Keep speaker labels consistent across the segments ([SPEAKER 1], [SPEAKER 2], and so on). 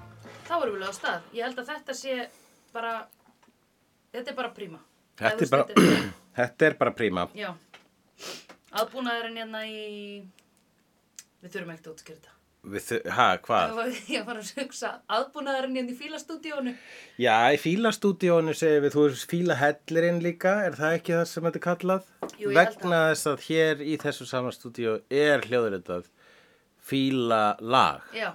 [SPEAKER 1] erum við lögð af stað. Ég held að þetta sé bara, þetta er bara príma.
[SPEAKER 2] Þetta er bara, þetta er bara príma.
[SPEAKER 1] Já. Aðbúnaðurinn hérna í, við þurfum ekkert að útskýra þetta.
[SPEAKER 2] Við þau- Ha,
[SPEAKER 1] Ég
[SPEAKER 2] hvað?
[SPEAKER 1] var, ég var að hugsa aðbúnaðurinn hérna í fílastúdíónu.
[SPEAKER 2] Já, í fílastúdíónu segir við, þú er fílahellirinn líka, er það ekki það sem þetta er kallað?
[SPEAKER 1] Jú, ég held
[SPEAKER 2] Vegna þess að hér í þessu sama stúdíó er hljóðuritað fílalag.
[SPEAKER 1] Já.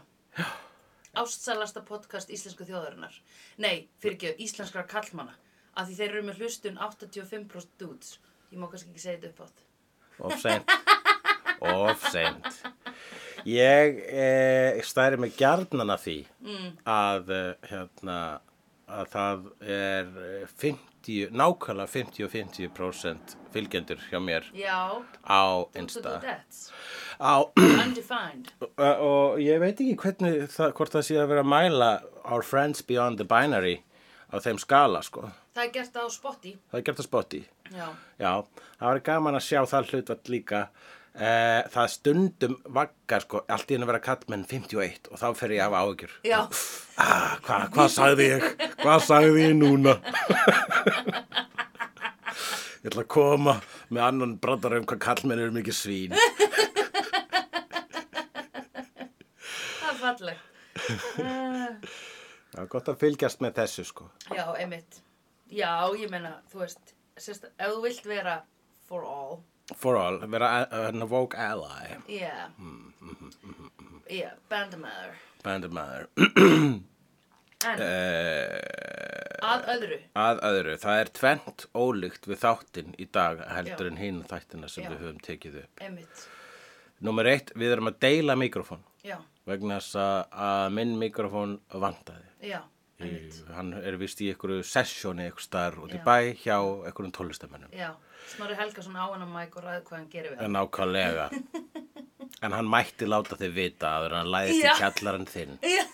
[SPEAKER 1] Ástsalasta podcast íslensku þjóðarinnar. Nei, fyrir ekki, íslenskra kallmana. Af því þeir eru með hlustun 85% dudes. Ég má kannski ekki segja þetta upp átt.
[SPEAKER 2] Of seint. Of seint. Ég eh, stæri mig gjarnan að því að, eh, hérna, að það er eh, 50, nákvæmlega 50 og 50% fylgjendur hjá mér
[SPEAKER 1] Já,
[SPEAKER 2] á
[SPEAKER 1] to do
[SPEAKER 2] Insta.
[SPEAKER 1] that.
[SPEAKER 2] Á,
[SPEAKER 1] Undefined.
[SPEAKER 2] og ég veit ekki hvernig það, hvort það sé að vera að mæla Our Friends Beyond the Binary á þeim skala, sko.
[SPEAKER 1] Það er gert á spotti.
[SPEAKER 2] Það er gert að spotti.
[SPEAKER 1] Já.
[SPEAKER 2] Já, það var gaman að sjá það hlutvall líka. Eh, það stundum vaggar sko, allt í henni vera kallmenn 51 og þá fer ég að hafa áhyggjur.
[SPEAKER 1] Já,
[SPEAKER 2] Ah, hva, hvað sagði ég? Hvað sagði ég núna? ég ætla að koma með annan brandar um hvað kallmenn eru mikið svín.
[SPEAKER 1] það er fallegt. Uh,
[SPEAKER 2] Það er gott að fylgjast með þessu sko.
[SPEAKER 1] já, einmitt. Já, ég meina, þú veist, sérst, ef þú vilt vera for all,
[SPEAKER 2] For all, vera a- an woke ally,
[SPEAKER 1] yeah, yeah, bandamæður.
[SPEAKER 2] bandamæður.
[SPEAKER 1] En,
[SPEAKER 2] Eh,
[SPEAKER 1] að öðru,
[SPEAKER 2] Að öðru, það er tvent ólíkt við þáttinn í dag heldur
[SPEAKER 1] Já.
[SPEAKER 2] en hinn þættina sem
[SPEAKER 1] Já.
[SPEAKER 2] við höfum tekið upp.
[SPEAKER 1] einmitt,
[SPEAKER 2] Númer eitt, við erum að deila mikrofón
[SPEAKER 1] já,
[SPEAKER 2] vegna þess að- að minn mikrofón vandaði.
[SPEAKER 1] já,
[SPEAKER 2] Í,
[SPEAKER 1] einmitt,
[SPEAKER 2] hann er vist í einhverju sessjóni einhver starf út í
[SPEAKER 1] Já.
[SPEAKER 2] bæ hjá einhverjum tólustamennum.
[SPEAKER 1] já. Snorri Helgason á hennar mæk og ræði hvað hann gerir við hann.
[SPEAKER 2] En ákvæðlega. en hann mætti láta þig vita að hann læðist
[SPEAKER 1] Já.
[SPEAKER 2] í kjallaran þinn. En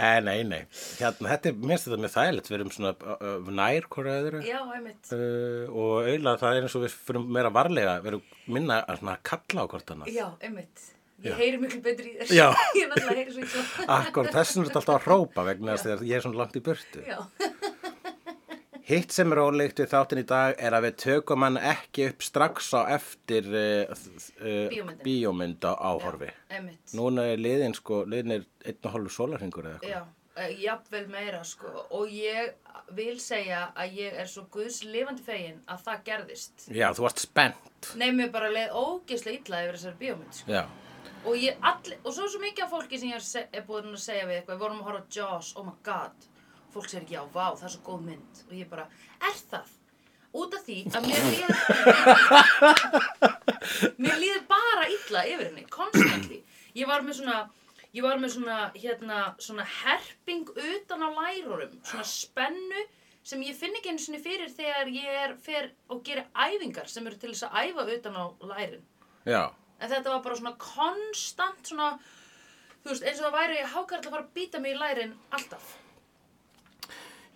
[SPEAKER 2] Eh, nei, nei, hérna, þetta er, mér finnst þetta með þægilegt, við erum svona ö, ö, nær hvora öðru.
[SPEAKER 1] Já, einmitt,
[SPEAKER 2] Uh, og eiginlega það er eins og við fyrir meira varlega, við erum minna að svona kalla á hvort annað.
[SPEAKER 1] já, einmitt.
[SPEAKER 2] Já.
[SPEAKER 1] Ég heyri miklu betri í þér.
[SPEAKER 2] Já.
[SPEAKER 1] ég náttúrulega heyri svo illa.
[SPEAKER 2] Akkur, þessum er þetta alltaf að hrópa vegna þess að ég er svona langt í burtu.
[SPEAKER 1] Já,
[SPEAKER 2] Hitt sem er óleikt við þáttinn í dag er að við tökum hann ekki upp strax á eftir uh, uh,
[SPEAKER 1] Bíómyndinni.
[SPEAKER 2] bíómynda áhorfi.
[SPEAKER 1] einmitt.
[SPEAKER 2] Núna er liðin sko, liðin er einn og hálfu sólarhingur eða eitthvað.
[SPEAKER 1] Já, uh, jafnvel meira sko og ég vil segja að ég er svo guðs lifandi fegin að það gerðist.
[SPEAKER 2] Já, þú varst spennt.
[SPEAKER 1] Nei, mér bara leið ógeðslega illa yfir þessari bíómynd sko.
[SPEAKER 2] Já,
[SPEAKER 1] Og, ég, all, og svo er svo mikið af fólki sem ég er, se- er búin að segja við eitthvað, við vorum að horfa á Jaws, oh my god, fólk segir ekki, já, vá, það er svo góð mynd. Og ég bara, er það? Út af því að mér líður, mér líður bara illa yfir henni, konstantly. Ég var með svona, ég var með svona, hérna, svona herping utan á lærurum, svona spennu sem ég finn ekki einu sinni fyrir þegar ég er, fer og gerir æfingar sem eru til þess að æfa utan á lærin.
[SPEAKER 2] já,
[SPEAKER 1] En þetta var bara svona konstant svona, þú veist, eins og það væri hákarl að fara að býta mig í lærin alltaf.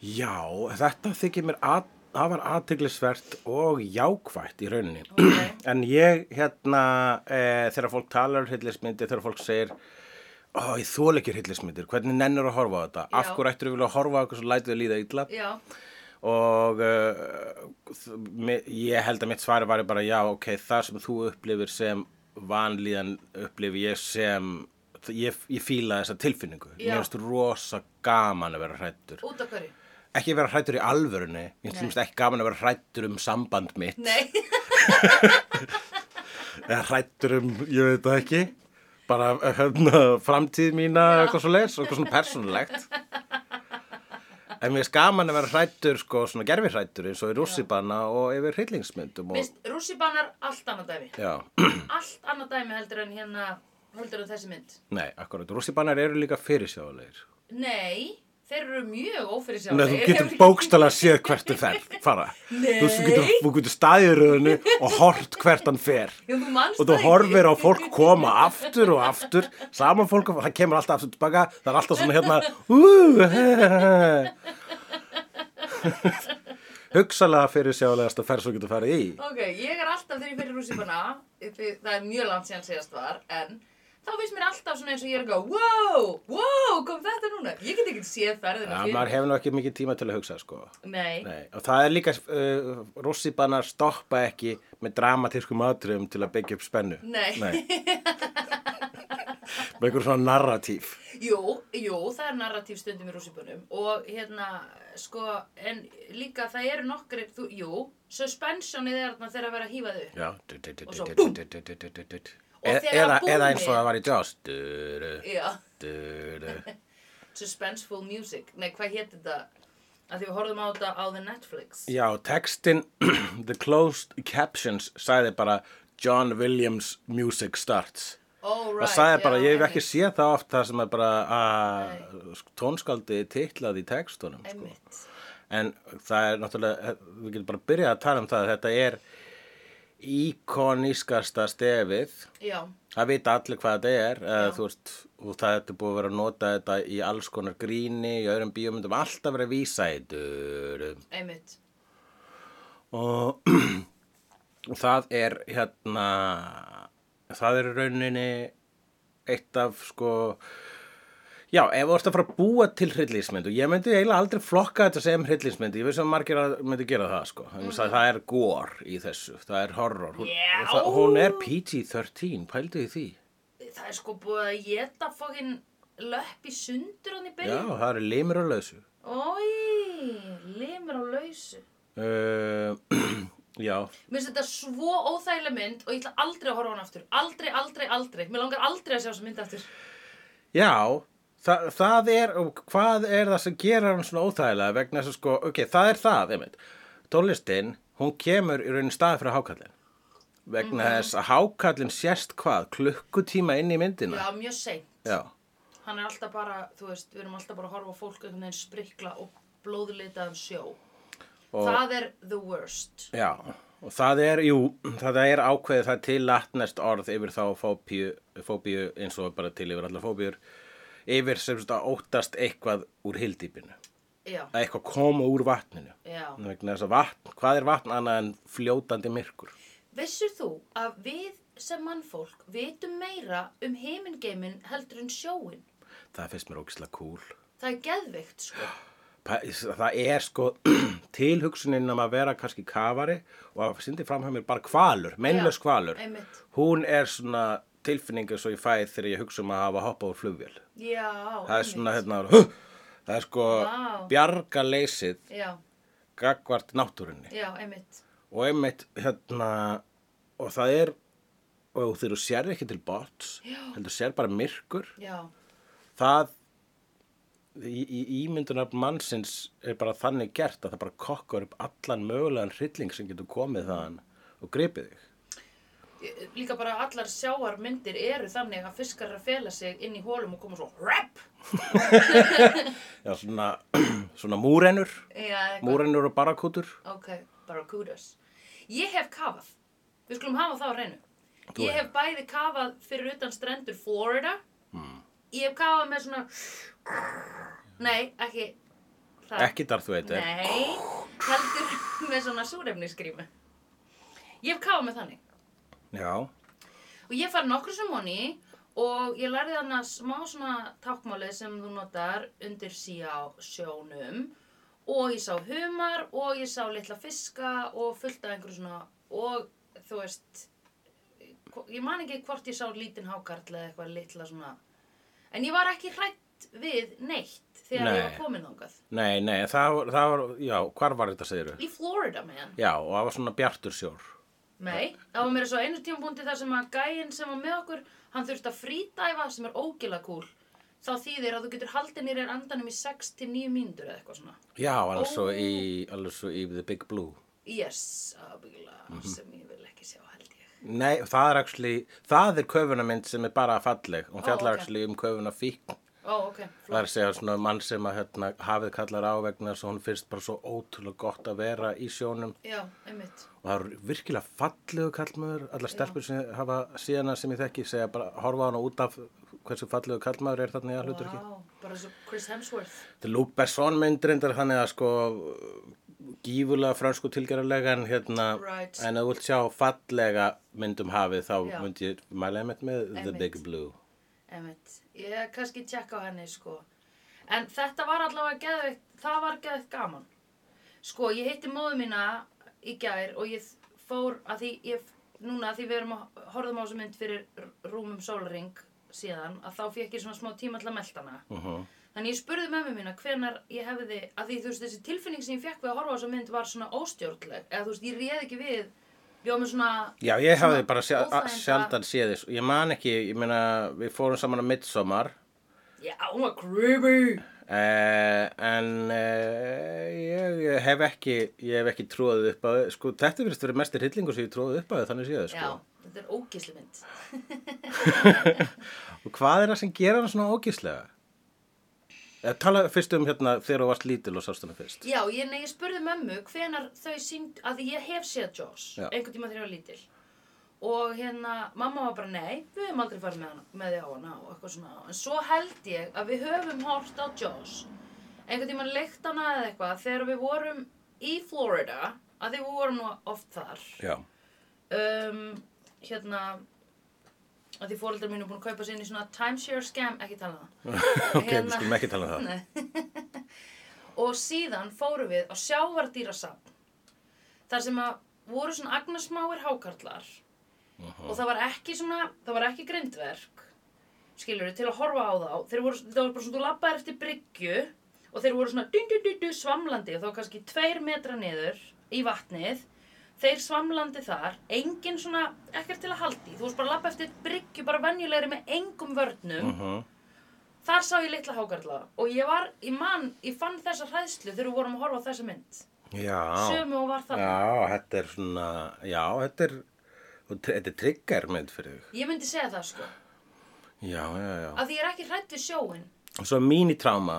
[SPEAKER 2] já, þetta þykir mér að, það var aðteglisvert og jákvætt í rauninni.
[SPEAKER 1] Ok,
[SPEAKER 2] En ég, hérna, e, þegar fólk talar um hryllismyndir, þegar fólk segir, ó, ég þól ekki hryllismyndir, hvernig nennir að horfa á þetta?
[SPEAKER 1] Já.
[SPEAKER 2] Af hverju ættir við vilja að horfa á okkur svo lætið við líða illa?
[SPEAKER 1] já,
[SPEAKER 2] Og uh, ég held að mitt svari var bara, já, ok, það sem þú upplifir sem vanlíðan upplifi ég sem, ég, ég fíla þessa tilfinningu.
[SPEAKER 1] Já.
[SPEAKER 2] Mér finnst rosa gaman að vera hrættur.
[SPEAKER 1] út af hverju?
[SPEAKER 2] Ekki vera hrættur í alvörunni, mér
[SPEAKER 1] Nei.
[SPEAKER 2] finnst ekki gaman að vera hrættur um samband mitt
[SPEAKER 1] Nei,
[SPEAKER 2] eða hrættur um, ég veit það ekki bara hérna, framtíð mína eitthvað svo leis, eitthvað svona persónulegt en mér er skaman að vera hrættur sko, svona gerfi hrættur eins og í rússibanna og yfir hryllingsmyndum og,
[SPEAKER 1] Vist, rússibanar allt annað dæmi.
[SPEAKER 2] já,
[SPEAKER 1] Allt annað dæmi heldur en hérna, heldur en þessi mynd.
[SPEAKER 2] nei, akkurat rússibannar eru líka fyrirsjáðulegir
[SPEAKER 1] Nei, þeir eru mjög ófyrir sjálf.
[SPEAKER 2] Nei, þú getur bókstala séð hvert þú fer, fara.
[SPEAKER 1] Nei.
[SPEAKER 2] Þú getur, þú getur staðið í röðinu og hort hvert hann fer.
[SPEAKER 1] Já, þú manst
[SPEAKER 2] og þú
[SPEAKER 1] það ekki.
[SPEAKER 2] horfir á fólk koma aftur og aftur saman fólk, það kemur alltaf aftur tilbaka það er alltaf svona hérna uh, hugsalega fyrir sjálegast að ferð svo getur farið í
[SPEAKER 1] Ok, ég er alltaf þegar ég fyrir rússibana, það er mjög langt síðan síðast var, en þá finnst mér alltaf svona eins og ég er eitthvað wow, wow, kom þetta núna ég get ekki séð ferðina
[SPEAKER 2] Já, maður hefur nú ekki mikið tíma til að hugsa sko.
[SPEAKER 1] Nei.
[SPEAKER 2] Nei. Og það er líka, uh, rossibannar stoppa ekki með dramatískum atriðum til að byggja upp spennu.
[SPEAKER 1] Nei.
[SPEAKER 2] með einhver svona narratíf.
[SPEAKER 1] Jú, jú, það er narratív stundum í rússibunum og hérna, sko, en líka það eru nokkri, þú, jú, suspensionið er þarna þegar að vera að hýfa þau. upp.
[SPEAKER 2] Já.
[SPEAKER 1] Og svo búmm. Og
[SPEAKER 2] E-
[SPEAKER 1] þegar
[SPEAKER 2] Eða,
[SPEAKER 1] búmmið-
[SPEAKER 2] eða eins og það var í Jaws. Duru,
[SPEAKER 1] Já,
[SPEAKER 2] duru.
[SPEAKER 1] suspenseful music, nei, hvað hétt þetta? Að því við horfðum á þetta á The Netflix.
[SPEAKER 2] Já, textin, the closed captions, sagði bara John Williams music starts.
[SPEAKER 1] Oh, right.
[SPEAKER 2] Það sagði bara,
[SPEAKER 1] já,
[SPEAKER 2] ég hef ekki
[SPEAKER 1] einmitt,
[SPEAKER 2] séð það oft það sem er bara að tónskaldi titlað í textunum. Sko.
[SPEAKER 1] Einmitt.
[SPEAKER 2] En það er náttúrulega, eh, við getum bara byrjað að tala um það, þetta er íkonískasta stefið.
[SPEAKER 1] Já,
[SPEAKER 2] Það vita allir hvað þetta er, eða, þú veist, og það er búið að vera að nota þetta í alls konar gríni, í öðrum bíómyndum, alltaf verið að vísa í durum.
[SPEAKER 1] einmitt.
[SPEAKER 2] Og það er hérna, það er í rauninni eitt af sko, já, ef þú ert að fara að búa til hryllingsmynd og ég myndi eiginlega aldrei flokka þetta sem hryllingsmynd, ég veist að margir að myndi gera það sko, mm -hmm. það er gore í þessu, það er horror, hún,
[SPEAKER 1] Já.
[SPEAKER 2] það, hún er PG-13, pældu í því.
[SPEAKER 1] Það er sko búið að geta fokkin löpp í sundur hann í
[SPEAKER 2] Já,
[SPEAKER 1] byrjun.
[SPEAKER 2] það eru limur og lausu.
[SPEAKER 1] Ói, limur á lausu.
[SPEAKER 2] Uh, já,
[SPEAKER 1] Mér finnst þetta svo óþægileg mynd og ég ætla aldrei að horfa á hana aftur. Aldrei, aldrei, aldrei. Mér langar aldrei að sjá þessa mynd aftur.
[SPEAKER 2] Já, það, það er, og hvað er það sem gerir hann svona óþægilega vegna þess að sko, ok, það er það, einmitt. Tónlistin, hún kemur í raunin stað fyrir hákallin. Vegna þess að hákallin sést hvað, klukkutíma inn í myndina.
[SPEAKER 1] Já, mjög seint.
[SPEAKER 2] Já.
[SPEAKER 1] Hann er alltaf bara, þú veist, við erum alltaf bara að horfa á fólk einhvern veginn sprikla og blóðlitaðan sjó.
[SPEAKER 2] Og,
[SPEAKER 1] Það er the worst.
[SPEAKER 2] Já, og það er, jú, það er ákveðið það er til latnest orð yfir þá fóbíu, fóbíu eins og bara til yfir allar fóbíur, yfir sem þetta óttast eitthvað úr hildýpinu.
[SPEAKER 1] Já,
[SPEAKER 2] Að eitthvað koma úr vatninu.
[SPEAKER 1] já.
[SPEAKER 2] vegna þess að vatn, hvað er vatn annað en fljótandi myrkur?
[SPEAKER 1] Vissur þú að við sem mannfólk vitum meira um heimingeimin heldur en sjóin?
[SPEAKER 2] Það finnst mér ógislega cool.
[SPEAKER 1] Það er geðveikt, sko.
[SPEAKER 2] Pa- Það er sko tilhugsunin um að vera kannski kafari og að syndi framhæmur bara kvalur, mennlaus
[SPEAKER 1] Já,
[SPEAKER 2] kvalur.
[SPEAKER 1] einmitt.
[SPEAKER 2] Hún er svona tilfinningu svo ég fæð þegar ég hugsa um að hafa hoppað úr flugvél.
[SPEAKER 1] Já,
[SPEAKER 2] Það er
[SPEAKER 1] einmitt.
[SPEAKER 2] svona hérna, huh! það er sko
[SPEAKER 1] Vá.
[SPEAKER 2] bjargaleysið
[SPEAKER 1] Já,
[SPEAKER 2] gagvart náttúrunni.
[SPEAKER 1] já, einmitt.
[SPEAKER 2] og einmitt hérna og það er og þegar þú sér ekki til bots heldur sér bara myrkur
[SPEAKER 1] Já,
[SPEAKER 2] það í, í ímyndunar mannsins er bara þannig gert að það bara kokkar upp allan mögulegan hrylling sem getur komið þaðan og gripið þig
[SPEAKER 1] líka bara allar sjáarmyndir eru þannig að fiskar eru að fela sig inn í hólum og koma svo RAP!
[SPEAKER 2] já svona, svona múrennur
[SPEAKER 1] Já, eitthvað.
[SPEAKER 2] múrennur og barakútur
[SPEAKER 1] Ok, barracudas. Ég hef kafað. Við skulum hafa það á reynu. Ég hef bæði kafað fyrir utan strendur Florida. Ég hef kafað með svona... Nei, ekki... Það.
[SPEAKER 2] ekki Darth Vader
[SPEAKER 1] Nei, heldur með svona súrefnisgrímu. Ég hef kafað með þannig.
[SPEAKER 2] já,
[SPEAKER 1] Og ég fari nokkru sem honni og ég lærði hann að smá svona tákmáli sem þú notar undir síá sjónum og ég sá humar og ég sá litla fiska og fullt af einhverju svona og þú veist hvo- ég man ekki hvort ég sá lítinn hákarl eða eitthvað litla svona en ég var ekki hrætt við neitt þegar ég var
[SPEAKER 2] Nei.
[SPEAKER 1] komin þangað
[SPEAKER 2] nei, nei það, var- það var, já, hvar var þetta segir
[SPEAKER 1] í Florida man
[SPEAKER 2] já, og það var svona bjartur sjór
[SPEAKER 1] Nei, það var meira svo einu tímapunkti þar sem að gæinn sem var með okkur, hann þurfti að frítæfa sem er ógila kúl. Þá þýðir að þú getur haldið nýrið andanum í 6 til 9 mínútur eða eitthvað svona.
[SPEAKER 2] já, alveg svo í, alveg svo í The Big Blue
[SPEAKER 1] Yes, ábyggilega,
[SPEAKER 2] Mhm.
[SPEAKER 1] sem ég vil ekki sjá held ég.
[SPEAKER 2] Nei, það er actually, það er köfunamynd sem er bara falleg. Hún fjallar
[SPEAKER 1] ok.
[SPEAKER 2] actually um köfuna fíkn.
[SPEAKER 1] Ó, ok,
[SPEAKER 2] Það
[SPEAKER 1] flott.
[SPEAKER 2] er að segja svona mann sem að hérna, hafið kallar á vegna þess að hún finnst bara svo ótrúlega gott að vera í sjónum.
[SPEAKER 1] Já, einmitt.
[SPEAKER 2] Og það er virkilega fallegu kallmaður. Allar stelpur sem hafa síðan að sem ég þekki segja bara horfa á hana út af hversu fallegu kallmaður er þarna í að hlutur ekki.
[SPEAKER 1] Vá, bara svo Chris Hemsworth.
[SPEAKER 2] Þetta er Luke Besson mynd reyndar þannig að sko gífulega fransku tilgerðarlega en hérna
[SPEAKER 1] Right.
[SPEAKER 2] en að þú vilt sjá fallega myndum hafið þá
[SPEAKER 1] Já.
[SPEAKER 2] myndi ég mæla einmitt með The
[SPEAKER 1] Einmitt.
[SPEAKER 2] Big Blue.
[SPEAKER 1] Einmitt. Ég er kannski að tjekka á henni, sko. En þetta var allavega geðveikt, það var geðveikt gaman. Sko, ég hitti móðu mína í gær og ég fór að því, ég, núna að því við erum að horfðum á þessu mynd fyrir r- rúmum sólring síðan, að þá fekk ég svona smá tíma til að melta hana.
[SPEAKER 2] Mhm.
[SPEAKER 1] Þannig ég spurði mömmu mína hvenar ég hefði, að því þú veist þessi tilfinning sem ég fekk við að horfa á þessa mynd var svona óstjórnleg, eða þú veist ég réð ekki við, ég var með svona,
[SPEAKER 2] Já, ég
[SPEAKER 1] Svona
[SPEAKER 2] hafði bara sjá,
[SPEAKER 1] óþæginda-
[SPEAKER 2] sjaldan séð þess. Ég man ekki, ég meina, við fórum saman á midsommar,
[SPEAKER 1] já, hún var creepy.
[SPEAKER 2] eh, en eh, ég, ég hef ekki, ég hef ekki tróðið upp á þau. Sko, þetta virðist verið mestir hryllingur sem ég tróðið upp á þau, þannig séð, sko.
[SPEAKER 1] Já, þetta er ógisli mynd.
[SPEAKER 2] Og hvað er það sem gera hann svona ógíslega? Eh, tala fyrst um hérna þegar þú varst lítil og sást hana fyrst.
[SPEAKER 1] Já, ég, nei, ég spurði mömmu hvenar þau sínd, að því ég hef séð Joss
[SPEAKER 2] Já.
[SPEAKER 1] einhvern tíma þegar ég var lítil og hérna, mamma var bara nei við höfum aldrei farið með, hana, með því á hana og eitthvað svona, en svo held ég að við höfum hort á Joss einhvern tíma leikt hana eða eitthvað þegar við vorum í Florida að því við vorum nú oft þar
[SPEAKER 2] Já.
[SPEAKER 1] um, hérna að því fóreldrar mínu búin að kaupa sér inn í svona timeshare scam, ekki tala um það
[SPEAKER 2] ok,
[SPEAKER 1] Hérna.
[SPEAKER 2] við skulum ekki tala um það.
[SPEAKER 1] Nei. og síðan fórum við á sjávardýrasafn þar sem að voru svona agnarsmáir hákarlar og það var ekki svona, það var ekki grindverk skilur til að horfa á þá þeir voru, það var bara svona, þú labbaðir eftir bryggju og þeir voru svona dun, dun, dun, dun, svamlandi og þá kannski tveir metra niður í vatnið þeir svamlandi þar, engin svona ekkert til að haldi, þú varst bara að labba eftir bryggju bara venjulegri með engum vörnum
[SPEAKER 2] Uh -huh.
[SPEAKER 1] Þar sá ég litla hákarla og ég var, ég man, ég fann þessa hræðslu þegar við vorum að horfa á þessa mynd.
[SPEAKER 2] Já.
[SPEAKER 1] Sömu og var þarna.
[SPEAKER 2] Já, þetta er svona, já, þetta er, og tr- þetta er trigger mynd fyrir þig.
[SPEAKER 1] Ég myndi segja það sko.
[SPEAKER 2] Já, já, já.
[SPEAKER 1] Af því ég er ekki hrædd við sjóin.
[SPEAKER 2] Og svo mínitráma,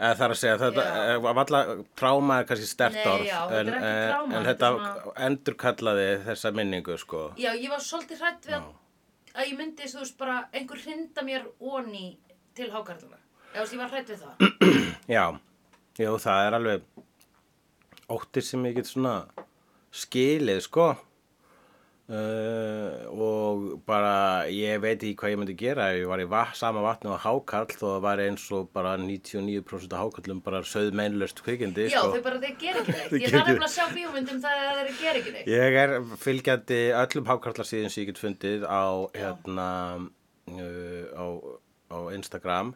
[SPEAKER 2] eða það er að segja, þetta, eh,
[SPEAKER 1] Já.
[SPEAKER 2] yeah. valla, tráma er kannski stert
[SPEAKER 1] Nei,
[SPEAKER 2] orð.
[SPEAKER 1] já, þetta er
[SPEAKER 2] en-
[SPEAKER 1] ekki
[SPEAKER 2] en-
[SPEAKER 1] tráma,
[SPEAKER 2] En
[SPEAKER 1] þetta
[SPEAKER 2] þetta
[SPEAKER 1] er svona-
[SPEAKER 2] endurkallaði þessa minningu, sko.
[SPEAKER 1] Já, ég var svolítið hrædd við að, að ég myndi, þú veist, bara einhver hrinda mér onni til hákarlana. Eða þú veist, ég var hrædd við það.
[SPEAKER 2] Já, jú, það er alveg óttir sem ég get svona skilið, sko. Uh, og bara ég veit ekki hvað ég myndi gera ef ég var í vat, sama vatni og hákarl þó það væri eins og bara 99% af hákarlum bara söð meinlöst kvikindi
[SPEAKER 1] Já,
[SPEAKER 2] sko.
[SPEAKER 1] þau bara, þeir gera ekki neitt.
[SPEAKER 2] Þeir
[SPEAKER 1] Ég
[SPEAKER 2] gera
[SPEAKER 1] þarf
[SPEAKER 2] ekki-
[SPEAKER 1] nefnilega að sjá bíómyndum það að þeir gera ekki neitt.
[SPEAKER 2] ég er fylgjandi öllum hákarlarsíðum sem ég get fundið á hérna uh, á, á Instagram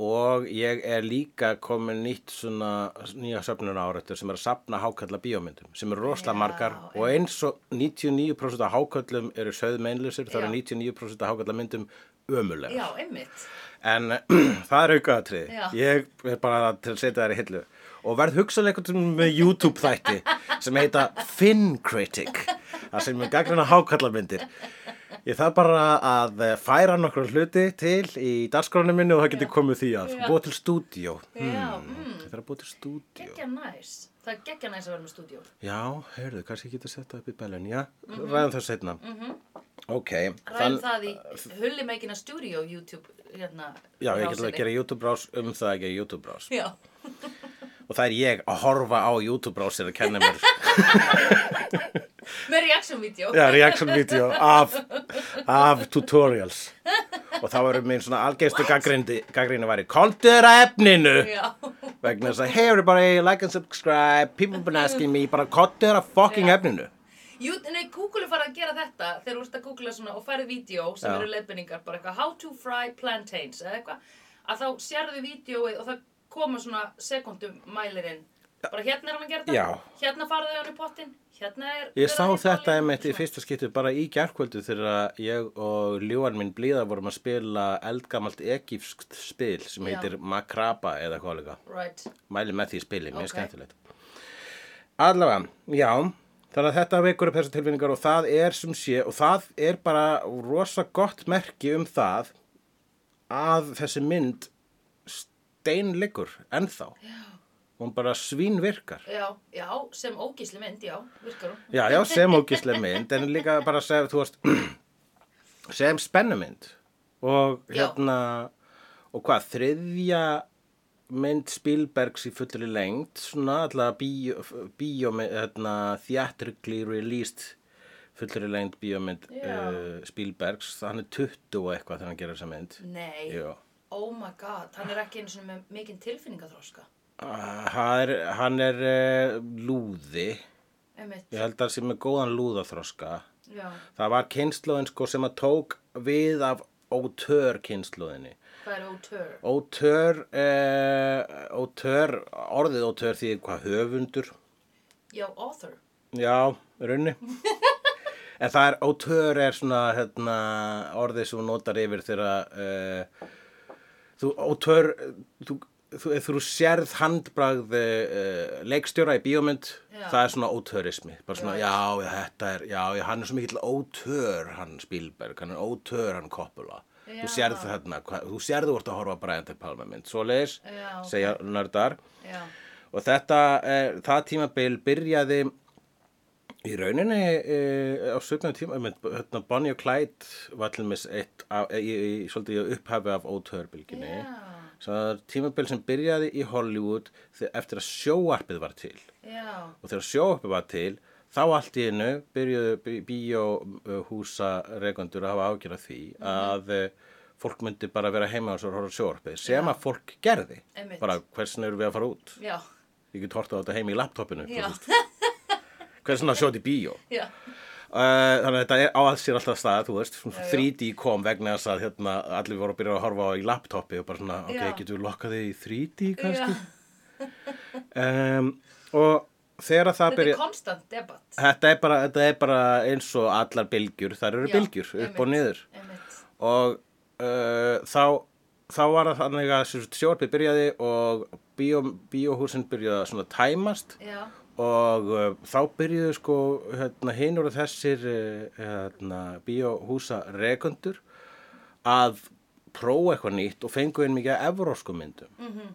[SPEAKER 2] og ég er líka komin nýtt svona nýja söfnuna árættur sem er að safna hákarla bíómyndum sem eru rosalega
[SPEAKER 1] Já,
[SPEAKER 2] margar og eins og 99% af hákarlum eru söðmeinlusir þá
[SPEAKER 1] Já.
[SPEAKER 2] eru 99% af hákarla myndum ömulega
[SPEAKER 1] Já, einmitt.
[SPEAKER 2] en það er aukaðatrið
[SPEAKER 1] Já.
[SPEAKER 2] ég er bara til að setja þær í hillu og verð hugsalega einhvern tímann með YouTube þætti sem heita FinCritic það sem er gaggrina hákallamyndir ég þarf bara að færa nokkru hluti til í dagskránu minni og það getur komið því að
[SPEAKER 1] Já.
[SPEAKER 2] búa til stúdíó
[SPEAKER 1] Já, Mm.
[SPEAKER 2] hmm. ég þarf að búa til stúdíó
[SPEAKER 1] Gekkja næs. Það er gekkja næs að vera með stúdíó.
[SPEAKER 2] já, heyrðu, kannski ég geta sett það upp í Bellin já, ræðum það setna ok,
[SPEAKER 1] Mhm. Ræðum það í Hulli Meikina Studio YouTube hérna
[SPEAKER 2] já, ég get
[SPEAKER 1] rásinni.
[SPEAKER 2] að gera YouTube rás um það að gera YouTube rás
[SPEAKER 1] Já,
[SPEAKER 2] Og það er ég að horfa á YouTube-brásir að kenna mér
[SPEAKER 1] með reaction video
[SPEAKER 2] Já, reaction-vídeó af, af tutorials. Og þá eru mín svona algeistu gaggrindi, gaggrinni væri Koldur að efninu!
[SPEAKER 1] Já.
[SPEAKER 2] Vegna þess að, hey everybody, like and subscribe, people been asking me, bara koldur að fucking efninu.
[SPEAKER 1] Jú, nei, Google er farið að gera þetta þegar þú ert að googla svona og færið vídeo sem
[SPEAKER 2] Já.
[SPEAKER 1] eru leiðbendingar, bara eitthvað how to fry plantains eða eitthvað, að þá sérðu vídeoið og það koma svona sekundum mælirinn, bara hérna er hann að gera þetta
[SPEAKER 2] Já.
[SPEAKER 1] hérna farið hann í pottin hérna er
[SPEAKER 2] Ég sá
[SPEAKER 1] verið að hita
[SPEAKER 2] þetta
[SPEAKER 1] olíu,
[SPEAKER 2] einmitt í
[SPEAKER 1] svona.
[SPEAKER 2] fyrsta skiptu bara í gærkvöldu þegar ég og ljúan minn blíða vorum að spila eldgamalt egífskt spil sem
[SPEAKER 1] Já.
[SPEAKER 2] heitir Makraba eða hvað líka.
[SPEAKER 1] Right,
[SPEAKER 2] mæli með því spili, mjög
[SPEAKER 1] Ok.
[SPEAKER 2] skemmtilegt allavega, já þannig að þetta vekur upp þessar tilfinningar og það er sem sé, og það er bara rosa gott merki um það að þessi mynd steinleikur ennþá já. hún bara svínvirkar
[SPEAKER 1] já, já, sem ógísli mynd, já, virkar hún
[SPEAKER 2] já, já, sem ógislega mynd en líka bara sem, þú veist sem spennumynd og
[SPEAKER 1] Já.
[SPEAKER 2] hérna og hvað, þriðja mynd Spielbergs í fullri lengd svona allavega bíó, bíó hérna, theatrically released fullri lengd bíómynd
[SPEAKER 1] Já.
[SPEAKER 2] uh, Spielbergs, hann er 20 og eitthvað þegar hann gerir þessa mynd
[SPEAKER 1] Nei,
[SPEAKER 2] Jú.
[SPEAKER 1] oh my god, hann er ekki einu sinni með mikinn tilfinningaþróska.
[SPEAKER 2] Ah, Hann er, hann er uh, lúði
[SPEAKER 1] Einmitt,
[SPEAKER 2] ég held að hann sé með góðan lúðaþroska
[SPEAKER 1] já,
[SPEAKER 2] það var kynnslóðin sko sem að tók við af ótör kynnslóðinni
[SPEAKER 1] hvað er auteur?
[SPEAKER 2] ótör eh, ótör, orðið ótör því hvað höfundur
[SPEAKER 1] Já, author.
[SPEAKER 2] Já, í rauninni. en það er, auteur er svona hérna, orðið sem þú notar yfir þegar uh, þú, auteur, þú, þú, ef þú sérð handbragð uh, leikstjóra í bíómynd,
[SPEAKER 1] Já.
[SPEAKER 2] það er svona auteurismi. Bara svona,
[SPEAKER 1] Já.
[SPEAKER 2] já, já, þetta er, já, já, hann er svo mikill auteur, hann Spielberg, hann er auteur, hann Coppola.
[SPEAKER 1] Já.
[SPEAKER 2] Þú sérð þarna, hvað- þú sérð þú ert að horfa á Brian De Palma mynd, svoleiðis,
[SPEAKER 1] Já, ok.
[SPEAKER 2] segja nördar.
[SPEAKER 1] Já,
[SPEAKER 2] Og þetta, er, það tímabil byrjaði í rauninni e, á sögnaðum tíma, ég mynd, hérna Bonnie og Clyde var til með eitt, af, í, í, í, svolítið í upphafi af ótöðurbylginni.
[SPEAKER 1] já,
[SPEAKER 2] Svo það er tímabil sem byrjaði í Hollywood þe- eftir að sjóarpið var til.
[SPEAKER 1] já,
[SPEAKER 2] Og þegar sjóarpið var til, þá allt í hennu byrjuðu bíóhúsa reikundur að hafa ágjörð af því
[SPEAKER 1] Mhm.
[SPEAKER 2] að eh, fólk myndi bara vera heima og svo horfa á sjóarpið, sem að fólk gerði.
[SPEAKER 1] Einmitt.
[SPEAKER 2] Bara hversin eru við að fara út?
[SPEAKER 1] já,
[SPEAKER 2] Ég get horta á þetta heim í laptopinu. þú
[SPEAKER 1] já,
[SPEAKER 2] veist. Hver er svona sjótt í bíó?
[SPEAKER 1] já,
[SPEAKER 2] Uh, þannig að þetta er á alls sér alltaf stað, þú veist, svona
[SPEAKER 1] Já, já.
[SPEAKER 2] 3D kom vegna þess að hérna, allir voru að byrja að horfa á í laptopi og bara svona, ok,
[SPEAKER 1] Já.
[SPEAKER 2] getur við lokkað þig í 3D
[SPEAKER 1] já.
[SPEAKER 2] kannski? Um, og þegar að það
[SPEAKER 1] Þetta er
[SPEAKER 2] byrja,
[SPEAKER 1] konstant debatt.
[SPEAKER 2] þetta er, bara, þetta er bara eins og allar bylgjur, þar eru
[SPEAKER 1] Já,
[SPEAKER 2] bylgjur upp og
[SPEAKER 1] einmitt,
[SPEAKER 2] niður
[SPEAKER 1] Einmitt,
[SPEAKER 2] og uh, þá, þá var það þannig að sjórpið byrjaði og bíó, bíóhúsin byrjaði að svona tæmast
[SPEAKER 1] já,
[SPEAKER 2] og uh, þá byrjuðu sko hérna, hinur og þessir uh, hérna, bíóhúsa rekundur að prófa eitthvað nýtt og fengu inn mikið af evrósku myndum -hmm.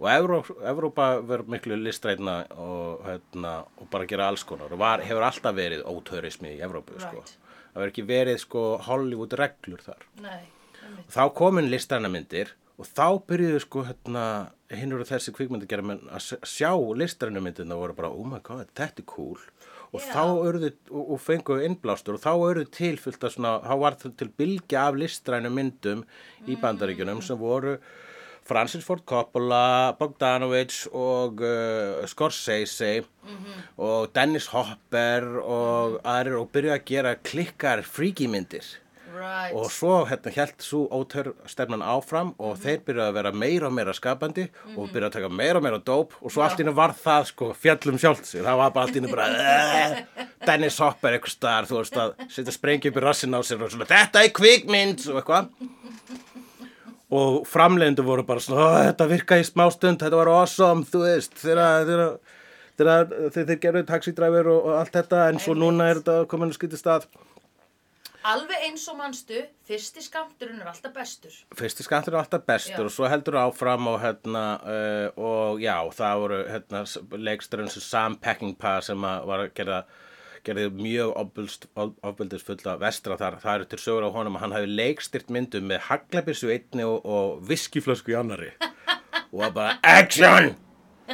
[SPEAKER 2] og Evró, Evrópa verður miklu listrætna og, hérna, og bara gera alls konar og var, hefur alltaf verið ótörismi í Evrópu sko.
[SPEAKER 1] Right.
[SPEAKER 2] það verður ekki verið sko Hollywood reglur þar
[SPEAKER 1] nei, einmitt,
[SPEAKER 2] þá komin listræna myndir og þá byrjuðu sko hérna hinnur og þessi kvikmyndagjara menn að s- sjá listræna myndina og voru bara oh my god, þetta er cool og
[SPEAKER 1] Já.
[SPEAKER 2] þá urðu, og, og fengu innblástur og þá urðu til fullt að svona, þá var það til bylgja af listrænu myndum í bandaríkjunum sem voru Francis Ford Coppola, Bogdanovich og uh, Scorsese og Dennis Hopper og aðrir og byrjuðu að gera klikkar freaky myndir
[SPEAKER 1] right,
[SPEAKER 2] og svo hérna hjælt svo ótör stefnan áfram og þeir byrjuðu að vera meira og meira skapandi og byrjuðu að taka meira og meira dóp og svo allt í hennu var það sko fjallum sjálft sig það var bara allt í hennu bara "Eh, Dennis Hopper eitthvað staðar þú veist að setja sprengi upp í rassin á sér og svona þetta er kvikmynd og eitthvað og framlegendur voru bara svona "Ó, þetta virkaði í smástund, þetta var awesome þú veist þegar þegar- þegar þeir, þeir gerðu taxidræfur og, og allt þetta en svo núna er þetta komin að skytið stað
[SPEAKER 1] alveg eins og manstu, fyrsti skamturinn er alltaf bestur.
[SPEAKER 2] fyrsti skattur er alltaf bestur
[SPEAKER 1] Já.
[SPEAKER 2] og svo heldur áfram og hérna uh, og já, það voru hérna leiksturinn sem Sam Peckinpah sem að var að gera gerði mjög ofbeldis fulla vestra þar, það eru til sögur á honum að hann hafi leikstyrt myndum með haglabissu einni og, og viskiflösku í annari og var bara action,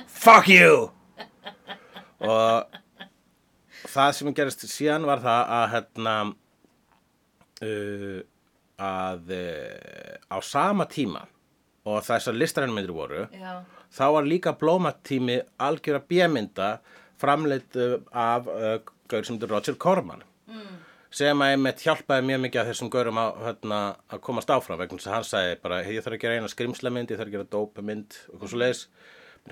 [SPEAKER 2] fuck you og það sem gerist síðan var það að hérna uh, að uh, á sama tíma og þessar listrænmyndir voru
[SPEAKER 1] Já,
[SPEAKER 2] þá var líka blómatími algjöra bjömynda framleitt uh, af uh, gaur sem heitir Roger Corman sem að einmitt hjálpaði mjög mikið að þessum gaurum að, hérna, að komast áfram vegna þess að hann sagði bara "Hey, ég þarf að gera eina skrimslamynd, ég þarf að gera dópamynd og eitthvað svo leiðis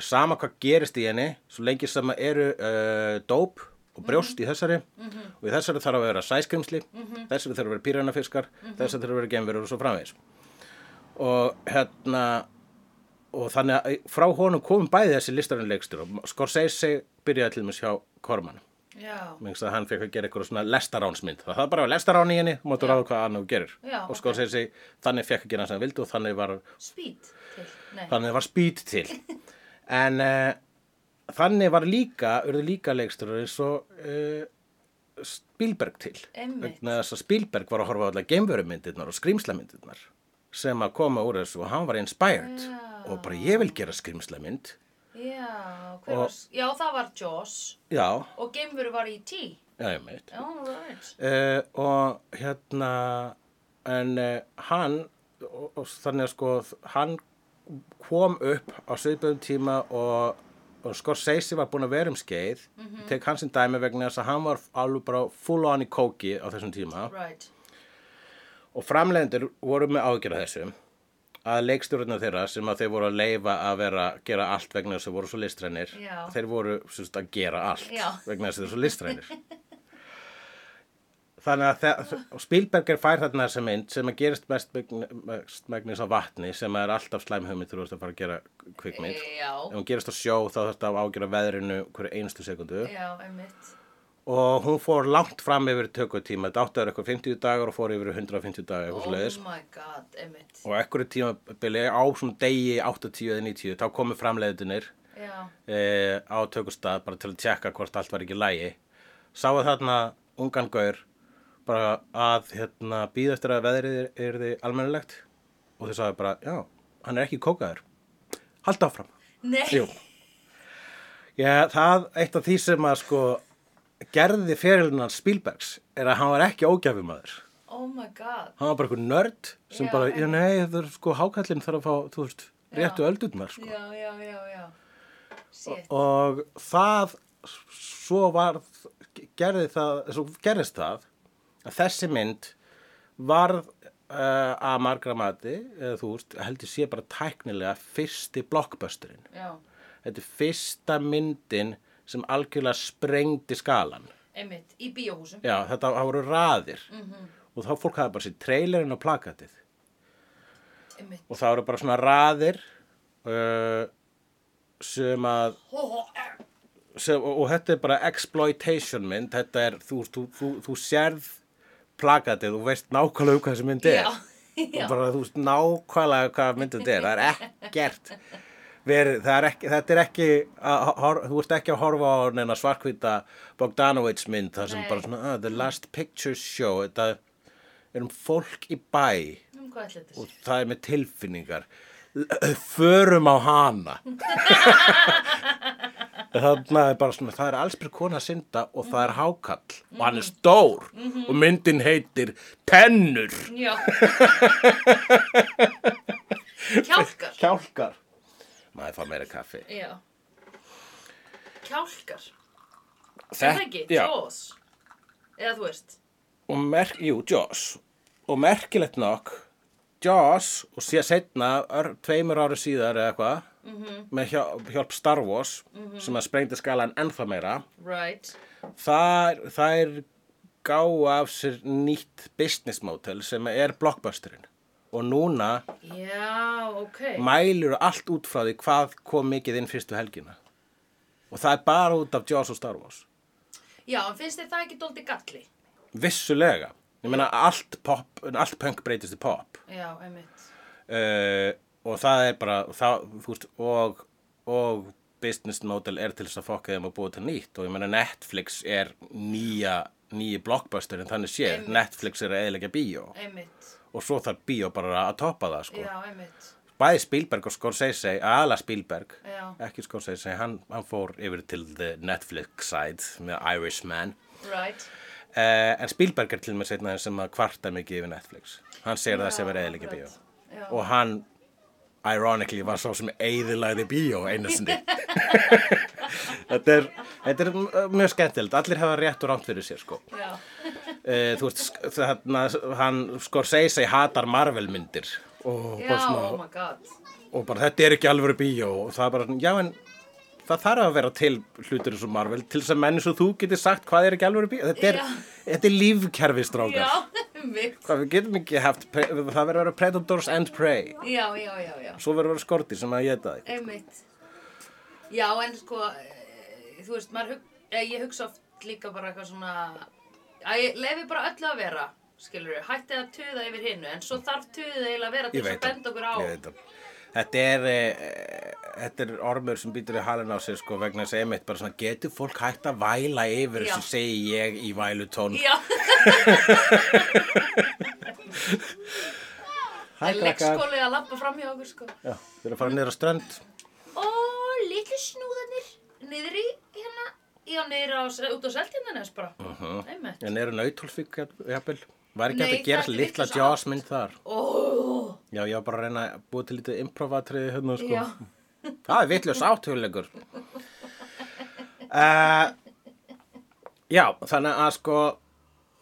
[SPEAKER 2] sama hvað gerist í henni, svo lengi sem að eru uh, dóp og brjóst í þessari og í þessari þarf að vera sæskrimsli þessari þarf að vera pýranafiskar þessari þarf að vera genverur og svo framvegis og hérna og þannig að eh, frá honum komum bæði þessi listarinn leikstur og Scorsese byrjaði til dæmis hjá Korman
[SPEAKER 1] já,
[SPEAKER 2] Mér finnst að hann fekk að gera eitthvað svona lestaránsmynd. Það var bara lestarán í henni, þú máttu ráða hvað annað þú gerir.
[SPEAKER 1] Já,
[SPEAKER 2] og sko
[SPEAKER 1] ok.
[SPEAKER 2] segir sig, þannig fekk að gera það sem hann vildi og þannig var,
[SPEAKER 1] speed til, nei,
[SPEAKER 2] þannig var spýt til. En uh, þannig var líka, urðu líka leiksturur eins og uh, Spielberg til.
[SPEAKER 1] Einmitt.
[SPEAKER 2] Vegna þess að Spielberg var að horfa á allar geimverumyndirnar og skrýmslamyndirnar sem að koma úr þessu og hann var inspired
[SPEAKER 1] Já.
[SPEAKER 2] og bara ég vil gera skrýmslamynd.
[SPEAKER 1] já, hver
[SPEAKER 2] Og-
[SPEAKER 1] var, já, það var Jaws
[SPEAKER 2] Já,
[SPEAKER 1] og geimveru var í T.
[SPEAKER 2] Já, ég meit.
[SPEAKER 1] Já, right.
[SPEAKER 2] Uh, og hérna, en uh, hann, og, og þannig að sko, hann kom upp á sviðböðum tíma og, og Scorsese var búinn að vera um skeið, tek hans sem dæmi vegna þess að hann var alveg bara full on í kóki á þessum tíma
[SPEAKER 1] Right.
[SPEAKER 2] og framleiðendur voru með ágjörða þessu að leikstjórnir þeirra sem að þeir voru að leifa að vera gera allt vegna þess að þeir voru svo listrænir
[SPEAKER 1] Já.
[SPEAKER 2] þeir voru sérst, að gera allt
[SPEAKER 1] Já.
[SPEAKER 2] vegna þess að þeir eru svo listrænir þannig að það, og Spielberger fær þarna þessa mynd sem að gerist mest, megn- mest megnis á vatni sem er alltaf slæm hugmynd þegar þú ert að fara að gera kvikmynd
[SPEAKER 1] Já.
[SPEAKER 2] ef hún gerist á sjó þá þarf þetta að ágjöra veðrinu hverju einstu sekundu
[SPEAKER 1] Já, einmitt.
[SPEAKER 2] og hún fór langt fram yfir tökutíma þetta áttu að vera eitthvað 50 dagar og fór yfir 150 dagar eitthvað
[SPEAKER 1] Oh
[SPEAKER 2] svoleiðis
[SPEAKER 1] my god, einmitt.
[SPEAKER 2] og ekkur tímabili á svona degi 80 eða 90 þá komu framleiðunir
[SPEAKER 1] Já.
[SPEAKER 2] e, á tökustad bara til að tjekka hvort allt var ekki í lægi sáu þarna ungan gaur bara að hérna, býða eftir að veðrið er, er þið almennilegt og þau sagði bara, já, hann er ekki kókaður halda áfram
[SPEAKER 1] Nei.
[SPEAKER 2] Jú. Já, það eitt af því sem að sko gerði fyrirlunar Spielbergs er að hann var ekki ógjafumadur
[SPEAKER 1] Oh my god.
[SPEAKER 2] hann var bara einhver nörd sem
[SPEAKER 1] Já,
[SPEAKER 2] bara, já
[SPEAKER 1] einmitt.
[SPEAKER 2] nei, það er sko hákallinn þarf að fá, þú veist, réttu
[SPEAKER 1] Já.
[SPEAKER 2] öldurnar sko.
[SPEAKER 1] Já, já, já, já. Shit.
[SPEAKER 2] og það svo varð gerði það, svo gerðist það að þessi mynd varð uh, að margra mati, eða þú veist, heldur sé bara tæknilega fyrsti blockbusterinn
[SPEAKER 1] Já,
[SPEAKER 2] þetta er fyrsta myndin sem algjörlega sprengdi skalan
[SPEAKER 1] einmitt. Í bíóhúsum.
[SPEAKER 2] Já, þetta það voru raðir
[SPEAKER 1] Mhm.
[SPEAKER 2] og þá fólk hafði bara sér trailerinn og plakatið
[SPEAKER 1] Einmitt.
[SPEAKER 2] og það voru bara svona raðir uh, sem að
[SPEAKER 1] Hó, hó, er.
[SPEAKER 2] sem, og, og þetta er bara exploitation mynd þetta er, þú, þú, þú, þú sérð plakatið og veist nákvæmlega um hvað þessi mynd er
[SPEAKER 1] Já. Já.
[SPEAKER 2] og bara þú veist nákvæmlega hvað myndið þetta er það er ekkert verið, það er ekki, þetta er ekki að, hor, þú ert ekki að horfa á neina svarkvita Bogdanovich mynd það sem
[SPEAKER 1] Nei.
[SPEAKER 2] bara svona, uh, the last picture show þetta er um fólk í bæ
[SPEAKER 1] Um hvað ætla þetta?
[SPEAKER 2] og það er með tilfinningar förum á hana þannig að bara svona það er allsbyr kona að synda og það er hákall og hann er stór
[SPEAKER 1] Mhm.
[SPEAKER 2] og myndin heitir tennur
[SPEAKER 1] Já. Kjálkar.
[SPEAKER 2] kjálkar maður fá meira kaffi
[SPEAKER 1] Já. Kjálkar. Er
[SPEAKER 2] Þetta-
[SPEAKER 1] það ekki?
[SPEAKER 2] já,
[SPEAKER 1] Jaws. Eða þú veist.
[SPEAKER 2] og merk, jú, Joss og merkilegt nokk Joss og síðan setna ör, tveimur ári síðar eða eitthvað
[SPEAKER 1] Mhm.
[SPEAKER 2] með hjálp, hjálp Star Wars sem að sprengdi skalan ennþá meira
[SPEAKER 1] Right.
[SPEAKER 2] það, það er gá af sér nýtt business model sem er blockbusterinn og núna
[SPEAKER 1] Já, ok.
[SPEAKER 2] mælur allt út frá því hvað kom mikið inn fyrstu helgina og það er bara út af Jaws og Star Wars
[SPEAKER 1] Já, en finnst þér það ekki dóldi galli?
[SPEAKER 2] vissulega ég meina allt pop, allt punk breytist í pop
[SPEAKER 1] Já, einmitt.
[SPEAKER 2] uh, og það er bara það, þú veist, og, og business model er til þess að fokka þeim að búa til nýtt og ég meina Netflix er nýja, nýji blockbuster en þannig sé,
[SPEAKER 1] Einmitt.
[SPEAKER 2] Netflix er að eðilega bíó
[SPEAKER 1] Einmitt.
[SPEAKER 2] og svo þarf bíó bara að toppa það sko.
[SPEAKER 1] Já, einmitt.
[SPEAKER 2] bæði Spielberg og Scorsese ala Spielberg,
[SPEAKER 1] Já.
[SPEAKER 2] ekki Scorsese hann, hann fór yfir til the Netflix side með Irishman
[SPEAKER 1] Right.
[SPEAKER 2] Uh, en Spielberg er til með setna sem að kvarta mikið yfir Netflix. Hann segir það
[SPEAKER 1] Já,
[SPEAKER 2] sem er eðilega bíó.
[SPEAKER 1] akkurat. Já.
[SPEAKER 2] Og hann, ironically, var svo sem eðilegði bíó einu sinni. þetta, er, þetta er m- mjög skemmtilegt. Allir hafa rétt og rámt fyrir sér, sko.
[SPEAKER 1] Já.
[SPEAKER 2] Uh, þú veist, sk- þarna, hann Scorsese hatar Marvel myndir. Og,
[SPEAKER 1] Já,
[SPEAKER 2] bara svona,
[SPEAKER 1] oh my god.
[SPEAKER 2] og bara þetta er ekki alvöru bíó. Og það er bara, já en... Það þarf að vera til hlutur eins og Marvel til þess að menn eins og þú getur sagt hvað er ekki alvöru bíó. Þetta er,
[SPEAKER 1] Já.
[SPEAKER 2] þetta er lífkerfi, strákar.
[SPEAKER 1] Já, einmitt.
[SPEAKER 2] Hvað við getum ekki haft, pre- það verður að vera Predators and Prey.
[SPEAKER 1] Já, já, já, já.
[SPEAKER 2] Svo verður að vera skortir sem að geta þig.
[SPEAKER 1] Einmitt. Já, en sko, eh, þú veist, maður hug, eh, ég hugsa oft líka bara eitthvað svona, að ég lefi bara öllu að vera, skilur við, hætti að tuða yfir hinnu, en svo þarf tuðið eiginlega að vera til
[SPEAKER 2] Ég
[SPEAKER 1] þess
[SPEAKER 2] veit
[SPEAKER 1] að benda okkur á.
[SPEAKER 2] Ég veit það. Þetta er, e, þetta er ormur sem býtur í halin á sig sko vegna þess að einmitt bara svona getur fólk hægt að væla yfir
[SPEAKER 1] Já.
[SPEAKER 2] þessu segi ég í vælutón.
[SPEAKER 1] Já,
[SPEAKER 2] Hæ
[SPEAKER 1] en
[SPEAKER 2] krakkar.
[SPEAKER 1] leikskólið að labba fram hjá okkur, sko.
[SPEAKER 2] Já, við erum að fara niður á strönd.
[SPEAKER 1] Ó, litlu snúðanir, niður í hérna í á niður á, út á seltjarnanes bara. Uh -huh. Einmitt.
[SPEAKER 2] En eru nauthólfík jafnvel? Var ekki
[SPEAKER 1] Nei,
[SPEAKER 2] hægt að gera
[SPEAKER 1] það er
[SPEAKER 2] litla
[SPEAKER 1] vitlaus
[SPEAKER 2] Jaws mynd þar?
[SPEAKER 1] Ó,
[SPEAKER 2] Já, ég var bara að reyna að búa til lítið improvatriði hérna sko.
[SPEAKER 1] já.
[SPEAKER 2] Það er vitlaus átöfulegur. uh, já, þannig að sko,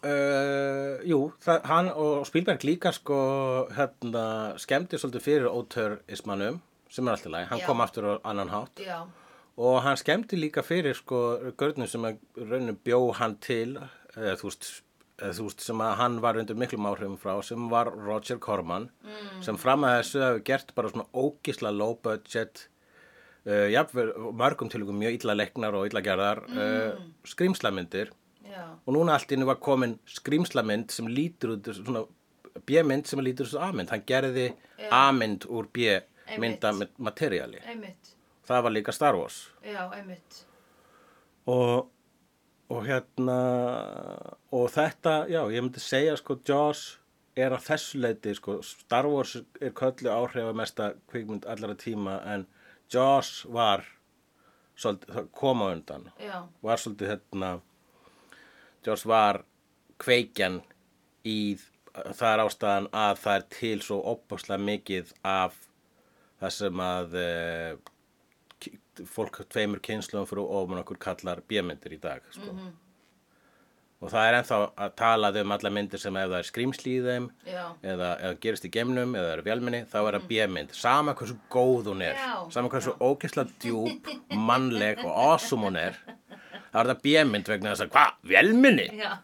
[SPEAKER 2] uh, jú, það, hann og Spielberg líka sko, hérna, skemmdi svolítið fyrir ótörismanum, sem er alltaf læg, hann
[SPEAKER 1] Já.
[SPEAKER 2] kom aftur á annan hátt.
[SPEAKER 1] Já,
[SPEAKER 2] Og hann skemmti líka fyrir sko görnum sem að raunum bjó hann til, eða þú veist, eða, þú veist sem að hann var undir miklum áhrifum frá, sem var Roger Corman, sem fram að þessu hafi gert bara svona ógísla low budget, uh, jafnvel mörgum tilugum mjög illa leiknar og illa gerðar, uh, skrýmslamyndir.
[SPEAKER 1] já,
[SPEAKER 2] Og núna allt innu var komin skrýmslamynd sem lítur út, svona B-mynd sem lítur út A-mynd. Hann gerði A-mynd úr B-mynda materiali.
[SPEAKER 1] einmitt.
[SPEAKER 2] Það var líka Star Wars
[SPEAKER 1] Já, einmitt.
[SPEAKER 2] og, og hérna og þetta, já, ég myndi segja sko, Jaws er að þessu leiti sko, Star Wars er köllu áhrifamesta kvikmynd allara tíma en Jaws var svolítið, það kom á undan
[SPEAKER 1] Já,
[SPEAKER 2] var svolítið hérna Jaws var kveikjan í það er ástæðan að það er til svo opaslega mikið af það sem að uh, fólk tveimur kynsluðum fyrir ofan okkur kallar bjömyndir í dag sko. og það er ennþá að talað um alla myndir sem ef það er skrýmsli í þeim
[SPEAKER 1] já,
[SPEAKER 2] eða, eða gerist í gemnum eða eru vélminni, þá er það B-mynd sama hversu góð hún er
[SPEAKER 1] Mhm. Já,
[SPEAKER 2] sama hversu ógeðslega djúp, mannleg og awesome hún er þá er það B-mynd vegna þess að hvað, vélminni?
[SPEAKER 1] já.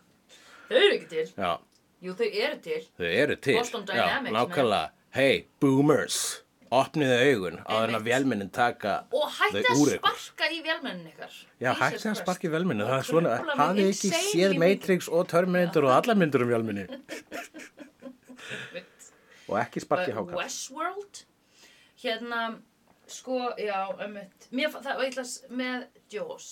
[SPEAKER 1] Þau eru ekki til.
[SPEAKER 2] Já,
[SPEAKER 1] Jú, þau eru til.
[SPEAKER 2] þau eru til
[SPEAKER 1] Boston
[SPEAKER 2] Já,
[SPEAKER 1] Dynamics,
[SPEAKER 2] nákvæmlega, hey, boomers opniðu augun á þennan
[SPEAKER 1] Einmitt.
[SPEAKER 2] vélminnin taka
[SPEAKER 1] Og hætti
[SPEAKER 2] þau
[SPEAKER 1] að
[SPEAKER 2] úr ykkur.
[SPEAKER 1] sparka í vélmennin ykkar.
[SPEAKER 2] Já,
[SPEAKER 1] Jesus
[SPEAKER 2] hætti að
[SPEAKER 1] Christ.
[SPEAKER 2] sparki velminni, það er
[SPEAKER 1] Og
[SPEAKER 2] svona,
[SPEAKER 1] trufla mig
[SPEAKER 2] hafið þið ekki
[SPEAKER 1] insane
[SPEAKER 2] séð
[SPEAKER 1] í mikið.
[SPEAKER 2] Matrix og Terminator og allar myndur um velminni
[SPEAKER 1] Einmitt.
[SPEAKER 2] og ekki sparki
[SPEAKER 1] Uh,
[SPEAKER 2] hákall.
[SPEAKER 1] Westworld hérna, sko, já, ömmit mér, fa- það var eitthvað með Jaws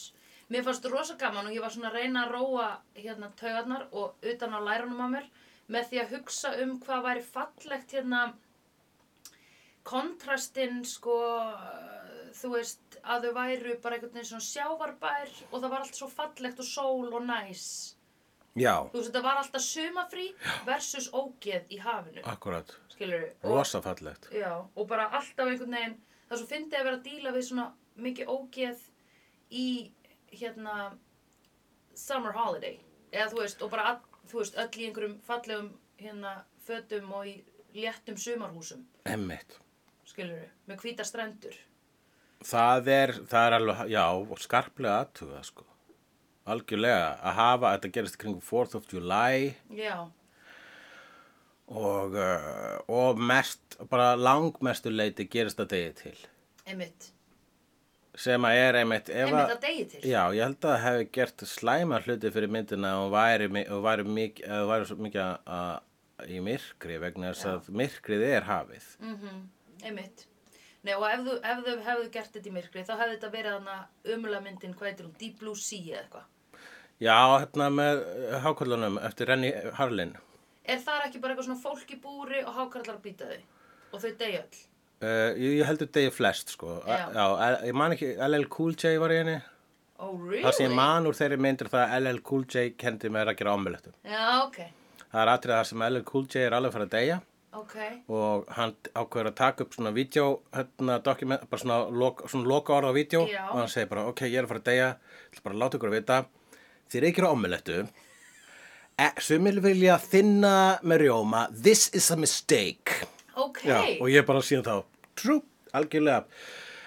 [SPEAKER 1] mér fannst rosa gaman og ég var svona að reyna að róa hérna taugarnar og utan á lærunum á mér með því að hugsa um hvað væri fallegt hérna kontrastinn sko uh, þú veist að þau væru bara einhvern veginn svona sjávarbær og það var allt svo fallegt og sól og næs
[SPEAKER 2] Já,
[SPEAKER 1] þú veist þetta var alltaf sumafrí versus ógeð í hafinu
[SPEAKER 2] akkurat,
[SPEAKER 1] skilur og
[SPEAKER 2] rosa fallegt.
[SPEAKER 1] Já, og bara alltaf einhvern veginn, það er svo fyndið að vera að díla við svona mikið ógeð í, hérna, summer holiday. Eða þú veist, og bara, all, þú veist, öll í einhverjum fallegum, hérna, fötum og í léttum sumarhúsum,
[SPEAKER 2] Emmitt.
[SPEAKER 1] skilur við, með hvítar strendur.
[SPEAKER 2] Það er, það er alveg, já, og skarplega aðtuga, sko. Algjörlega, að hafa, þetta gerist kring 4th of July
[SPEAKER 1] Já,
[SPEAKER 2] og, uh, og mest, bara langmestu leiti gerist að degi til.
[SPEAKER 1] einmitt,
[SPEAKER 2] Sem að er einmitt, ef
[SPEAKER 1] einmitt að degi til.
[SPEAKER 2] já, ég held að það hefði gert slæma hluti fyrir myndina og væri, mi- og væri, mik, og væri svo mikið að, að, í myrkri vegna þess að myrkrið er hafið.
[SPEAKER 1] Mm. Einmitt. Nei, og ef þau, ef þau hefðu gert þetta í myrkri, þá hefði þetta verið hana ömulega myndin, hvað heitir hún, Deep Blue Sea eða eitthvað.
[SPEAKER 2] Já, hérna með uh, hákvöldunum eftir Renny Harlin.
[SPEAKER 1] Er það ekki bara eitthvað svona fólk í búri og hákarlar að býta þau og þau degja öll?
[SPEAKER 2] Uh, ég, ég heldur degi flest sko
[SPEAKER 1] Já.
[SPEAKER 2] já. Já, L- ég man ekki, LL Cool J var í henni
[SPEAKER 1] Oh, really?
[SPEAKER 2] það sem ég man úr þeirri myndir það að LL Cool J kendi mér að gera ámjöldum
[SPEAKER 1] Já, ok,
[SPEAKER 2] það er atrið það sem LL Cool J er alveg að fara að deyja
[SPEAKER 1] ok,
[SPEAKER 2] og hann ákveður að taka upp svona vídeo, hérna, dokument, bara svona, lok, svona loka orð á vídeo
[SPEAKER 1] Já.
[SPEAKER 2] og hann segir bara, ok, ég er að fara að deyja ég ætla bara að láta ykkur að vita þið er ekki á ámjöldu e, sumil vilja þinna með rjóma this is a mistake
[SPEAKER 1] ok.
[SPEAKER 2] Já, og ég bara síðan þá Trú, algjörlega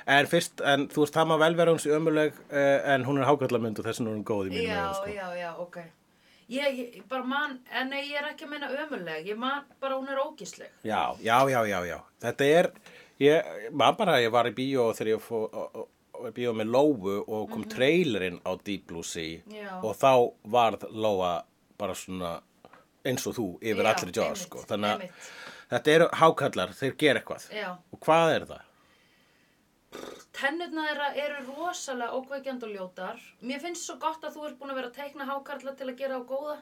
[SPEAKER 2] En fyrst, en þú veist, það maður vel vera hún sér ömuleg eh, En hún er hákallamynd og þess vegna er hún góð í mínum
[SPEAKER 1] já,
[SPEAKER 2] augum, sko.
[SPEAKER 1] já, já, ok. Ég, ég bara man, en nei, ég er ekki að meina ömuleg, ég man bara hún er ógísleg.
[SPEAKER 2] já, já, já, já, já Þetta er, ég, maður bara Ég var í bíó þegar ég fó og- og- og var í bíó með Lóu og kom trailerinn á Deep Blue Sea
[SPEAKER 1] Mhm. Já.
[SPEAKER 2] og þá varð Lóa bara svona eins og þú yfir
[SPEAKER 1] Já,
[SPEAKER 2] allri Jaws
[SPEAKER 1] einmitt,
[SPEAKER 2] sko. þannig að
[SPEAKER 1] einmitt.
[SPEAKER 2] þetta eru hákallar, þeir gera eitthvað
[SPEAKER 1] Já.
[SPEAKER 2] og hvað er það?
[SPEAKER 1] Tennurna þeirra eru rosalega ókveikjand og ljótar. Mér finnst svo gott að þú ert búin að vera að teikna
[SPEAKER 2] Mhm.
[SPEAKER 1] hákarla til að gera á góða.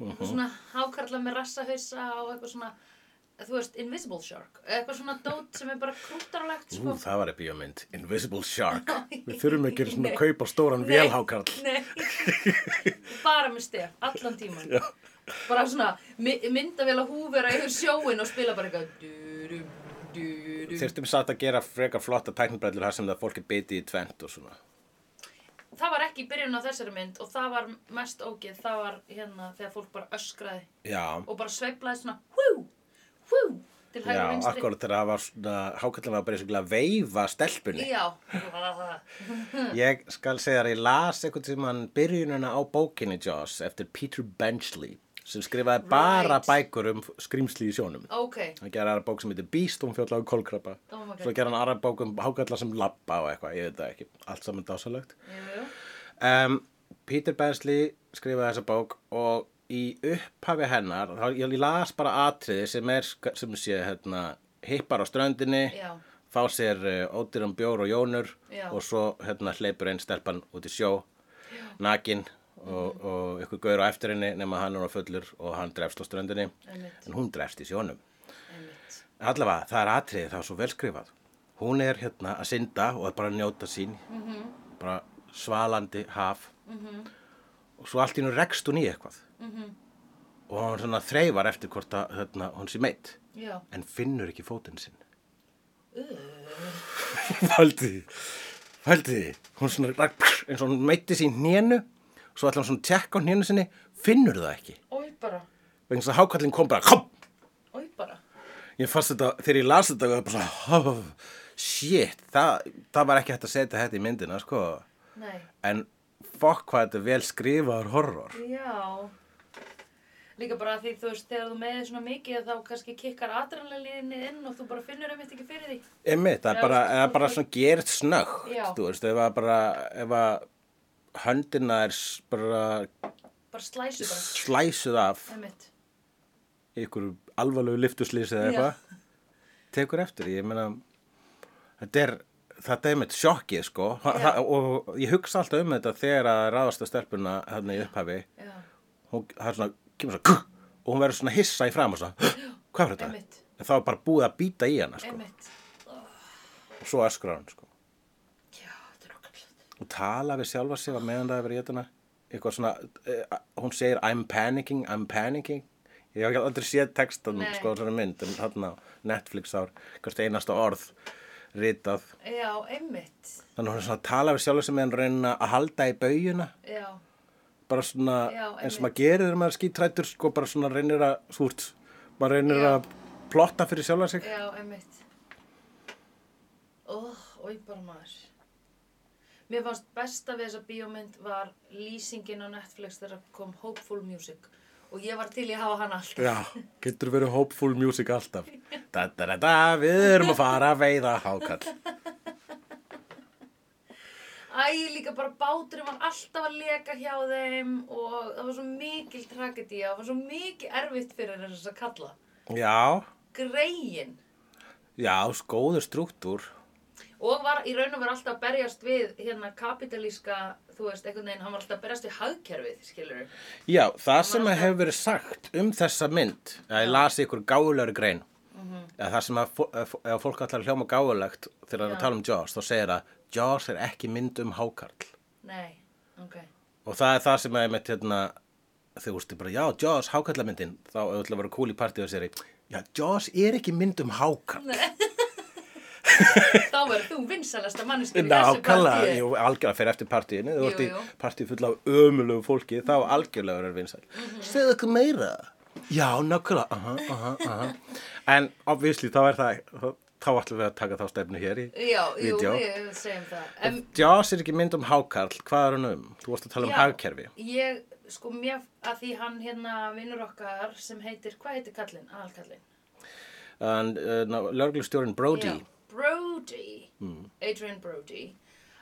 [SPEAKER 1] Eitthvað svona hákarla með rassahausa og eitthvað svona þú veist, Invisible Shark eitthvað svona dót sem er bara krúttarlegt
[SPEAKER 2] Ú,
[SPEAKER 1] sko.
[SPEAKER 2] það var eitthvað mynd, Invisible Shark Við þurfum ekki einu sinni að kaupa stóran
[SPEAKER 1] Nei,
[SPEAKER 2] vélhákarl
[SPEAKER 1] nei. bara með stef, allan tíman
[SPEAKER 2] Já.
[SPEAKER 1] bara svona my, myndavél að húfera yfir sjóin og spila bara eitthvað durum, durum.
[SPEAKER 2] Þyrstum satt að gera frekar flotta tæknibrellur þar sem það fólk er bitið í tvent og svona
[SPEAKER 1] það var ekki í byrjun á þessari mynd og það var mest ógeð, það var hérna þegar fólk bara öskraði
[SPEAKER 2] Já,
[SPEAKER 1] og bara sveiflaði svona hú, hú, til hægri
[SPEAKER 2] já,
[SPEAKER 1] og vinstri
[SPEAKER 2] akkurat þegar það var svona Hákallin var bara eins og að veifa stelpunni
[SPEAKER 1] já,
[SPEAKER 2] Ég skal segja þér, ég las einhvern tímann byrjunina á bókinni Jaws eftir Peter Benchley sem skrifaði bara bækur um skrýmsli í sjónum.
[SPEAKER 1] ok
[SPEAKER 2] Hann gerði aðra bók sem heitir Beast, hún fjallar um kolkrabba.
[SPEAKER 1] Oh my God.
[SPEAKER 2] Svo gerði hann aðra bók um hákalla sem labba og eitthvað, ég veit það ekki. Allt saman dásalegt.
[SPEAKER 1] jú, jú.
[SPEAKER 2] Um, Peter Bensley skrifaði þessa bók og í upphafi hennar, þá ég las bara atriði sem er, sk- sem sé hérna, hippar á ströndinni,
[SPEAKER 1] Já.
[SPEAKER 2] fá sér uh, ódýran bjór og jónur
[SPEAKER 1] Já.
[SPEAKER 2] og svo hérna hleypur einn stelpan út í sjó, nakin og,
[SPEAKER 1] Mhm.
[SPEAKER 2] og ykkur gaur á eftir henni nema hann er á fullur og hann drefst á ströndinni,
[SPEAKER 1] Einmitt.
[SPEAKER 2] en hún drefst í sjónum.
[SPEAKER 1] Einmitt.
[SPEAKER 2] Allavega, það er atriði það er svo vel skrifað. Hún er hérna að synda og að bara njóta sín,
[SPEAKER 1] Mhm.
[SPEAKER 2] bara svalandi haf og svo allt í nú rekst hún í eitthvað
[SPEAKER 1] Mhm.
[SPEAKER 2] og hún svona þreifar eftir hvort að hérna, hún sé meitt
[SPEAKER 1] já,
[SPEAKER 2] en finnur ekki fótinn sinn.
[SPEAKER 1] uh,
[SPEAKER 2] Fældi, fældi, hún svona rak- eins og hún meitti sín hnénu, svo ætla hún svona að tjekka á hnénu sinni, finnur það ekki.
[SPEAKER 1] oi bara
[SPEAKER 2] Vegna þess að hákallin kom bara, hopp!
[SPEAKER 1] oi bara
[SPEAKER 2] Ég fannst þetta, þegar ég las þetta, ég bara svona, oh, shit, það, það var ekki hægt að setja þetta í myndina, sko.
[SPEAKER 1] nei,
[SPEAKER 2] En fokk hvað þetta er vel skrifaður horror.
[SPEAKER 1] já líka bara því þú veist þegar þú meðir svona mikið þá kannski kikkar adrenalinni inn og þú bara finnur einmitt ekki fyrir því
[SPEAKER 2] Einmitt, það
[SPEAKER 1] Já,
[SPEAKER 2] er bara,
[SPEAKER 1] sko,
[SPEAKER 2] það er bara
[SPEAKER 1] þú-
[SPEAKER 2] svona gerð snöggt,
[SPEAKER 1] Já.
[SPEAKER 2] þú veist, ef að bara, ef að höndina er s- bara
[SPEAKER 1] bara slæsu bara
[SPEAKER 2] slæsuð af
[SPEAKER 1] einmitt
[SPEAKER 2] í ykkur alvarlegu lyftuslýsi eða
[SPEAKER 1] Já.
[SPEAKER 2] eitthvað, tekur eftir, ég meina, þetta er, þetta er einmitt sjokkið, sko, Þa,
[SPEAKER 1] Já.
[SPEAKER 2] það, og ég hugsa alltaf um þetta þegar að ráðast að stelpuna hérna í upphafi,
[SPEAKER 1] já,
[SPEAKER 2] hún, það er svona, kemur svona, kuk, og hún verður svona hissa í fram og svona, hvað var þetta?
[SPEAKER 1] Einmitt.
[SPEAKER 2] En það var bara búið að býta í hana, sko,
[SPEAKER 1] einmitt
[SPEAKER 2] og svo öskra hann, sko.
[SPEAKER 1] já, þetta er okkar
[SPEAKER 2] Og tala við sjálfa sig að meðan það er verið í þetta, eitthvað svona, eh, hún segir, I'm panicking, I'm panicking. Ég hef ekki aldrei séð textan,
[SPEAKER 1] Nei.
[SPEAKER 2] sko, á svona mynd, en þarna á Netflix ár, hvert einasta orð ritað.
[SPEAKER 1] já, einmitt
[SPEAKER 2] Þannig að hún er svona að tala við sjálfa sig meðan reyna að halda í bauguna.
[SPEAKER 1] já,
[SPEAKER 2] bara svona
[SPEAKER 1] Já,
[SPEAKER 2] eins og
[SPEAKER 1] einmitt.
[SPEAKER 2] maður gerir þegar maður er skítrættur sko bara svona reynir að súrt maður reynir
[SPEAKER 1] Já.
[SPEAKER 2] að plotta fyrir sjálfa sig
[SPEAKER 1] já, einmitt oh, oi bara maður Mér fannst besta við þessa bíómynd var lýsingin á Netflix þegar kom Hopeful Music og ég var til í að hafa hann alltaf.
[SPEAKER 2] Já, getur verið hopeful music alltaf da, da, da, da, við erum að fara að veiða hákall
[SPEAKER 1] Æ, líka bara báturinn var alltaf að leka hjá þeim og það var svo mikil tragedía, það var svo mikil erfitt fyrir þess að kalla.
[SPEAKER 2] Já,
[SPEAKER 1] Greyin.
[SPEAKER 2] já, skóður struktúr
[SPEAKER 1] Og var í raun og verið alltaf að berjast við hérna kapitalíska, þú veist, einhvern veginn, hann var alltaf að berjast við hagkerfið, skilur við.
[SPEAKER 2] Já, það sem að hefur verið sagt um þessa mynd að ég lasi ykkur gáðulegur grein eða það sem að, fó- að fó- ef fólk allar hljóma gáðulegt þegar það er
[SPEAKER 1] Já.
[SPEAKER 2] að tala um Jaws þá segir að Jaws er ekki mynd um hákarl
[SPEAKER 1] Nei, ok.
[SPEAKER 2] Og það er það sem að ég mitt hérna, þú veist, ég bara, já, Jaws, hákallamyndin, þá auðvitað að vera cool í partíu og sér í, já, Jaws er ekki mynd um hákall.
[SPEAKER 1] Þá verður þú vinsælasta manneskinn í þessu
[SPEAKER 2] Nákvæmlega,
[SPEAKER 1] partíi.
[SPEAKER 2] jú, algjörlega fyrir eftir partíinu, þú
[SPEAKER 1] Jú,
[SPEAKER 2] ert í
[SPEAKER 1] jú. Mhm.
[SPEAKER 2] partíu fulla af ömulegu fólki, þá algjörlega er vinsæl. Mm -hmm. Segðu okkur meira. Já, nákvæmlega, aha, aha, aha. En obviously, þá er það, þá- þá ætlum við að taka þá stefnu hér í
[SPEAKER 1] Já, jú,
[SPEAKER 2] vídeo.
[SPEAKER 1] við segjum það. En
[SPEAKER 2] Jaws er ekki mynd um hákarl, hvað er hann um? Þú varst að tala um
[SPEAKER 1] Já,
[SPEAKER 2] hagkerfi.
[SPEAKER 1] Ég, sko, mér, að því hann hérna vinnur okkar sem heitir, hvað heitir kallinn, aðalkallinn?
[SPEAKER 2] En, uh, Lörglustjórin Brody.
[SPEAKER 1] Já, Brody, Adrian Brody,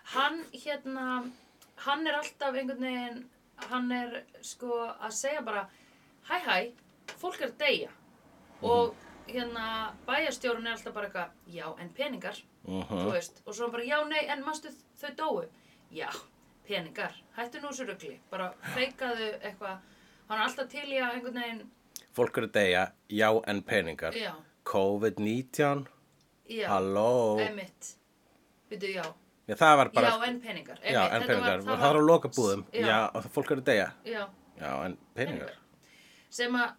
[SPEAKER 1] hann hérna, hann er alltaf einhvern veginn, hann er sko að segja bara, hæ hæ, fólk er að deyja
[SPEAKER 2] Mhm.
[SPEAKER 1] og hérna bæjarstjórun er alltaf bara eitthvað, já en peningar, þú veist, og svo hann bara já nei en manstu þau dóu, já peningar, hættu nú þessu rugli, bara feikaðu eitthvað, hann er alltaf til í að einhvern veginn,
[SPEAKER 2] fólk eru að deyja, já en peningar
[SPEAKER 1] já,
[SPEAKER 2] COVID-19,
[SPEAKER 1] já,
[SPEAKER 2] halló.
[SPEAKER 1] einmitt Veitu, já,
[SPEAKER 2] Já, það var bara, sko-
[SPEAKER 1] já, en peningar
[SPEAKER 2] já,
[SPEAKER 1] einmitt,
[SPEAKER 2] en
[SPEAKER 1] þetta
[SPEAKER 2] peningar,
[SPEAKER 1] var,
[SPEAKER 2] það var að loka búðum,
[SPEAKER 1] Já.
[SPEAKER 2] já, og það fólk er að deyja,
[SPEAKER 1] Já,
[SPEAKER 2] já, en peningar,
[SPEAKER 1] sem að,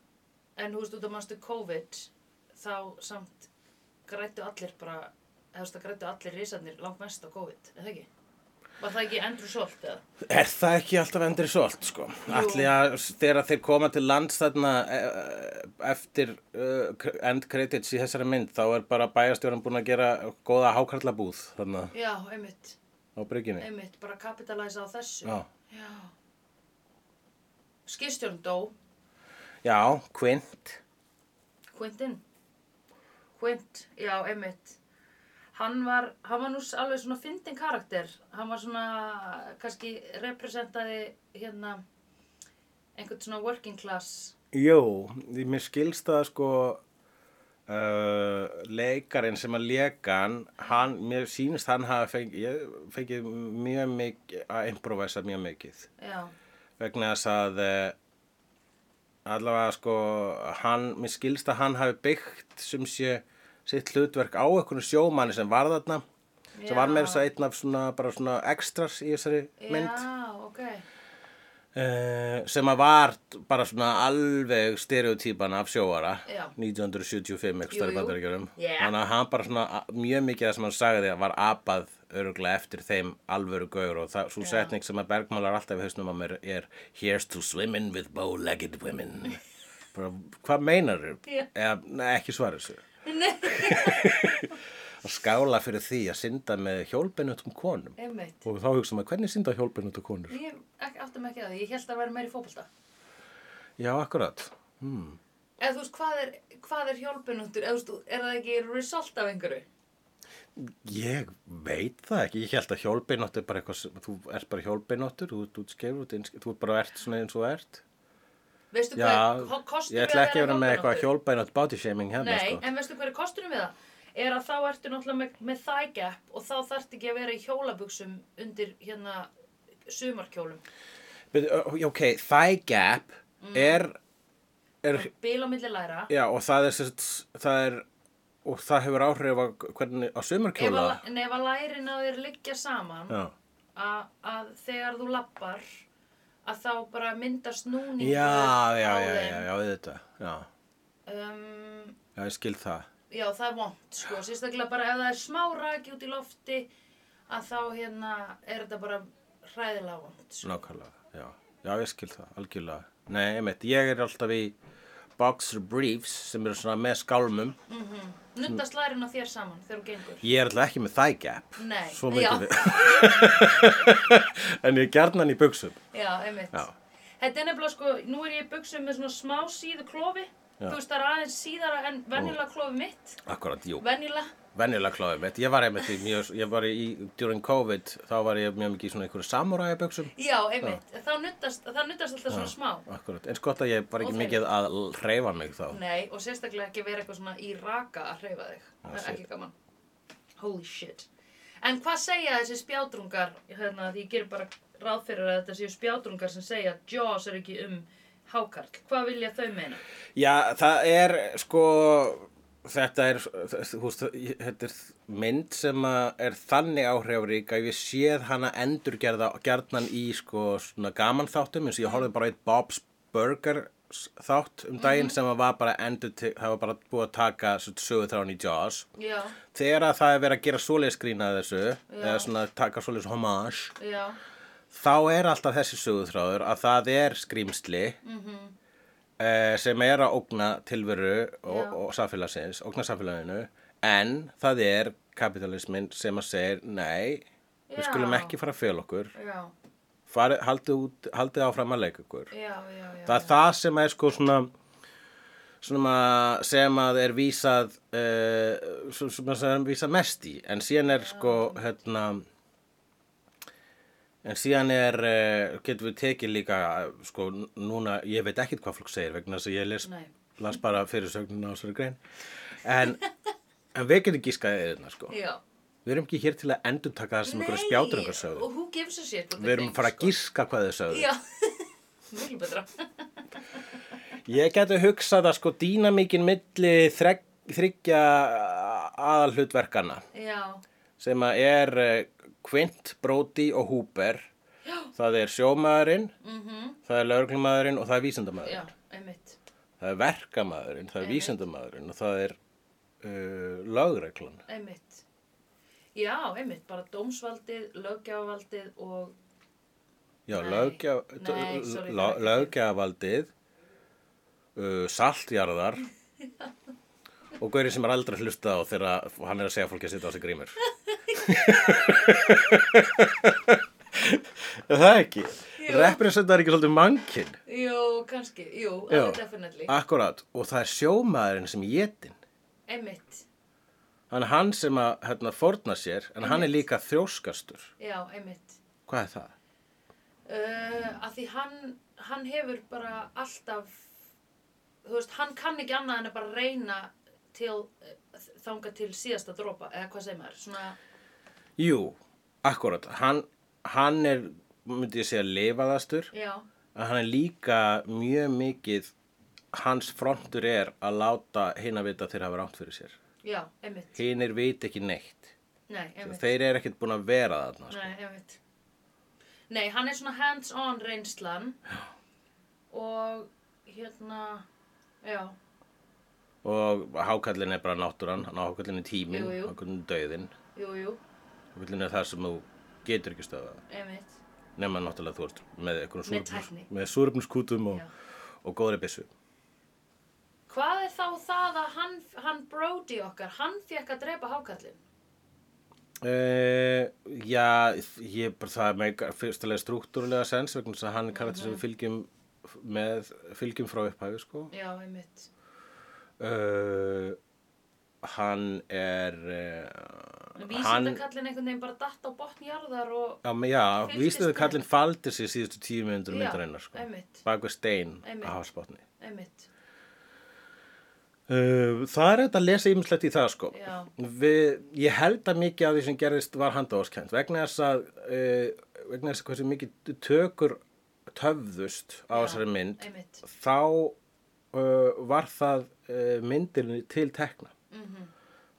[SPEAKER 1] en þú veist, út af mannstu COVID þá samt grættu allir bara, eða þú veist, það grættu allir risarnir langt mest á COVID, eða ekki? Var það ekki Andrew Salt eða?
[SPEAKER 2] er það ekki alltaf endur svolt, sko, allir að þegar þeir koma til lands þarna eh, eftir eh, end credits í þessari mynd, þá er bara bæjarstjóran búin að gera góða hákarlabúð, þarna,
[SPEAKER 1] Já, einmitt,
[SPEAKER 2] á bryggjunni,
[SPEAKER 1] einmitt, bara kapitalæsa á þessu.
[SPEAKER 2] já,
[SPEAKER 1] Já. Skýrstjórn dó,
[SPEAKER 2] já, kvint,
[SPEAKER 1] Quentin. Quint, já, einmitt. Hann var, hann var nú s- alveg svona fyndin karakter. Hann var svona, kannski representaði hérna einhvern svona working class.
[SPEAKER 2] Jó, því mér skilst það sko uh, leikarinn sem að lekan, hann, mér sýnist hann hafi fengið, ég, fengið mjög mikið, að improvisa mjög mikið
[SPEAKER 1] Já,
[SPEAKER 2] vegna þess að uh, allavega sko hann, mér skilst að hann hafi byggt sem sé sitt hlutverk á einhvern sjómanni sem var þarna sem var
[SPEAKER 1] Já.
[SPEAKER 2] með þess að einn af svona, bara svona extras í þessari mynd
[SPEAKER 1] já, ok.
[SPEAKER 2] Eh, sem að var bara svona alveg stereotypan af sjóara
[SPEAKER 1] Já.
[SPEAKER 2] 1975
[SPEAKER 1] Jú,
[SPEAKER 2] eitthvað í
[SPEAKER 1] jú.
[SPEAKER 2] bandaríkjörum
[SPEAKER 1] Yeah.
[SPEAKER 2] þannig að hann bara svona a- mjög mikið það sem hann sagði var apað öruglega eftir þeim alvöru gaur og það, svo setning sem að bergmálar alltaf í hausnum á mér er here's to swimming with bow-legged women bara, hvað meinar þau?
[SPEAKER 1] Já.
[SPEAKER 2] eða nei, ekki svara þessu
[SPEAKER 1] Nei,
[SPEAKER 2] að skála fyrir því að synda með hjólpinutum konum
[SPEAKER 1] einmitt.
[SPEAKER 2] og þá hugsa maður hvernig synda hjólpinutum konur?
[SPEAKER 1] Ég ek- átti mig ekki að því, ég held að vera meiri fótbolta.
[SPEAKER 2] Já, akkurat
[SPEAKER 1] Eða þú veist, hvað er, hvað er hjálpunundur? Eða þú veist, er það ekki result af einhverju?
[SPEAKER 2] Ég veit það ekki, ég held að hjólbeinótt er bara eitthvað, sem- þú ert bara hjólbeinóttur, þú ert útskefur, þú, innskefur, þú bara ert svona eins og þú ert.
[SPEAKER 1] Veistu
[SPEAKER 2] Já,
[SPEAKER 1] hvað er kostur
[SPEAKER 2] ég ætla ekki að vera með
[SPEAKER 1] hjálpenóttur?
[SPEAKER 2] eitthvað hjólbeinótt body shaming hérna,
[SPEAKER 1] Nei,
[SPEAKER 2] sko.
[SPEAKER 1] en veistu hver er kosturinn við það? Er að þá ertu náttúrulega með, með thigh gap og þá þarft ekki að vera í hjólabuxum undir hérna sumarkjólum.
[SPEAKER 2] But, uh, ok, thigh gap
[SPEAKER 1] Mm.
[SPEAKER 2] er, er,
[SPEAKER 1] Bíl á milli læra.
[SPEAKER 2] já, og það er, sérst, það er, og það hefur áhrif á hvernig, á
[SPEAKER 1] Ef
[SPEAKER 2] sumarkjóla.
[SPEAKER 1] að, en ef að lærin á þér liggja saman
[SPEAKER 2] Já,
[SPEAKER 1] að, að þegar þú lappar að þá bara myndast núningur
[SPEAKER 2] já, já,
[SPEAKER 1] á
[SPEAKER 2] já, já,
[SPEAKER 1] þeim.
[SPEAKER 2] já, þetta, já,
[SPEAKER 1] Um,
[SPEAKER 2] já, ég skil það.
[SPEAKER 1] já, það er vont, sko. Sérstaklega bara ef það er smá raki út í lofti að þá hérna er þetta bara hræðilega vont, sko.
[SPEAKER 2] Nákvæmlega, já. Já, ég skil það, algjörlega. Nei, einmitt, ég er alltaf í boxer briefs sem eru svona með skálmum. Mm.
[SPEAKER 1] Nuttast lærin á þér saman þegar þú gengur.
[SPEAKER 2] Ég er alltaf ekki með thigh gap.
[SPEAKER 1] Nei,
[SPEAKER 2] Svo
[SPEAKER 1] já.
[SPEAKER 2] mikið við. en ég er gjarnan í buksum.
[SPEAKER 1] Já, einmitt.
[SPEAKER 2] Já.
[SPEAKER 1] Þetta er nefnilega sko, nú er ég í buksum með svona smá síðu klofi.
[SPEAKER 2] Já.
[SPEAKER 1] Þú veist, það er aðeins síðara en venjulega klofi mitt.
[SPEAKER 2] Akkurat, jú.
[SPEAKER 1] Venjulega.
[SPEAKER 2] Venjulega kláðið mitt. Ég var einmitt í mjög, ég var í, during COVID, þá var ég mjög mikið í svona einhverju samuræja buksum.
[SPEAKER 1] Já, einmitt. Þá nuttast, það nuttast alltaf svona smá.
[SPEAKER 2] Akkurat, eins gott að ég var ekki
[SPEAKER 1] Og
[SPEAKER 2] mikið að hreyfa mig þá.
[SPEAKER 1] Nei, og sérstaklega ekki vera eitthvað svona í raka að hreyfa þig. það er
[SPEAKER 2] Ah, shit.
[SPEAKER 1] ekki gaman. Holy shit. En hvað segja þessi spjátrungar, hérna, því ég ger bara ráð fyrir að þetta séu spjátrungar sem segja að Jaws er ekki um hákarl. Hvað vilja þau meina?
[SPEAKER 2] Já, það er sko þetta er, þú veist, þetta er mynd sem að er þannig áhrifrík að ég séð hana endurgerða gerðnan í sko svona gaman þáttum eins og ég horfði bara á eitt Bob's Burgers þátt um daginn sem að var bara endur, það var bara búið að taka sögu þráin í Jaws
[SPEAKER 1] Já,
[SPEAKER 2] þegar að það er verið að gera svoleiðis grín að þessu eða svona taka svoleiðis homage
[SPEAKER 1] já,
[SPEAKER 2] þá er alltaf þessi sögutráður að það er skrýmsli eh, sem er að ógna tilveru og,
[SPEAKER 1] Já.
[SPEAKER 2] og samfélagsins, ógna samfélaginu en það er kapitalismin sem að segir nei, við
[SPEAKER 1] Já.
[SPEAKER 2] skulum ekki fara að fjöla okkur
[SPEAKER 1] já,
[SPEAKER 2] Fari, haldið, út, haldið áfram að leika okkur
[SPEAKER 1] já, já, já.
[SPEAKER 2] það er það sem er sko svona svona sem að er vísað uh, svona sem er vísað mest í en síðan er sko hérna en síðan er uh, getum við tekið líka eh, sko n- núna, ég veit ekkit hvað fólk segir vegna þess að ég les,
[SPEAKER 1] Nei.
[SPEAKER 2] las bara fyrir sögnuna á þessari grein en, en við getum gískaðið eðina sko
[SPEAKER 1] Já.
[SPEAKER 2] við erum ekki hér til að endurtaka það sem einhverja spjátur einhver sögðu
[SPEAKER 1] og who gives a shit what
[SPEAKER 2] við
[SPEAKER 1] they
[SPEAKER 2] erum
[SPEAKER 1] think,
[SPEAKER 2] að fara að
[SPEAKER 1] sko.
[SPEAKER 2] gíska hvað þau sögðu
[SPEAKER 1] Já, mjög betra
[SPEAKER 2] Ég geti hugsað að sko dýnamíkin milli þreg, þryggja aðalhlutverkana
[SPEAKER 1] Já,
[SPEAKER 2] sem að er eh, Quint, Brody og Hooper
[SPEAKER 1] Já.
[SPEAKER 2] það er sjómaðurinn
[SPEAKER 1] mhm,
[SPEAKER 2] það er lögreglumæðurinn og það er vísindamæðurinn
[SPEAKER 1] já, einmitt.
[SPEAKER 2] það er verkamæðurinn, það er vísindamæðurinn og það er uh, lögreglan
[SPEAKER 1] Einmitt. Já, einmitt, bara dómsvaldið, löggjáfavaldið og,
[SPEAKER 2] já,
[SPEAKER 1] Nei.
[SPEAKER 2] löggja-
[SPEAKER 1] Nei,
[SPEAKER 2] d-
[SPEAKER 1] sorry,
[SPEAKER 2] lo-
[SPEAKER 1] það er ekki.
[SPEAKER 2] löggjafaldið uh, saltjarðar og gaurið sem er aldrei að hlusta á þegar hann er að segja fólki að sitja á sig grímur Er það ekki representar ekki svolítið mannkinn
[SPEAKER 1] jú, kannski, jú,
[SPEAKER 2] Já.
[SPEAKER 1] alveg definitely.
[SPEAKER 2] Akkurát, og það er sjómaðurinn sem getinn.
[SPEAKER 1] Einmitt,
[SPEAKER 2] Hann er hann sem að hérna, forna sér, en hann er líka þrjóskastur.
[SPEAKER 1] já, einmitt.
[SPEAKER 2] Hvað er það?
[SPEAKER 1] Uh, að því hann, hann hefur bara alltaf, þú veist, hann kann ekki annað en að bara reyna til, uh, þanga til síðasta dropa, eða hvað segir maður, svona,
[SPEAKER 2] Jú, akkurát, hann, hann er, myndi ég segja, lifaðastur,
[SPEAKER 1] já,
[SPEAKER 2] en hann er líka mjög mikið, hans frontur er að láta hinn að vita þeir hafa rátt fyrir sér.
[SPEAKER 1] já, einmitt,
[SPEAKER 2] Hinn er veit ekki neitt.
[SPEAKER 1] nei, einmitt,
[SPEAKER 2] Þeir eru ekkert búin að vera þarna. sko.
[SPEAKER 1] nei, einmitt. Nei, hann er svona hands-on reynslan já. og hérna, já,
[SPEAKER 2] Og hákallin er bara náttúran, hákallin er tíminn,
[SPEAKER 1] Jú, jú.
[SPEAKER 2] hákallin er döðinn,
[SPEAKER 1] jú, jú,
[SPEAKER 2] hákallin er það sem þú getur ekki stöðað.
[SPEAKER 1] einmitt,
[SPEAKER 2] nema náttúrulega þú ert með einhvern
[SPEAKER 1] Með
[SPEAKER 2] súrefnis-
[SPEAKER 1] tækni.
[SPEAKER 2] með súröfnuskútum og,
[SPEAKER 1] Já.
[SPEAKER 2] og góðri byssu
[SPEAKER 1] Hvað er þá það að hann, hann Brody okkar, hann fekk að drepa hákallin?
[SPEAKER 2] uh, já, ég bara það með fyrstulega struktúrulega sens vegna þess að hann er karakter
[SPEAKER 1] Mhm.
[SPEAKER 2] sem við fylgjum með fylgjum frá upphæfi sko
[SPEAKER 1] Já, einmitt.
[SPEAKER 2] uh, hann er uh, hann
[SPEAKER 1] Vísindakallin einhvern veginn bara datt á botn jarðar og...
[SPEAKER 2] Já, men- já
[SPEAKER 1] Fylgist
[SPEAKER 2] vísnaðu
[SPEAKER 1] með.
[SPEAKER 2] kallinn faldi sér síðustu tíu myndur
[SPEAKER 1] Já,
[SPEAKER 2] myndarinnar sko.
[SPEAKER 1] einmitt.
[SPEAKER 2] Bak við stein
[SPEAKER 1] Einmitt.
[SPEAKER 2] á hafsbotni.
[SPEAKER 1] Einmitt.
[SPEAKER 2] Uh, það er þetta að lesa ýmislegt í það sko.
[SPEAKER 1] Já.
[SPEAKER 2] Við, ég held að mikið af því sem gerðist var handahóskend vegna þess að uh, vegna þess að hversu mikið tökur töfðust á
[SPEAKER 1] Já,
[SPEAKER 2] þessari mynd
[SPEAKER 1] Einmitt.
[SPEAKER 2] þá uh, var það uh, myndinni til tekna.
[SPEAKER 1] Mhm.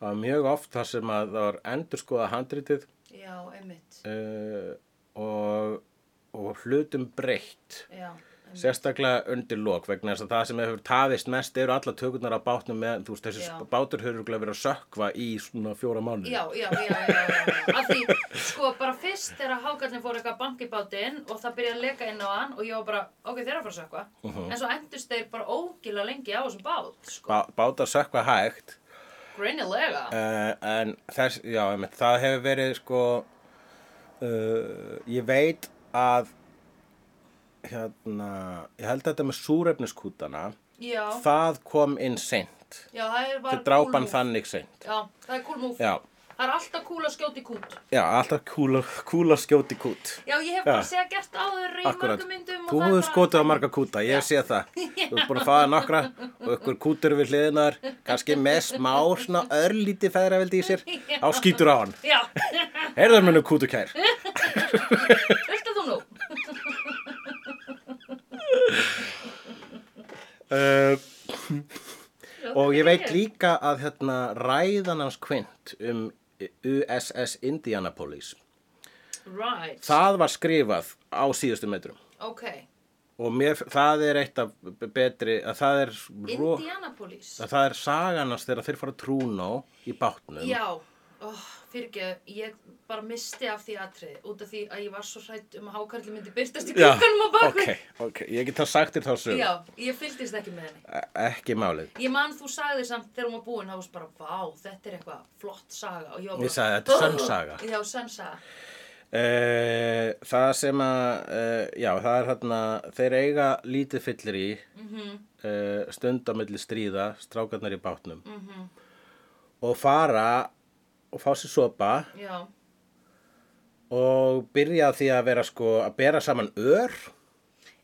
[SPEAKER 2] Það var mjög oft þar sem að það var endurskoða handritið
[SPEAKER 1] Já, einmitt.
[SPEAKER 2] uh, og, og hlutum breytt.
[SPEAKER 1] Já, einmitt.
[SPEAKER 2] Sérstaklega undir lok vegna þess að það sem hefur tafist mest eru alla tökurnar á bátnum meðan þú veist þessi
[SPEAKER 1] Já.
[SPEAKER 2] bátur hefur örugglega verið að sökva í svona fjóra mánuði.
[SPEAKER 1] Já, já, já, já, já, já. Af því, sko, bara fyrst þegar hákallin fór eitthvað bankibátinn og það byrjaði að leka inn á hann og ég var bara, ok, þeir eru að fara að sökva.
[SPEAKER 2] Uh-huh.
[SPEAKER 1] En svo endust þeir bara ógila lengi á þessum bát, sko.
[SPEAKER 2] Bá, bátar sökva hægt
[SPEAKER 1] Greinilega.
[SPEAKER 2] uh, en þess, já, einmitt, það hefur verið sko uh, ég veit að hérna, ég held að þetta með súrefniskútana,
[SPEAKER 1] Já,
[SPEAKER 2] það kom inn seint.
[SPEAKER 1] já, það er bara...
[SPEAKER 2] Þeir drápan
[SPEAKER 1] cool move.
[SPEAKER 2] þannig seint.
[SPEAKER 1] Já, það er cool move.
[SPEAKER 2] Já,
[SPEAKER 1] Það er alltaf cool að skjóta í kút.
[SPEAKER 2] já, alltaf kúla, kúla skjóti kút.
[SPEAKER 1] Já, ég hef
[SPEAKER 2] Já.
[SPEAKER 1] bara séð gert áður í
[SPEAKER 2] Akkurat,
[SPEAKER 1] mörgum myndum
[SPEAKER 2] þú hefur skotið á marga kúta, ég hef séð það Þú hefur búin að fáða nokkra og ykkur kútur við hliðinar kannski með smá svona örlíti feðraveldi í sér á skýtur á hann
[SPEAKER 1] Já,
[SPEAKER 2] Heyrðar munum kútukær
[SPEAKER 1] viltu þú nú?
[SPEAKER 2] uh, Og ég veit líka að hérna ræðan hans kvint um USS Indianapolis
[SPEAKER 1] Right,
[SPEAKER 2] Það var skrifað á síðustu metrum
[SPEAKER 1] ok.
[SPEAKER 2] og mér, það er eitt af betri að það er, ro-
[SPEAKER 1] Indianapolis.
[SPEAKER 2] að það er sagan hans þegar þeir fara að trúna í bátnum
[SPEAKER 1] Já, oh, fyrir ekki, ég bara misti af því atrið út af því að ég var svo hrætt um að hákarli myndi byrtast í klukkanum á bakvið.
[SPEAKER 2] ok, ok, ég get það sagt þér þá sögum
[SPEAKER 1] Já, ég fylgdist ekki með henni.
[SPEAKER 2] ekki málið
[SPEAKER 1] Ég man þú sagði samt þegar hún var búin, þá varst bara, vá, þetta er eitthvað flott saga. Og var
[SPEAKER 2] Ég
[SPEAKER 1] bara,
[SPEAKER 2] sagði, þetta er sönn saga.
[SPEAKER 1] Já, sönn saga.
[SPEAKER 2] uh, það sem að uh, já, það er hérna þeir eiga lítið fyllir í mm -hmm. uh, stund á milli stríða strákarnar í bátnum -hmm. og fara og fá sér sopa
[SPEAKER 1] Já,
[SPEAKER 2] og byrja á því að vera sko að bera saman ör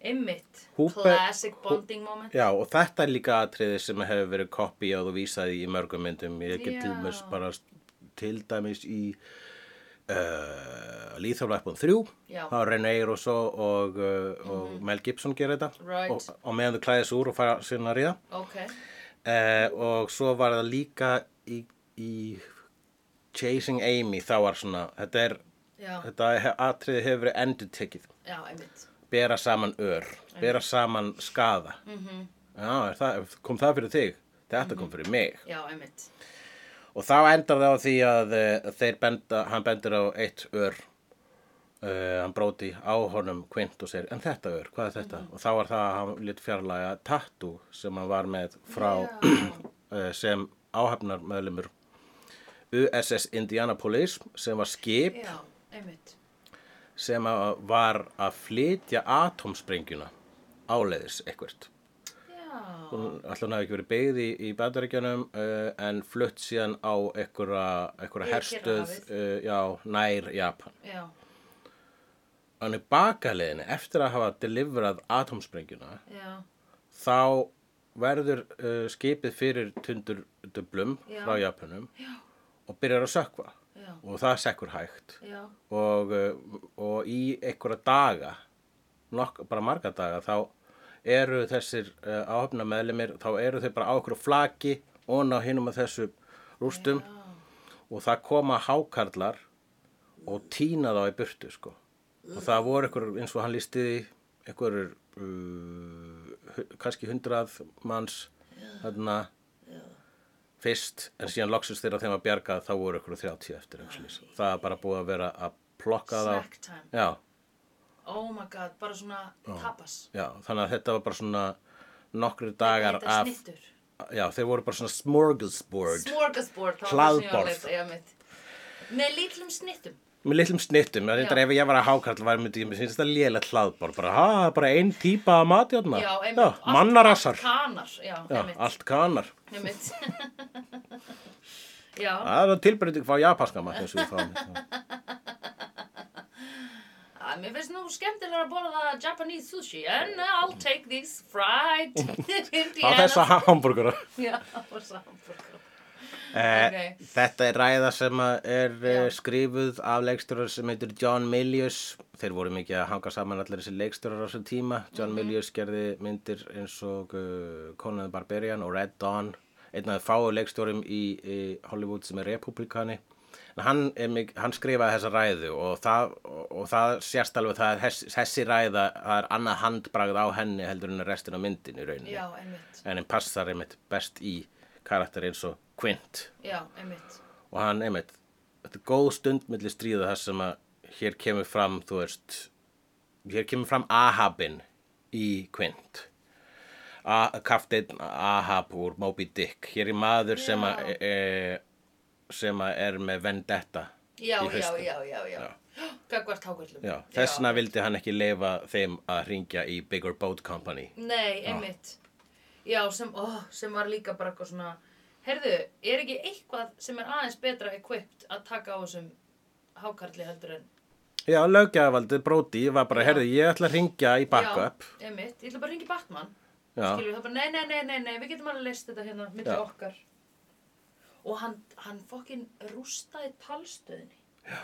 [SPEAKER 1] einmitt.
[SPEAKER 2] Hooper-
[SPEAKER 1] Classic bonding moment.
[SPEAKER 2] Já, og þetta er líka atriði sem hefur verið kopið og þú vísaði í mörgum myndum. Ég get til
[SPEAKER 1] Já.
[SPEAKER 2] dæmis bara til dæmis í uh, Lýþjóflækbun 3.
[SPEAKER 1] Já. Mhm.
[SPEAKER 2] Það er René Rousseau og, uh, og Mel Gibson gerir þetta.
[SPEAKER 1] Right.
[SPEAKER 2] Og, og meðan þú klæðis úr og fara sinna að ríða.
[SPEAKER 1] Ok,
[SPEAKER 2] Eh, og svo var það líka í, í Chasing Amy þá var svona þetta er
[SPEAKER 1] Já.
[SPEAKER 2] þetta he- atriði hefur verið endurtekið
[SPEAKER 1] já, einmitt.
[SPEAKER 2] bera saman ör, bera saman skaða já, er það, kom það fyrir þig þetta kom fyrir mig
[SPEAKER 1] Já, einmitt.
[SPEAKER 2] og þá endar það á því að eh, þeir benda, hann bendur á eitt ör uh, hann bróti á honum kvint og segir, en þetta ör, hvað er þetta og þá var það að hann lít fjarlæga tattu sem hann var með frá uh, sem áhafnar meðlumur USS Indianapolis sem var skip
[SPEAKER 1] Já, einmitt.
[SPEAKER 2] sem að var að flytja atómsprengjuna áleiðis ekkert
[SPEAKER 1] Já,
[SPEAKER 2] hún alltaf hafi ekki verið byggð í, í bandaríkjanum uh, en flutt síðan á einhverja, einhverja
[SPEAKER 1] Yfir
[SPEAKER 2] herstöð
[SPEAKER 1] Kyrrahafið.
[SPEAKER 2] uh, já, nær Japan
[SPEAKER 1] já,
[SPEAKER 2] hann er bakaleðinni eftir að hafa deliverað atomsprengjuna
[SPEAKER 1] já,
[SPEAKER 2] þá verður uh, skipið fyrir tundurdöblum
[SPEAKER 1] Já.
[SPEAKER 2] frá Japanum já. og byrjar að sökva
[SPEAKER 1] já,
[SPEAKER 2] og það sekkur hægt
[SPEAKER 1] já,
[SPEAKER 2] og, uh, og í einhverja daga nokk, bara marga daga þá eru þessir uh, áhafna meðlumir þá eru þau bara á okkur flaki og á hinum að þessu rústum og það koma hákarlar og týna þá í burtu sko og það voru einhver eins og hann lísti því einhver uh, hu- kannski hundrað manns þarna fyrst en síðan loksist þeirra þeim að bjarga þá voru ykkur 30 eftir einhvers lýs það er bara búið að vera að plokka þá
[SPEAKER 1] snack time.
[SPEAKER 2] já,
[SPEAKER 1] Oh my god, bara svona tapas.
[SPEAKER 2] já, þannig að þetta var bara svona nokkri dagar
[SPEAKER 1] Þetta
[SPEAKER 2] af
[SPEAKER 1] snittur.
[SPEAKER 2] já, þeir voru bara svona smorgasbord
[SPEAKER 1] Smorgasbord.
[SPEAKER 2] Hlaðborð.
[SPEAKER 1] Hlaðborð. Með lítlum snittum.
[SPEAKER 2] með litlum snittum, það er
[SPEAKER 1] Já.
[SPEAKER 2] ef ég var að hákarl var myndi ég með sínst að lélegt hlaðbord bara, ha, það er bara ein típa af matjóðna
[SPEAKER 1] Já, einmitt.
[SPEAKER 2] já,
[SPEAKER 1] Allt-
[SPEAKER 2] mannarassar
[SPEAKER 1] allt Kanar, já,
[SPEAKER 2] já,
[SPEAKER 1] einmitt.
[SPEAKER 2] allt kanar,
[SPEAKER 1] einmitt. já,
[SPEAKER 2] það er tilbreyting frá japanska mat eins og við fáum hérna.
[SPEAKER 1] að, mér finnst nú skemmtilega að borða Japanese sushi en uh, I'll take these fried
[SPEAKER 2] á
[SPEAKER 1] Indiana.
[SPEAKER 2] þessa hambúrgura
[SPEAKER 1] Já, þessa hamburgara.
[SPEAKER 2] Eh,
[SPEAKER 1] Ok.
[SPEAKER 2] Þetta er ræða sem að er uh,
[SPEAKER 1] Já.
[SPEAKER 2] skrifuð af leikstjórar sem heitir John Milius. Þeir voru mikið að hanga saman allir þessi leikstjórar á þessum tíma. John
[SPEAKER 1] Mhm.
[SPEAKER 2] Milius gerði myndir eins og uh, Conan the Barbarian og Red Dawn. Einn af fáu leikstjórum í, í Hollywood sem er republikani. En hann, er mik- hann skrifaði þessa ræðu og það, og, og það sérst alveg það er hess- þessi ræða, það er annað handbragð á henni heldur en restin á myndin í rauninni.
[SPEAKER 1] Já, einmitt.
[SPEAKER 2] En hann passar einmitt best í karakter eins og Quint
[SPEAKER 1] Já, einmitt.
[SPEAKER 2] og hann einmitt þetta er góð stund milli stríða þar sem að hér kemur fram þú veist hér kemur fram Ahabin í Quint kaftin Ahab úr Moby Dick hér er maður sem að
[SPEAKER 1] Já.
[SPEAKER 2] e, sem að er með vendetta
[SPEAKER 1] Já,
[SPEAKER 2] í
[SPEAKER 1] já,
[SPEAKER 2] haustum.
[SPEAKER 1] já, já, já. Gagvart hákvöldum.
[SPEAKER 2] Já, þessna vildi hann ekki leifa þeim að ringja í Bigger Boat Company
[SPEAKER 1] Nei, einmitt. Já, sem, ó, sem var líka bara eitthvað svona, heyrðu, er ekki eitthvað sem er aðeins betra equipped að taka á þessum hákarli heldur en...
[SPEAKER 2] Já, löggjafavaldi, Brody var bara, herði, ég ætla að ringja í backup
[SPEAKER 1] Já, einmitt. Ég ætla bara að ringi Batman.
[SPEAKER 2] Já.
[SPEAKER 1] Skilur það bara, nei, nei, nei, nei, nei, við getum alveg leist þetta hérna, myndi
[SPEAKER 2] Já.
[SPEAKER 1] okkar. Og hann, hann fokkin rústaði talstöðinni. Já.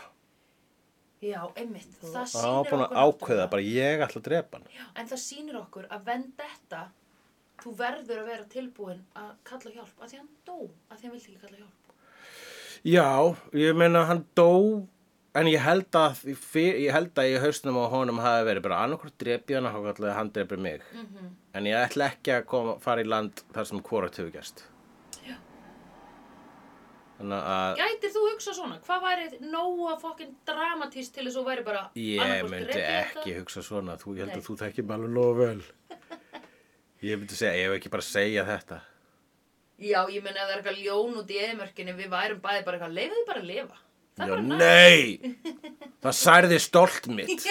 [SPEAKER 1] Já, einmitt. Það
[SPEAKER 2] og hann var
[SPEAKER 1] sýnir
[SPEAKER 2] búin að ákveða, bara ég ætla að drepa hann
[SPEAKER 1] En það sýnir okkur að vendetta, þú verður að vera tilbúin að kalla hjálp, að því hann dó, að því hann vildi ekki kalla hjálp.
[SPEAKER 2] Já, ég meina hann dó en ég held að í fyr, ég held að í hausnum á honum hafi verið bara annarkur drepi hann og hann drepi mig
[SPEAKER 1] Mhm.
[SPEAKER 2] en ég ætla ekki að koma, fara í land þar sem hvort hefur gerst
[SPEAKER 1] Já.
[SPEAKER 2] Þannig að
[SPEAKER 1] Gætir þú hugsað svona? Hvað væri nóga fokkin dramatíst til þess að þú væri bara
[SPEAKER 2] ég
[SPEAKER 1] annaðhvort
[SPEAKER 2] myndi
[SPEAKER 1] drepið
[SPEAKER 2] ekki
[SPEAKER 1] þetta-
[SPEAKER 2] hugsa svona þú, ég held
[SPEAKER 1] Nei.
[SPEAKER 2] að þú þekkir mig alveg nógu vel Ég myndi segja, ég hef ekki bara að segja þetta
[SPEAKER 1] Já, ég meina ef það er eitthvað ljón út í eðmörkinni, við værum bæði bara eitthvað, leiðu þið bara að lifa. Það er
[SPEAKER 2] Já,
[SPEAKER 1] bara næ.
[SPEAKER 2] nei! Það særði stolt mitt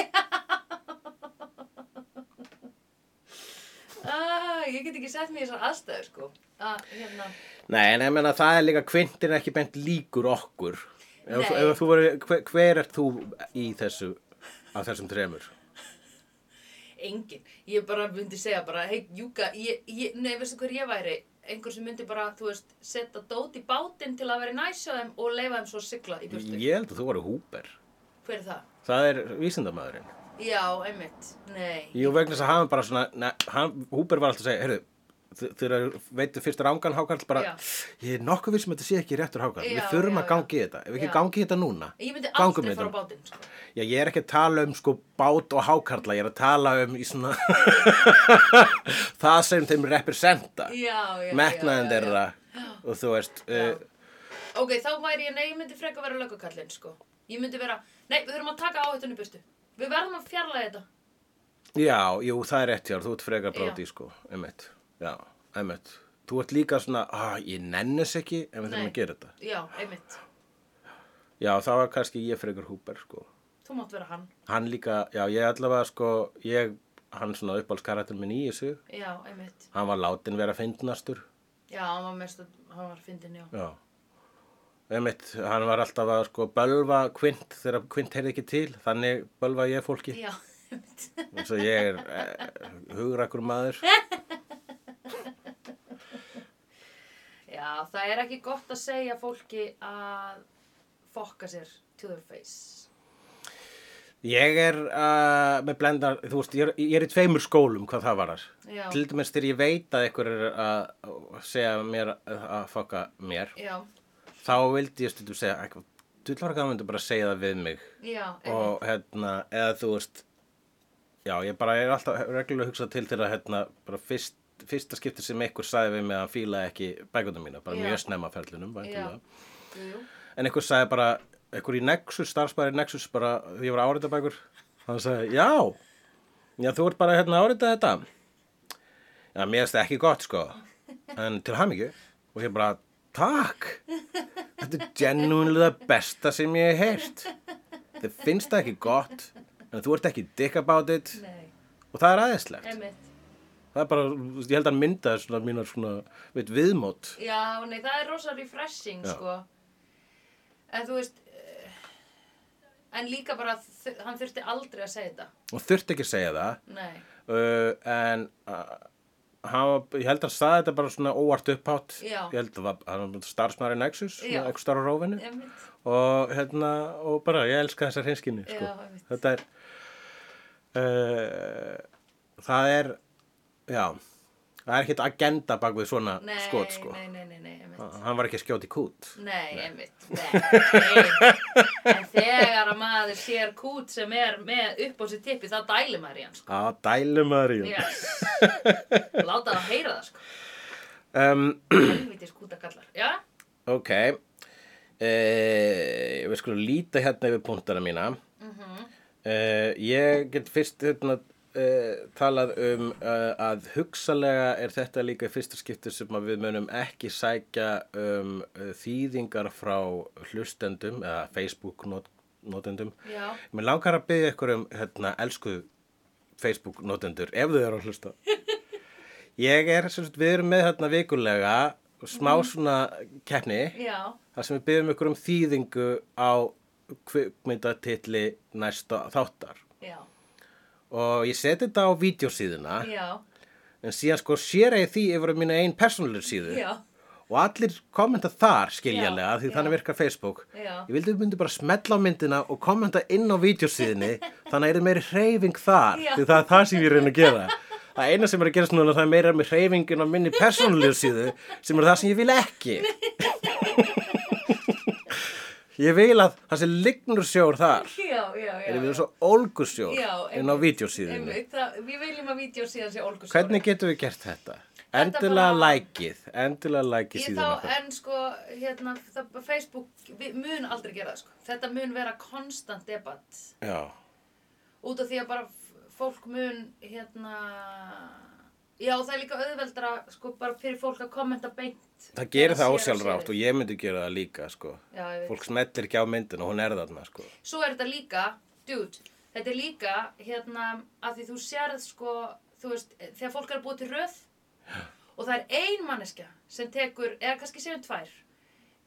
[SPEAKER 1] Ah, ég get ekki sett mér í þessar aðstæður, sko. Að, hérna,
[SPEAKER 2] Nei, en ég meina það er líka kvintin ekki bent líkur okkur. Ef,
[SPEAKER 1] Nei.
[SPEAKER 2] ef þú veri, hver, hver ert þú í þessu, af þessum tremur?
[SPEAKER 1] engin. Ég bara myndi segja bara, hei, Júka, ég, ég, nei, veistu hver ég væri? Einhver sem myndi bara, þú veist, setja dót í bátinn til að vera næs á þeim og leifa þeim svo að sigla í burtu.
[SPEAKER 2] Ég held að þú varu húper.
[SPEAKER 1] Hver er það?
[SPEAKER 2] Það er vísindamæðurinn.
[SPEAKER 1] Já, einmitt. Nei.
[SPEAKER 2] Jú, vegna þess að hann bara svona, ne, hann, húper var alltaf að segja, heyrðu, þegar veitu fyrst rángan hákarl bara,
[SPEAKER 1] Já.
[SPEAKER 2] ég er nokkuð við sem þetta sé ekki réttur hákarl,
[SPEAKER 1] Já,
[SPEAKER 2] við þurfum að
[SPEAKER 1] já, já.
[SPEAKER 2] gangi í þetta ef við
[SPEAKER 1] Já.
[SPEAKER 2] ekki gangi í þetta núna
[SPEAKER 1] Ég myndi
[SPEAKER 2] gangum
[SPEAKER 1] aldrei
[SPEAKER 2] í
[SPEAKER 1] fara á
[SPEAKER 2] þetta.
[SPEAKER 1] bátinn sko.
[SPEAKER 2] Já, ég er ekki að tala um sko bát og hákarla, ég er að tala um í svona það sem þeim representa
[SPEAKER 1] Já, já, já,
[SPEAKER 2] metnaðin
[SPEAKER 1] já, já.
[SPEAKER 2] þeirra og þú veist uh,
[SPEAKER 1] Ok, þá væri ég, nei, ég myndi freka vera löggakallinn, sko. Ég myndi vera, nei, við þurfum að taka áhættunni burtu. Við verðum að fjarlæga þetta.
[SPEAKER 2] Já, jú, það er rétt hjá, þér, þú ert frekar bróti,
[SPEAKER 1] Já.
[SPEAKER 2] sko, einmitt. Já, einmitt. Þú ert líka svona, að ég nennis ekki ef við þurfum
[SPEAKER 1] Nei.
[SPEAKER 2] að gera þetta.
[SPEAKER 1] Já, einmitt.
[SPEAKER 2] Já, það var kannski ég frekar húper, sko.
[SPEAKER 1] Þú mátt vera hann.
[SPEAKER 2] Hann líka, já, ég allavega, sko, ég, hann svona uppáhaldskarakter minn í þessu,
[SPEAKER 1] Já, einmitt.
[SPEAKER 2] hann var látin vera fyndnastur.
[SPEAKER 1] Já, hann var mest að, hann var fyndin, já.
[SPEAKER 2] Já. Einmitt, hann var alltaf að, sko, bölva kvint þegar kvint heyrði ekki til, þannig bölva ég fólki.
[SPEAKER 1] Já, einmitt.
[SPEAKER 2] eins og ég er eh, hugrakkur maður.
[SPEAKER 1] Já, það er ekki gott að segja fólki að fokka sér to their face.
[SPEAKER 2] Ég er uh, með blendar, þú veist, ég er, ég er í tveimur skólum hvað það varar.
[SPEAKER 1] Já.
[SPEAKER 2] Til dæmis þegar ég veit að einhver er að segja mér að fokka mér,
[SPEAKER 1] Já,
[SPEAKER 2] þá vildi ég stundum segja, eitthvað, þú ætlar að það myndi bara segja það við mig.
[SPEAKER 1] já, einmitt.
[SPEAKER 2] Og hérna, eða þú veist, já, ég bara er alltaf reglulega að hugsa til þegar hérna, bara fyrst, fyrsta skipti sem einhver sagði við mig að hann fílaði ekki bækundum mína, bara
[SPEAKER 1] Já.
[SPEAKER 2] mjög snemma á ferlinum,
[SPEAKER 1] Já,
[SPEAKER 2] væntanlega.
[SPEAKER 1] jú, jú.
[SPEAKER 2] En einhver sagði bara, einhver í Nexus, starfsbæri Nexus, bara, því ég var áreitabækur, hann sagði, já, já, þú ert bara hérna að árita þetta. Já, mér finnst það ekki gott, sko, en til hamingju. Og ég bara, takk, þetta er genúinlega besta sem ég hef heyrt. Þið finnst það ekki gott, en þú ert ekki dick about it,
[SPEAKER 1] Nei,
[SPEAKER 2] og það er aðeinslegt.
[SPEAKER 1] einmitt.
[SPEAKER 2] Það er bara, þú veist, ég held að hann myndaði svona mínar svona, veit, viðmót.
[SPEAKER 1] Já, nei, það er rosa refreshing,
[SPEAKER 2] Já.
[SPEAKER 1] sko. En þú veist, eh, en líka bara, þ- hann þurfti aldrei að segja þetta.
[SPEAKER 2] Og þurfti ekki að segja það,
[SPEAKER 1] Nei,
[SPEAKER 2] uh, en uh, hann, var- ég held að hann saði þetta bara svona óvart upphátt
[SPEAKER 1] Já.
[SPEAKER 2] ég held að það var- hann var starfsmaður í Nexus
[SPEAKER 1] Já.
[SPEAKER 2] svona ekki starf á rófinu
[SPEAKER 1] einmitt.
[SPEAKER 2] og, hérna, og bara ég elska þessar hinskinni sko.
[SPEAKER 1] Já, einmitt.
[SPEAKER 2] þetta er uh, það er já, það er ekkert agenda bak við svona
[SPEAKER 1] Nei,
[SPEAKER 2] skot sko.
[SPEAKER 1] nei, nei, nei, nei, einmitt.
[SPEAKER 2] hann var ekki að skjóti kút
[SPEAKER 1] Nei, einmitt. Nei, en þegar að maður sér kút sem er með upp á sér tippi, þá dælir maður í hann, sko.
[SPEAKER 2] að dælu maður í hún.
[SPEAKER 1] Yes. Láta það heyra það, sko.
[SPEAKER 2] um,
[SPEAKER 1] Helvitis kútakallar. Já,
[SPEAKER 2] ok uh, við skulum líta hérna yfir punktana mína Uh, ég get fyrst hérna, uh, talað um uh, að hugsalega er þetta líka í fyrsta skipti sem að við munum ekki sækja um uh, þýðingar frá hlustendum eða Facebook not notendum.
[SPEAKER 1] já.
[SPEAKER 2] Mér langar að byggja ykkur um hérna, elsku Facebook notendur ef þau eru að hlusta. Ég er, sem sagt, við erum með hérna vikulega smá
[SPEAKER 1] Mhm.
[SPEAKER 2] svona keppni
[SPEAKER 1] Já,
[SPEAKER 2] þar sem við byggjum ykkur um þýðingu á kvikmyndatitli næsta þáttar.
[SPEAKER 1] já,
[SPEAKER 2] Og ég seti þetta á vídeosíðuna,
[SPEAKER 1] já,
[SPEAKER 2] en síðan sko sér ég því yfir á mína einn persónulegur síðu.
[SPEAKER 1] já,
[SPEAKER 2] Og allir kommenta þar skiljanlega,
[SPEAKER 1] Já,
[SPEAKER 2] því
[SPEAKER 1] já.
[SPEAKER 2] þannig virkar Facebook.
[SPEAKER 1] Já.
[SPEAKER 2] Ég vildi að við myndum bara smetla á myndina og kommenta inn á vídeosíðinni, þannig að er meiri hreyfing þar,
[SPEAKER 1] Já.
[SPEAKER 2] því það er það sem ég reyna að gera. Það eina sem er að gera svona, það er meira með hreyfingin á minni persónulegu síðu, sem er það sem ég vil ekki. ég vil að það sé lignur sjór þar,
[SPEAKER 1] já, já, já.
[SPEAKER 2] er við
[SPEAKER 1] já.
[SPEAKER 2] erum svo ólgusjór
[SPEAKER 1] Já,
[SPEAKER 2] inn á
[SPEAKER 1] einmitt,
[SPEAKER 2] vídeosíðinni.
[SPEAKER 1] Einmitt, það, við viljum að vídeo síðan sé Olgu
[SPEAKER 2] Hvernig getum við gert þetta?
[SPEAKER 1] Þetta
[SPEAKER 2] Endilega
[SPEAKER 1] bara-
[SPEAKER 2] lækið, endilega lækið
[SPEAKER 1] Ég
[SPEAKER 2] síðan
[SPEAKER 1] þá,
[SPEAKER 2] okkar.
[SPEAKER 1] en sko, hérna, það, Facebook við, mun aldrei gera það, sko. Þetta mun vera konstant debatt.
[SPEAKER 2] Já,
[SPEAKER 1] Út af því að bara f- fólk mun, hérna, já, það er líka auðveldra, sko, bara fyrir fólk að kommenta beint.
[SPEAKER 2] það gerir það
[SPEAKER 1] Þegar sér
[SPEAKER 2] ósjálfrátt
[SPEAKER 1] sér.
[SPEAKER 2] og ég myndi gera það líka, sko.
[SPEAKER 1] Já, ég veit.
[SPEAKER 2] Fólk smellir ekki á myndina, hún er þarna, sko.
[SPEAKER 1] Svo er þetta líka, dude, þetta er líka, hérna, að því þú sérð, sko, þú veist, þegar fólk er að búa til röð og það er ein manneskja sem tekur, eða kannski séum tvær,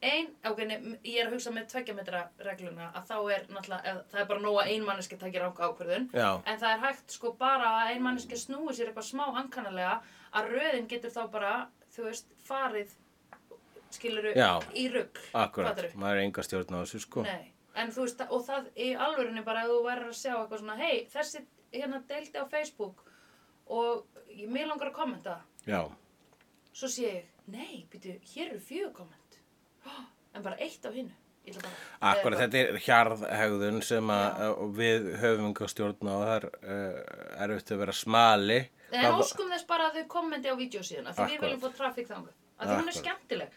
[SPEAKER 1] ein, ok, nei, m- ég er að hugsa með tveggjametra regluna að þá er náttúrulega, eða, það er bara nóg að ein manneskja takir ánga ákvörðun,
[SPEAKER 2] Já.
[SPEAKER 1] en það er hægt, sko, bara að ein manneskja snúi sér eitthvað smá ankanalega að röðin getur þá bara, þú veist, farið, skiluru,
[SPEAKER 2] Já.
[SPEAKER 1] í rugg,
[SPEAKER 2] Akkurat, maður er enga stjórn á þessu, sko.
[SPEAKER 1] Nei, en þú veist, og það í alvörunni bara að þú verður að sjá eitthvað svona, hei, þessi hérna deildi á Facebook og ég- mig langar að kommenta
[SPEAKER 2] Já,
[SPEAKER 1] svo sé ég, nei, býtu, hér eru fjögur komment en bara eitt á hinnu Ég ætla bara-
[SPEAKER 2] Akkur
[SPEAKER 1] Eða bara-
[SPEAKER 2] þetta er hjarðhegðun sem að að við höfum ekki að stjórna og það er uh, erfitt að vera smali.
[SPEAKER 1] En
[SPEAKER 2] Það-
[SPEAKER 1] óskum þess bara að þau kommenti á vídeosíðan af því við
[SPEAKER 2] Akkúrat.
[SPEAKER 1] viljum fá trafík þangað af því hún er
[SPEAKER 2] Akkúrat.
[SPEAKER 1] skemmtileg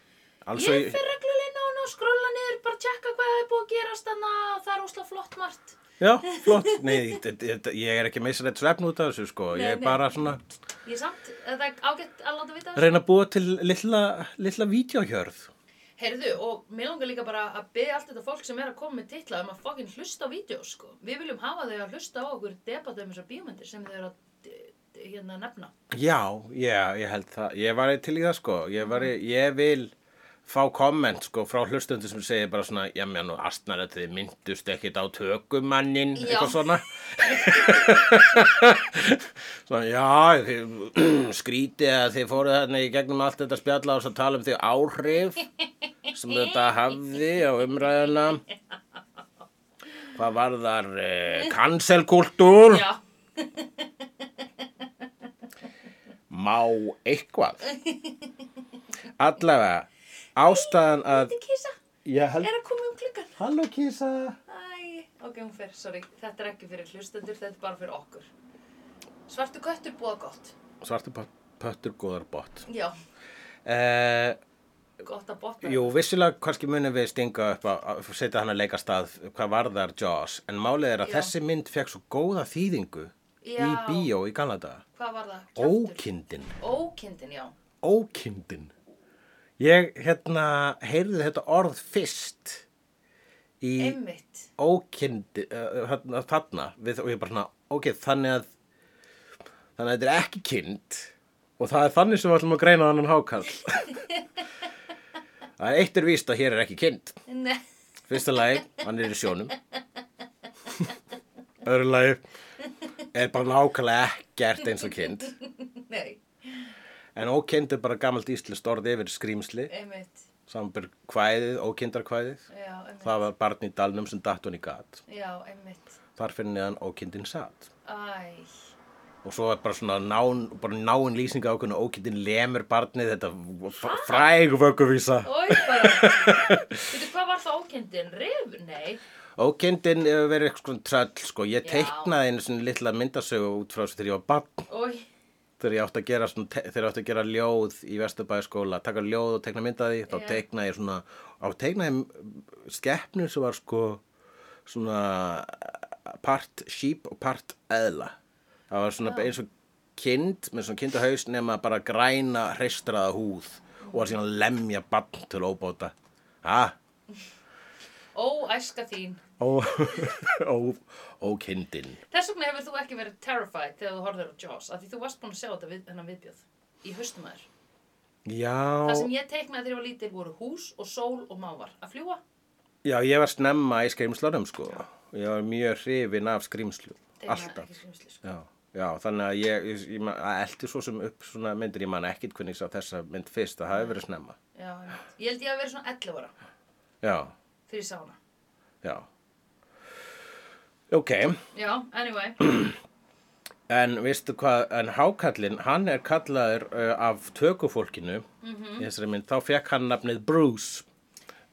[SPEAKER 2] alls og
[SPEAKER 1] Ég
[SPEAKER 2] í-
[SPEAKER 1] fer reglulega inn á hún og skrolla niður bara tjekka hvað það er búið að gerast þannig og það er ósla flott margt
[SPEAKER 2] Já, flott. Nei, þetta- þetta- ég er ekki meðsrætt svefn út af þessu sko.
[SPEAKER 1] Nei,
[SPEAKER 2] Ég er
[SPEAKER 1] nei.
[SPEAKER 2] bara svona
[SPEAKER 1] Ég samt, það er ágætt að láta vita
[SPEAKER 2] að
[SPEAKER 1] þessu
[SPEAKER 2] reyna að búa til litla, litla vídeohjörð.
[SPEAKER 1] Heyrðu, og mér langar líka bara að beða allt þetta fólk sem er að koma með titla um að fokkin hlusta á vídeos sko. Við viljum hafa þau að hlusta á okkur debata um þessar bíómyndir sem þau eru að eh, eh, hérna nefna
[SPEAKER 2] Já, já, ég held það. Ég var til í það sko. Ég, var, ég vil fá komment sko frá hlustundu sem segir bara svona, já, mér nú astnar að þið myndust ekkit á tökumannin,
[SPEAKER 1] Já.
[SPEAKER 2] eitthvað svona. svona, já, þið skrítið að þið fóruð þarna í gegnum allt þetta spjalla og svo tala um því áhrif sem þetta hafði á umræðuna. Hvað var þar eh, kanselkultúr?
[SPEAKER 1] Já,
[SPEAKER 2] má eitthvað allavega ástæðan að
[SPEAKER 1] þetta kísa
[SPEAKER 2] ég held
[SPEAKER 1] er að koma um klukkan
[SPEAKER 2] halló kísa
[SPEAKER 1] Æ, ok, hún fer, sorry. Þetta er ekki fyrir hlustendur, þetta er bara fyrir okkur. Svartu köttur búa gott.
[SPEAKER 2] svartur pött- pöttur góðar bótt
[SPEAKER 1] Já,
[SPEAKER 2] eh,
[SPEAKER 1] gott að botna.
[SPEAKER 2] jú vissilega kannski munum við stinga upp að að setja hann að leika stað hvað varðar Jaws en málið er að
[SPEAKER 1] Já.
[SPEAKER 2] þessi mynd fekk svo góða þýðingu í
[SPEAKER 1] Já.
[SPEAKER 2] bíó í Kanada
[SPEAKER 1] Hvað var það? Kjaftur?
[SPEAKER 2] ókindin
[SPEAKER 1] Ókindin, já.
[SPEAKER 2] ókindin ég hérna heyrði þetta orð fyrst í
[SPEAKER 1] Einmitt.
[SPEAKER 2] ókyndi uh, hérna, þarna við, og ég bara svona, ok, þannig að þannig að þetta er ekki kind og það er þannig sem við ætlum að greina þannig hákall það er eitt er víst að hér er ekki kind
[SPEAKER 1] Nei,
[SPEAKER 2] fyrsta lagi, hann er í sjónum öðru lagi er bara nákvæmlega ekkert eins og kind
[SPEAKER 1] nei,
[SPEAKER 2] en ókind er bara gamalt íslenskt orð yfir skrýmsli
[SPEAKER 1] einmitt.
[SPEAKER 2] samanbyrg kvæðið, ókindarkvæðið
[SPEAKER 1] Já, einmitt.
[SPEAKER 2] það var barn í dalnum sem datt hún í gat
[SPEAKER 1] Já, einmitt.
[SPEAKER 2] þar finnir hann ókindin satt
[SPEAKER 1] Æ,
[SPEAKER 2] og svo er bara svona nán, bara náin lýsing á hvernig ókindin lemur barnið þetta fr- fræg vökuvísa
[SPEAKER 1] oi bara. Veitu, hvað var það ókindin? Rif? Nei.
[SPEAKER 2] ókindin hefur verið eitthvað svona tröll sko. ég
[SPEAKER 1] Já.
[SPEAKER 2] teiknaði einu svona litla myndasögu út frá þessu þegar ég var barn
[SPEAKER 1] Oi,
[SPEAKER 2] þegar ég átti að gera, svona, te- þegar ég átti að gera ljóð í Vesturbæðaskóla, taka ljóð og teikna myndaði þá
[SPEAKER 1] Já.
[SPEAKER 2] teiknaði ég svona á teiknaði mm, skepnu sem var sko svona part sheep og part eðla það var svona eins og kind með svona kindahaus nema bara græna hreistraða húð og var síðan að lemja bann til óbóta ha?
[SPEAKER 1] ó, æska þín.
[SPEAKER 2] Ó, ó, ó kindin
[SPEAKER 1] Þess vegna hefur þú ekki verið terrified þegar þú horfður á Jaws, af því þú varst búin að sjá þetta við, hennan viðbjöð í haustum að þér.
[SPEAKER 2] já,
[SPEAKER 1] Það sem ég teiknaði þegar ég var lítil voru hús og sól og mávar að fljúa.
[SPEAKER 2] já, ég var snemma í skrimslunum sko ég var mjög hrifin af skrimslu alltaf
[SPEAKER 1] Ekki skrimsli, sko.
[SPEAKER 2] Já, já, þannig að ég, ég, ég man- að eldi svo sem upp svona myndir, ég man ekkit hvernig ég sá þessa mynd fyrst, það hafi verið snemma.
[SPEAKER 1] Já, einmitt. ég held ég að vera svona 11 ára
[SPEAKER 2] Já,
[SPEAKER 1] þegar ég sá hana.
[SPEAKER 2] já. Ok,
[SPEAKER 1] Já, anyway.
[SPEAKER 2] en veistu hvað, en hákallinn, hann er kallaður uh, af tökufólkinu, í þessari mynd, þá fekk hann nafnið Bruce,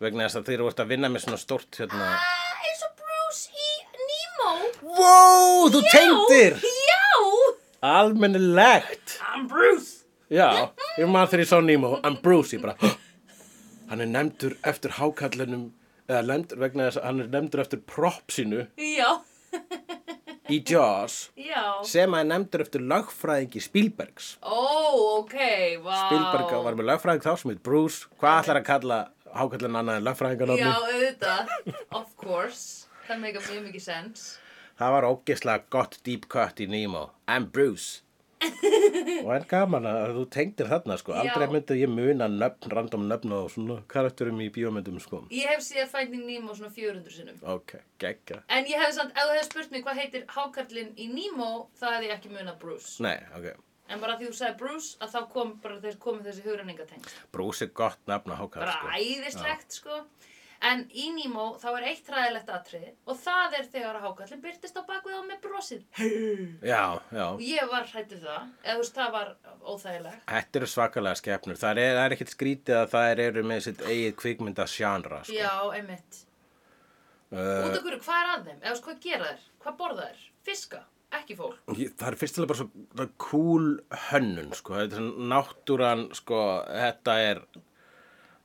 [SPEAKER 2] vegna þess að þeir voru að vinna með svona stórt hérna.
[SPEAKER 1] Ah, eins og Bruce í Nemo.
[SPEAKER 2] Wow, þú tengdir!
[SPEAKER 1] Já,
[SPEAKER 2] Almennilegt!
[SPEAKER 1] I'm Bruce.
[SPEAKER 2] Já, ég maður þegar ég sá Nemo, I'm Bruce, ég bara, "Hå?" hann er nefndur eftir hákallunum, eða nefndur vegna þess að hann er nefndur eftir prop sínu
[SPEAKER 1] Já,
[SPEAKER 2] í Jaws,
[SPEAKER 1] já.
[SPEAKER 2] sem að er nefndur eftir lögfræðingi Spielbergs.
[SPEAKER 1] Ó, ok, vá.
[SPEAKER 2] Spielberg var með lögfræðing þá sem heit Bruce, hvað ætlar að kalla hákallun annað en
[SPEAKER 1] Já,
[SPEAKER 2] lögfræðingarnafni?
[SPEAKER 1] auðvitað, of course. Það make mjög mikið sense.
[SPEAKER 2] Það var ógeðslega gott deep cut í Nemo, I'm Bruce. og en gaman að þú tengdir þarna sko,
[SPEAKER 1] Já.
[SPEAKER 2] aldrei myndið ég muna nöfn, random nöfn og svona karakterum í bíómyndum sko.
[SPEAKER 1] Ég hef séð Finding Nemo svona 400 sinnum.
[SPEAKER 2] Ok, geggjað.
[SPEAKER 1] En ég hef samt, ef þú hefði spurt mig hvað heitir hákarlinn í Nemo, það hefði ég ekki munað Bruce.
[SPEAKER 2] Nei, ok.
[SPEAKER 1] En bara því þú sagði Bruce, að þá kom bara þeir komið þessi hugrenningatengst.
[SPEAKER 2] Brús er gott nafn á hákarl,
[SPEAKER 1] bara
[SPEAKER 2] sko.
[SPEAKER 1] æðislegt sko En í Nemo þá er eitt ræðilegt atriði og það er þegar að hákallin byrtist á bakvið á með brosið.
[SPEAKER 2] Já, já.
[SPEAKER 1] Og ég var hrætt við það, eða þú veist, það var óþægilegt.
[SPEAKER 2] Þetta eru svakalega skepnur. Það er, það er ekkert skrítið að það eru með sitt eigið kvikmynda sjánra. Sko. Eh,
[SPEAKER 1] Já, einmitt. Út af hverju, hvað er að þeim? Eða þú veist, hvað gera þeir? Hvað borða þeir? Fiska? Ekki fólk?
[SPEAKER 2] Ég- Það er fyrstilega bara svo það er cool hönnun, sko. Þetta er svona náttúran, sko, þetta er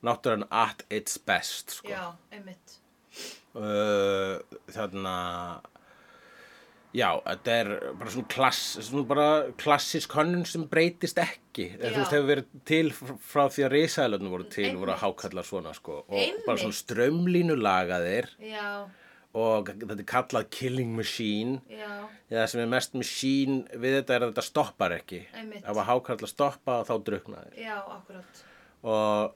[SPEAKER 2] náttúran at its best, sko.
[SPEAKER 1] Já, einmitt.
[SPEAKER 2] Uh, þarna, já, þetta er bara svona, klass, svona bara klassisk hönnun sem breytist ekki. Já.
[SPEAKER 1] Já.
[SPEAKER 2] Þú veist, hefur verið til fr- frá því að risaðlöfnum voru til, voru
[SPEAKER 1] Einmitt.
[SPEAKER 2] hákallar svona, sko. Og
[SPEAKER 1] Einmitt.
[SPEAKER 2] bara svona strömlínulagaðir
[SPEAKER 1] Já,
[SPEAKER 2] og þetta er kallað killing machine.
[SPEAKER 1] já,
[SPEAKER 2] Já, sem er mest machine við þetta er að þetta stoppar ekki.
[SPEAKER 1] Einmitt.
[SPEAKER 2] Það var hákarl að stoppa og þá drukna þeir.
[SPEAKER 1] já, akkurat.
[SPEAKER 2] Og,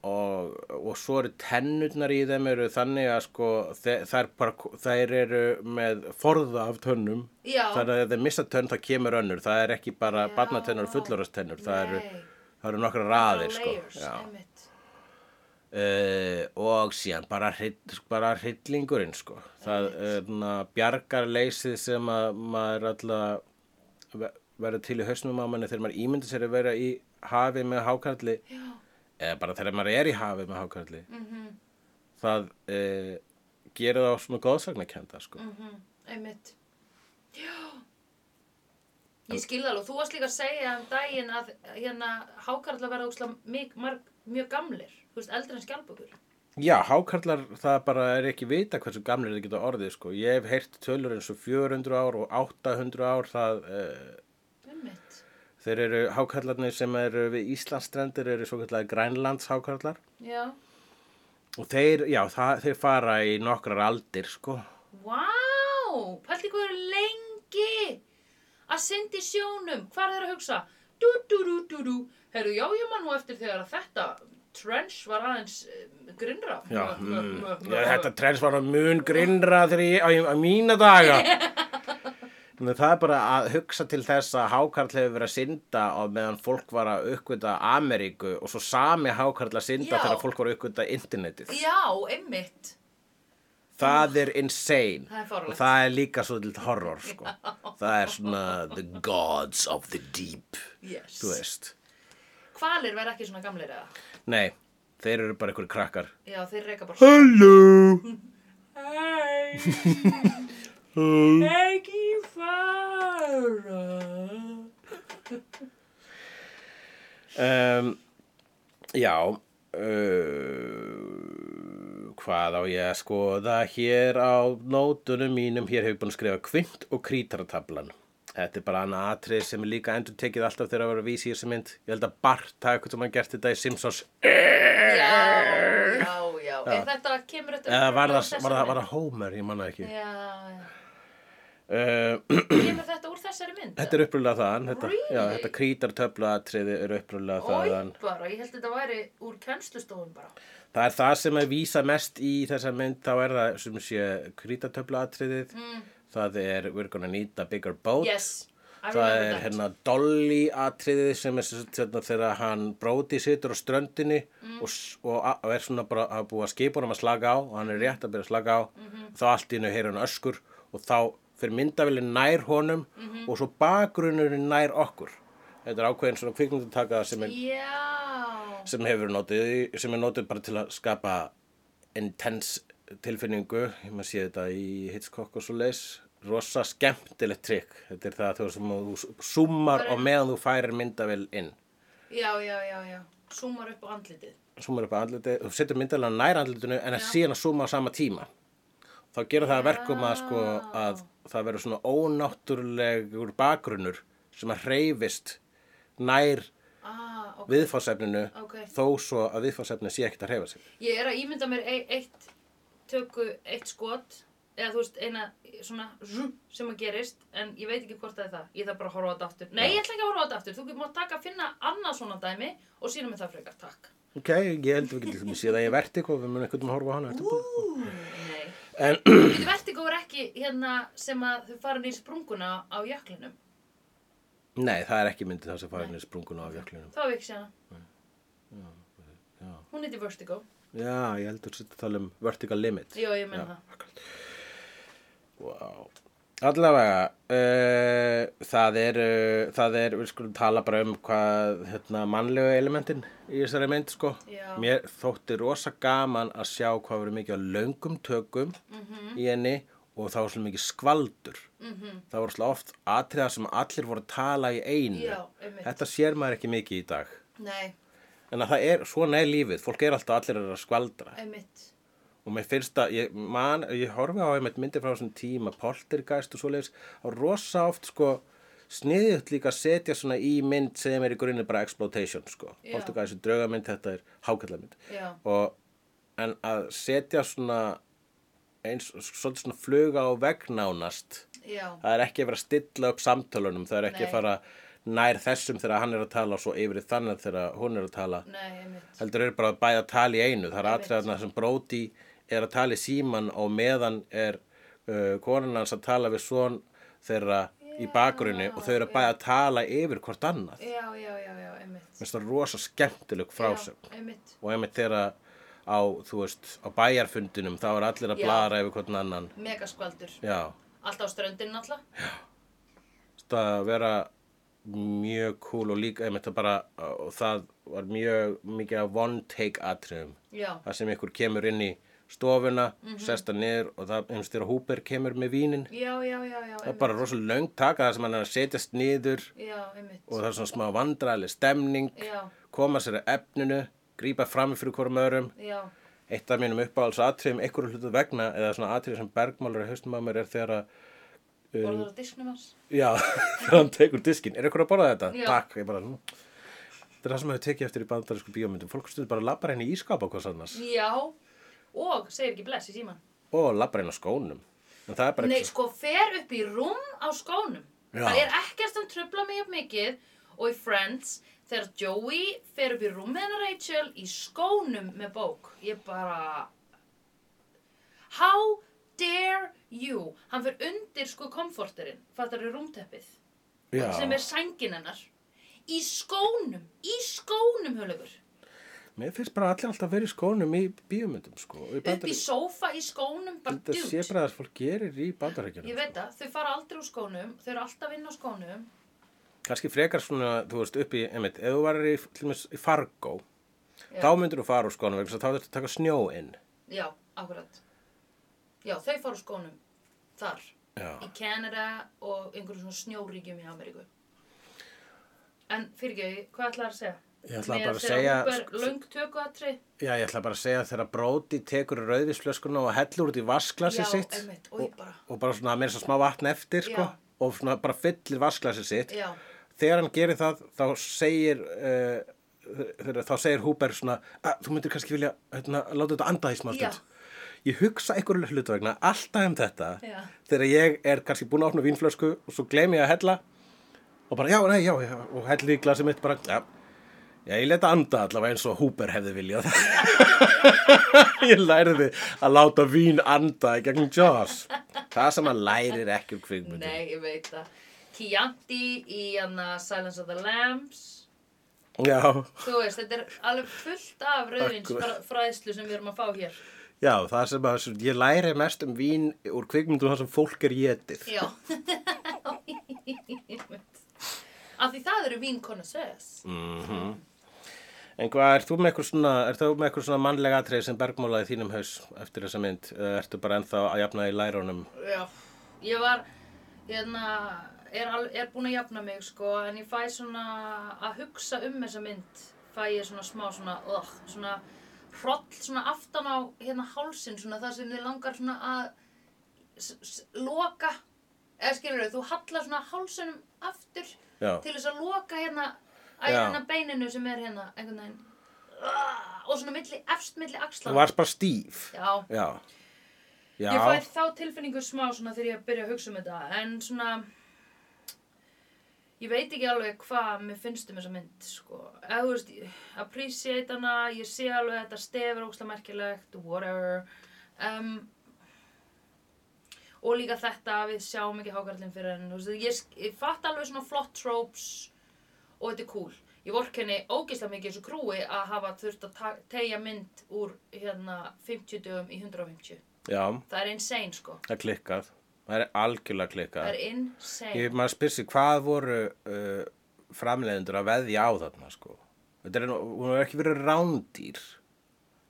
[SPEAKER 2] og, og svo eru tennurnar í þeim eru þannig að sko, þe- þær, bara, þær eru með forða af tönnum.
[SPEAKER 1] Já.
[SPEAKER 2] Þannig að ef þeir missa tönn þá kemur önnur. Það er ekki bara
[SPEAKER 1] Já.
[SPEAKER 2] barnatennur og fullorastennur. Það eru,
[SPEAKER 1] Nei.
[SPEAKER 2] það eru nokkra raðir sko.
[SPEAKER 1] Layers,
[SPEAKER 2] Já.
[SPEAKER 1] einmitt.
[SPEAKER 2] Uh, og síðan bara, hryll, bara hryllingurinn sko. það er uh, bjargarleysið sem að maður alltaf ve- verður til í hausnum á manni þegar maður ímyndir sér að vera í hafi með hákarli
[SPEAKER 1] Já,
[SPEAKER 2] eða bara þegar maður er í hafi með hákarli -hmm. það uh, gerir það á svona góðsagnakenda sko.
[SPEAKER 1] mhm, einmitt. Já. Ég skil það alveg. Þú varst líka að segja um daginn að hérna hákarla verða ókslega mjög, marg, mjög gamlir. Þú veist, eldri en skjálpugur.
[SPEAKER 2] já, hákarlar það bara er ekki vita hversu gamlir þið geta orðið sko. ég hef heyrt tölur eins og 400 ár og 800 ár það uh,
[SPEAKER 1] Einmitt.
[SPEAKER 2] Þeir eru hákarlarnir sem eru við Íslandsstrendir eru svo kallar grænlands hákarlar
[SPEAKER 1] Já.
[SPEAKER 2] og þeir, já, það, þeir fara í nokkrar aldir, sko.
[SPEAKER 1] Vá, pælti hvað eru lengi að syndi í sjónum, hvað er að hugsa? Dú, dú, dú, dú, dú, herru, já, ég man nú eftir þegar að þetta trench var aðeins um, grinnra.
[SPEAKER 2] Já,
[SPEAKER 1] Mö, mö,
[SPEAKER 2] mm,
[SPEAKER 1] mö, mö.
[SPEAKER 2] já þetta trens var nú mun grinnra þegar ég, á, á mína daga. Þannig að það er bara að hugsa til þess að hákarl hefur verið að synda og meðan fólk var að uppgöta Ameríku og svo sami hákarl að synda
[SPEAKER 1] Já.
[SPEAKER 2] þegar fólk var að uppgöta internetið.
[SPEAKER 1] Já, einmitt.
[SPEAKER 2] Það er insane.
[SPEAKER 1] Það er fáránlegt.
[SPEAKER 2] Og það er líka svo til horror, sko. Það er svona the gods of the deep,
[SPEAKER 1] Yes.
[SPEAKER 2] þú veist.
[SPEAKER 1] Hvalir verða ekki svona gamlir eða?
[SPEAKER 2] Nei, þeir eru bara einhverju krakkar.
[SPEAKER 1] Já, þeir reyka bara...
[SPEAKER 2] Hello!
[SPEAKER 1] Hei, ekki fara.
[SPEAKER 2] Um, já, uh, hvað á ég að skoða hér á nótunum mínum? Hér hefur búin að skrifa kvint og krítartablan. Þetta er bara annað atrið sem er líka endur tekið alltaf þegar að vera að vísa í þessu mynd. Ég held að Bart hafi eitthvað sem hann gert þetta í Simpsons.
[SPEAKER 1] Já, já, já. Er þetta kemur þetta...
[SPEAKER 2] Eða var það, var það, var það Homer, ég manna ekki.
[SPEAKER 1] Já, já.
[SPEAKER 2] Uh,
[SPEAKER 1] Kemur þetta úr þessari mynd?
[SPEAKER 2] þetta er uppröðlega þaðan. Þetta, já,
[SPEAKER 1] Really?
[SPEAKER 2] þetta krítartöfla atriði er uppröðlega þaðan.
[SPEAKER 1] Ói bara, ég held þetta væri úr kennslustofun bara.
[SPEAKER 2] Það er það sem er vísa mest í þessa mynd, þá er það sem sé krítatöflaatriðið, það er We're gonna need a bigger boat,
[SPEAKER 1] Mm. Yes, I
[SPEAKER 2] það
[SPEAKER 1] remember
[SPEAKER 2] er
[SPEAKER 1] that.
[SPEAKER 2] hérna Dolly atriðið sem er sem sagt hérna, þegar hann bróti situr á ströndinni
[SPEAKER 1] Mm.
[SPEAKER 2] og, s- og, a- og er svona bara að búa skipunum að slaka á og hann er rétt að byrja að slaka á,
[SPEAKER 1] Mhm.
[SPEAKER 2] þá allt í hennu heyra hann öskur og þá fyrir myndavillin nær honum
[SPEAKER 1] Mhm.
[SPEAKER 2] og svo bakgrunnurinn nær okkur. Þetta er ákveðin svona kvikmyndataka sem er
[SPEAKER 1] Já,
[SPEAKER 2] sem hefur notið, sem er notið bara til að skapa intense tilfinningu, ég maður sé þetta í Hitchcock og svo leis, rosa skemmtilegt trikk, þetta er það þegar sem þú sumar og meðan þú færir myndavél inn,
[SPEAKER 1] já, já, já, já. Súmar upp á andlitið.
[SPEAKER 2] sumar upp að andliti, þú setur myndavél nær andlitinu en að síðan að suma á sama tíma, þá gera það að verkum að sko að það verður svona ónáttúrulegur bakgrunnur sem að hreyfist nær
[SPEAKER 1] Ah, ok.
[SPEAKER 2] viðfársefninu
[SPEAKER 1] Ókei.
[SPEAKER 2] þó svo að viðfársefninu sé ekkert að hreyfa sig.
[SPEAKER 1] Ég er að ímynda mér e eitt töku, eitt skot, eða þú veist, eina svona zzz sem að gerist, en ég veit ekki hvort það er það. Ég þarf bara að horfa á þetta aftur. Nei, ég ætla ekki að horfa á þetta aftur. Þú mátt taka að finna annað svona dæmi og sína mig það frekar. Takk.
[SPEAKER 2] Ok, ég held við getum séð að ég verti eitthvað, við munum einhvern veginn horfa á hana eftir.
[SPEAKER 1] Ú, nei.
[SPEAKER 2] En,
[SPEAKER 1] Við vertigo er ekki hérna sem að þau farin í sprunguna á jöklinum.
[SPEAKER 2] nei, það er ekki myndið það sem farin er sprunguna af jöklinum.
[SPEAKER 1] Það var ekki sérna. Hún heiti Vertigo.
[SPEAKER 2] Já, ég heldur sér að tala um vertical limit.
[SPEAKER 1] Jó, ég meina
[SPEAKER 2] Já.
[SPEAKER 1] það.
[SPEAKER 2] Wow. Allavega, uh, það er, uh, það er, við skulum tala bara um hvað, hérna, mannlegu elementin í þessari mynd, sko.
[SPEAKER 1] Já.
[SPEAKER 2] Mér þótti rosa gaman að sjá hvað verið mikið á löngum tökum
[SPEAKER 1] Mhm.
[SPEAKER 2] í henni og það var svona mikið skvaldur. -hmm. Það var svona oft atriða sem allir voru að tala í einu.
[SPEAKER 1] Já, einmitt.
[SPEAKER 2] Þetta sér maður ekki mikið í dag.
[SPEAKER 1] Nei,
[SPEAKER 2] En að það er, svona er lífið, fólk er alltaf allir að skvaldra
[SPEAKER 1] einmitt.
[SPEAKER 2] og mér finnst að ég, man, ég horfi á einmitt myndir frá þessum tíma poltergeist og svoleiðis og rosa oft sko sniðut líka að setja svona í mynd sem er í grunni bara exploitation sko
[SPEAKER 1] Já.
[SPEAKER 2] poltergeist er draugamynd, þetta er hákallamynd
[SPEAKER 1] Já.
[SPEAKER 2] og en að setja svona eins, svolítið svona fluga á vegg nánast
[SPEAKER 1] Já,
[SPEAKER 2] það er ekki að vera að stilla upp samtölunum það er ekki
[SPEAKER 1] Nei.
[SPEAKER 2] að fara nær þessum þegar hann er að tala og svo yfir í þannig þegar hún er að tala
[SPEAKER 1] nei, einmitt.
[SPEAKER 2] heldur eru bara bæði að tala í einu það er
[SPEAKER 1] Einmitt.
[SPEAKER 2] atriðarna sem Brody er að tala í síman og meðan er uh, konan hans að tala við svon þeirra í bakgrunni og þau eru bæði að tala yfir hvort annað
[SPEAKER 1] Já, já, já, já, einmitt.
[SPEAKER 2] mér finnst það rosa skemmtileg frásum
[SPEAKER 1] Já, einmitt.
[SPEAKER 2] og einmitt þeirra á, þú veist, á bæjarfundinum þá er allir að
[SPEAKER 1] Já.
[SPEAKER 2] blara yfir hvort annan
[SPEAKER 1] Megaskvaldur.
[SPEAKER 2] já,
[SPEAKER 1] Alltaf á ströndinu alltaf.
[SPEAKER 2] það að vera mjög cool og líka einmitt að bara, og það var mjög mikið að one take atriðum
[SPEAKER 1] Já,
[SPEAKER 2] það sem ykkur kemur inn í stofuna,
[SPEAKER 1] Mhm.
[SPEAKER 2] mm -hmm. sesta niður og það eins þegar Húber kemur með vínin
[SPEAKER 1] já, já, já, já,
[SPEAKER 2] það er
[SPEAKER 1] einmitt.
[SPEAKER 2] bara rosalega löng taka það sem hann er að setjast niður
[SPEAKER 1] Já, einmitt.
[SPEAKER 2] og það er svona smá vandræðileg stemning
[SPEAKER 1] Já.
[SPEAKER 2] koma sér að efninu grípa fram fyrir hvorm öðrum
[SPEAKER 1] Já,
[SPEAKER 2] eitt af mínum uppáhalds atriðum einhverju hlutu vegna eða svona atrið sem bergmálur í haustum að mér er þegar að Eh.
[SPEAKER 1] borður á disknum hans.
[SPEAKER 2] já, þegar hann tekur diskin er ykkur að borða þetta?
[SPEAKER 1] Já.
[SPEAKER 2] takk, ég bara nú þetta er það sem hefur tekið eftir í bandarísku bíómyndum fólk stuður bara labbar henni í ískapa hvað annars
[SPEAKER 1] Já, og segir ekki bless í síman.
[SPEAKER 2] og labbar henni á skónum en það er bara
[SPEAKER 1] Nei,
[SPEAKER 2] ekki
[SPEAKER 1] sko, fer upp í rúm á skónum.
[SPEAKER 2] Já.
[SPEAKER 1] Það er ekkert sem trubla mig upp mikið og í Friends þegar Joey fer upp í rúm með hennar Rachel í skónum með bók. Ég bara... How dare you? Hann fer undir sko komforterinn, fattar þau rúmteppið,
[SPEAKER 2] Já.
[SPEAKER 1] sko, sem er sængin hennar. Í skónum, í skónum, hölögur.
[SPEAKER 2] Mér finnst bara allir alltaf verið í skónum í bíómyndum sko.
[SPEAKER 1] Upp í sófa, í skónum, bara
[SPEAKER 2] Þetta sé
[SPEAKER 1] djútt.
[SPEAKER 2] bara að fólk gerir í bandarækjunum.
[SPEAKER 1] Ég veit það, þau fara aldrei úr skónum, þau eru alltaf inn á skónum.
[SPEAKER 2] Kanski frekar svona, þú veist, upp í, einmitt, ef þú varir í, til dæmis, í Fargo, þá myndir þú fara úr skónum vegna þess að þá þurftu að taka snjó inn.
[SPEAKER 1] Já, akkurat. Já, þau fara úr skónum þar.
[SPEAKER 2] Já.
[SPEAKER 1] Í Kanada og einhverjum svona snjóríkjum í Ameríku. En fyrirgeði, hvað ætlaði að segja?
[SPEAKER 2] Ég ætlaði
[SPEAKER 1] Með
[SPEAKER 2] bara að
[SPEAKER 1] þegar
[SPEAKER 2] segja- sko,
[SPEAKER 1] Uber löng tökuatri.
[SPEAKER 2] Já, ég ætla bara að segja að þegar Bróti tekur rauðisflöskuna og hellur út í vasklasið
[SPEAKER 1] Já,
[SPEAKER 2] sitt
[SPEAKER 1] einmitt, og ég bara-
[SPEAKER 2] og bara svona meira svo smá vatn eftir, sko,
[SPEAKER 1] Já.
[SPEAKER 2] og svona bara fyllir vasklasið sitt.
[SPEAKER 1] Já.
[SPEAKER 2] Þegar hann gerir það, þá segir, uh, þegar- þá segir Húber svona, að þú myndir kannski vilja, hérna, láta þetta anda því
[SPEAKER 1] Já.
[SPEAKER 2] smáttið. Ég hugsa einhverju hlutu vegna alltaf um þetta
[SPEAKER 1] Já.
[SPEAKER 2] þegar ég er kannski búin að opna vínflösku og svo glem ég að hella og bara já, nei, já, já og helli í glasið mitt bara, já, já, ég leta anda allavega eins og Húber hefði viljað. ég lærði að láta vín anda í gegnum Jaws. Það sem hann lærir ekki um kvikmyndum.
[SPEAKER 1] Nei, ég veit það. Chianti í hana Silence of the Lambs.
[SPEAKER 2] Já,
[SPEAKER 1] Þú veist, þetta er alveg fullt af
[SPEAKER 2] Akkurat.
[SPEAKER 1] rauðins fræðslu sem við erum að fá hér.
[SPEAKER 2] já, það sem að sem ég læri mest um vín úr kvikmyndum þar sem fólk er getið.
[SPEAKER 1] Já. Af því það eru vinkonasöðs.
[SPEAKER 2] En hvað, ert þú með eitthvað svona, ert þú með eitthvað svona mannlega atrið sem bergmálaði þínum haus eftir þessa mynd? Eða ertu bara ennþá að jafna í lærunum?
[SPEAKER 1] Já, ég var, hérna, er, al- er búin að jafna mig, sko, en ég fæ svona að hugsa um þessa mynd, fæ ég svona smá svona, ugh, svona hroll svona aftan á hérna hálsin, svona það sem þið langar svona að s- s- loka, eða skilur þau, þú hallar svona hálsinum aftur
[SPEAKER 2] Já.
[SPEAKER 1] til þess að loka hérna, að
[SPEAKER 2] Já.
[SPEAKER 1] hérna beininu sem er hérna, einhvern veginn, Ugh, og svona milli, efst milli
[SPEAKER 2] Þú
[SPEAKER 1] axla.
[SPEAKER 2] varst bara stíf.
[SPEAKER 1] Já.
[SPEAKER 2] Já. Já.
[SPEAKER 1] Ég fær þá tilfinningu smá svona þegar ég byrja að hugsa um þetta en svona ég veit ekki alveg hvað mér finnst um þessa mynd sko. eða þú veist, ég appreciate hana ég sé alveg að þetta stefur ógstlega merkilegt whatever um, og líka þetta að við sjáum ekki hákarlinn fyrir henn veist, ég, ég fatt alveg svona flott tropes og þetta er cool ég vorkenni ógeðslega mikið þessu krúi að hafa þurft að ta- teygja mynd úr hérna 50 dögum í 150
[SPEAKER 2] já,
[SPEAKER 1] það er insane sko
[SPEAKER 2] það er klikkað. Það er algjörlega
[SPEAKER 1] það
[SPEAKER 2] klikkað.
[SPEAKER 1] er insane
[SPEAKER 2] Ég maður spyrst sig hvað voru uh, framleiðendur að veðja á þarna sko. Þetta er, nú- hún hefur ekki verið rándýr.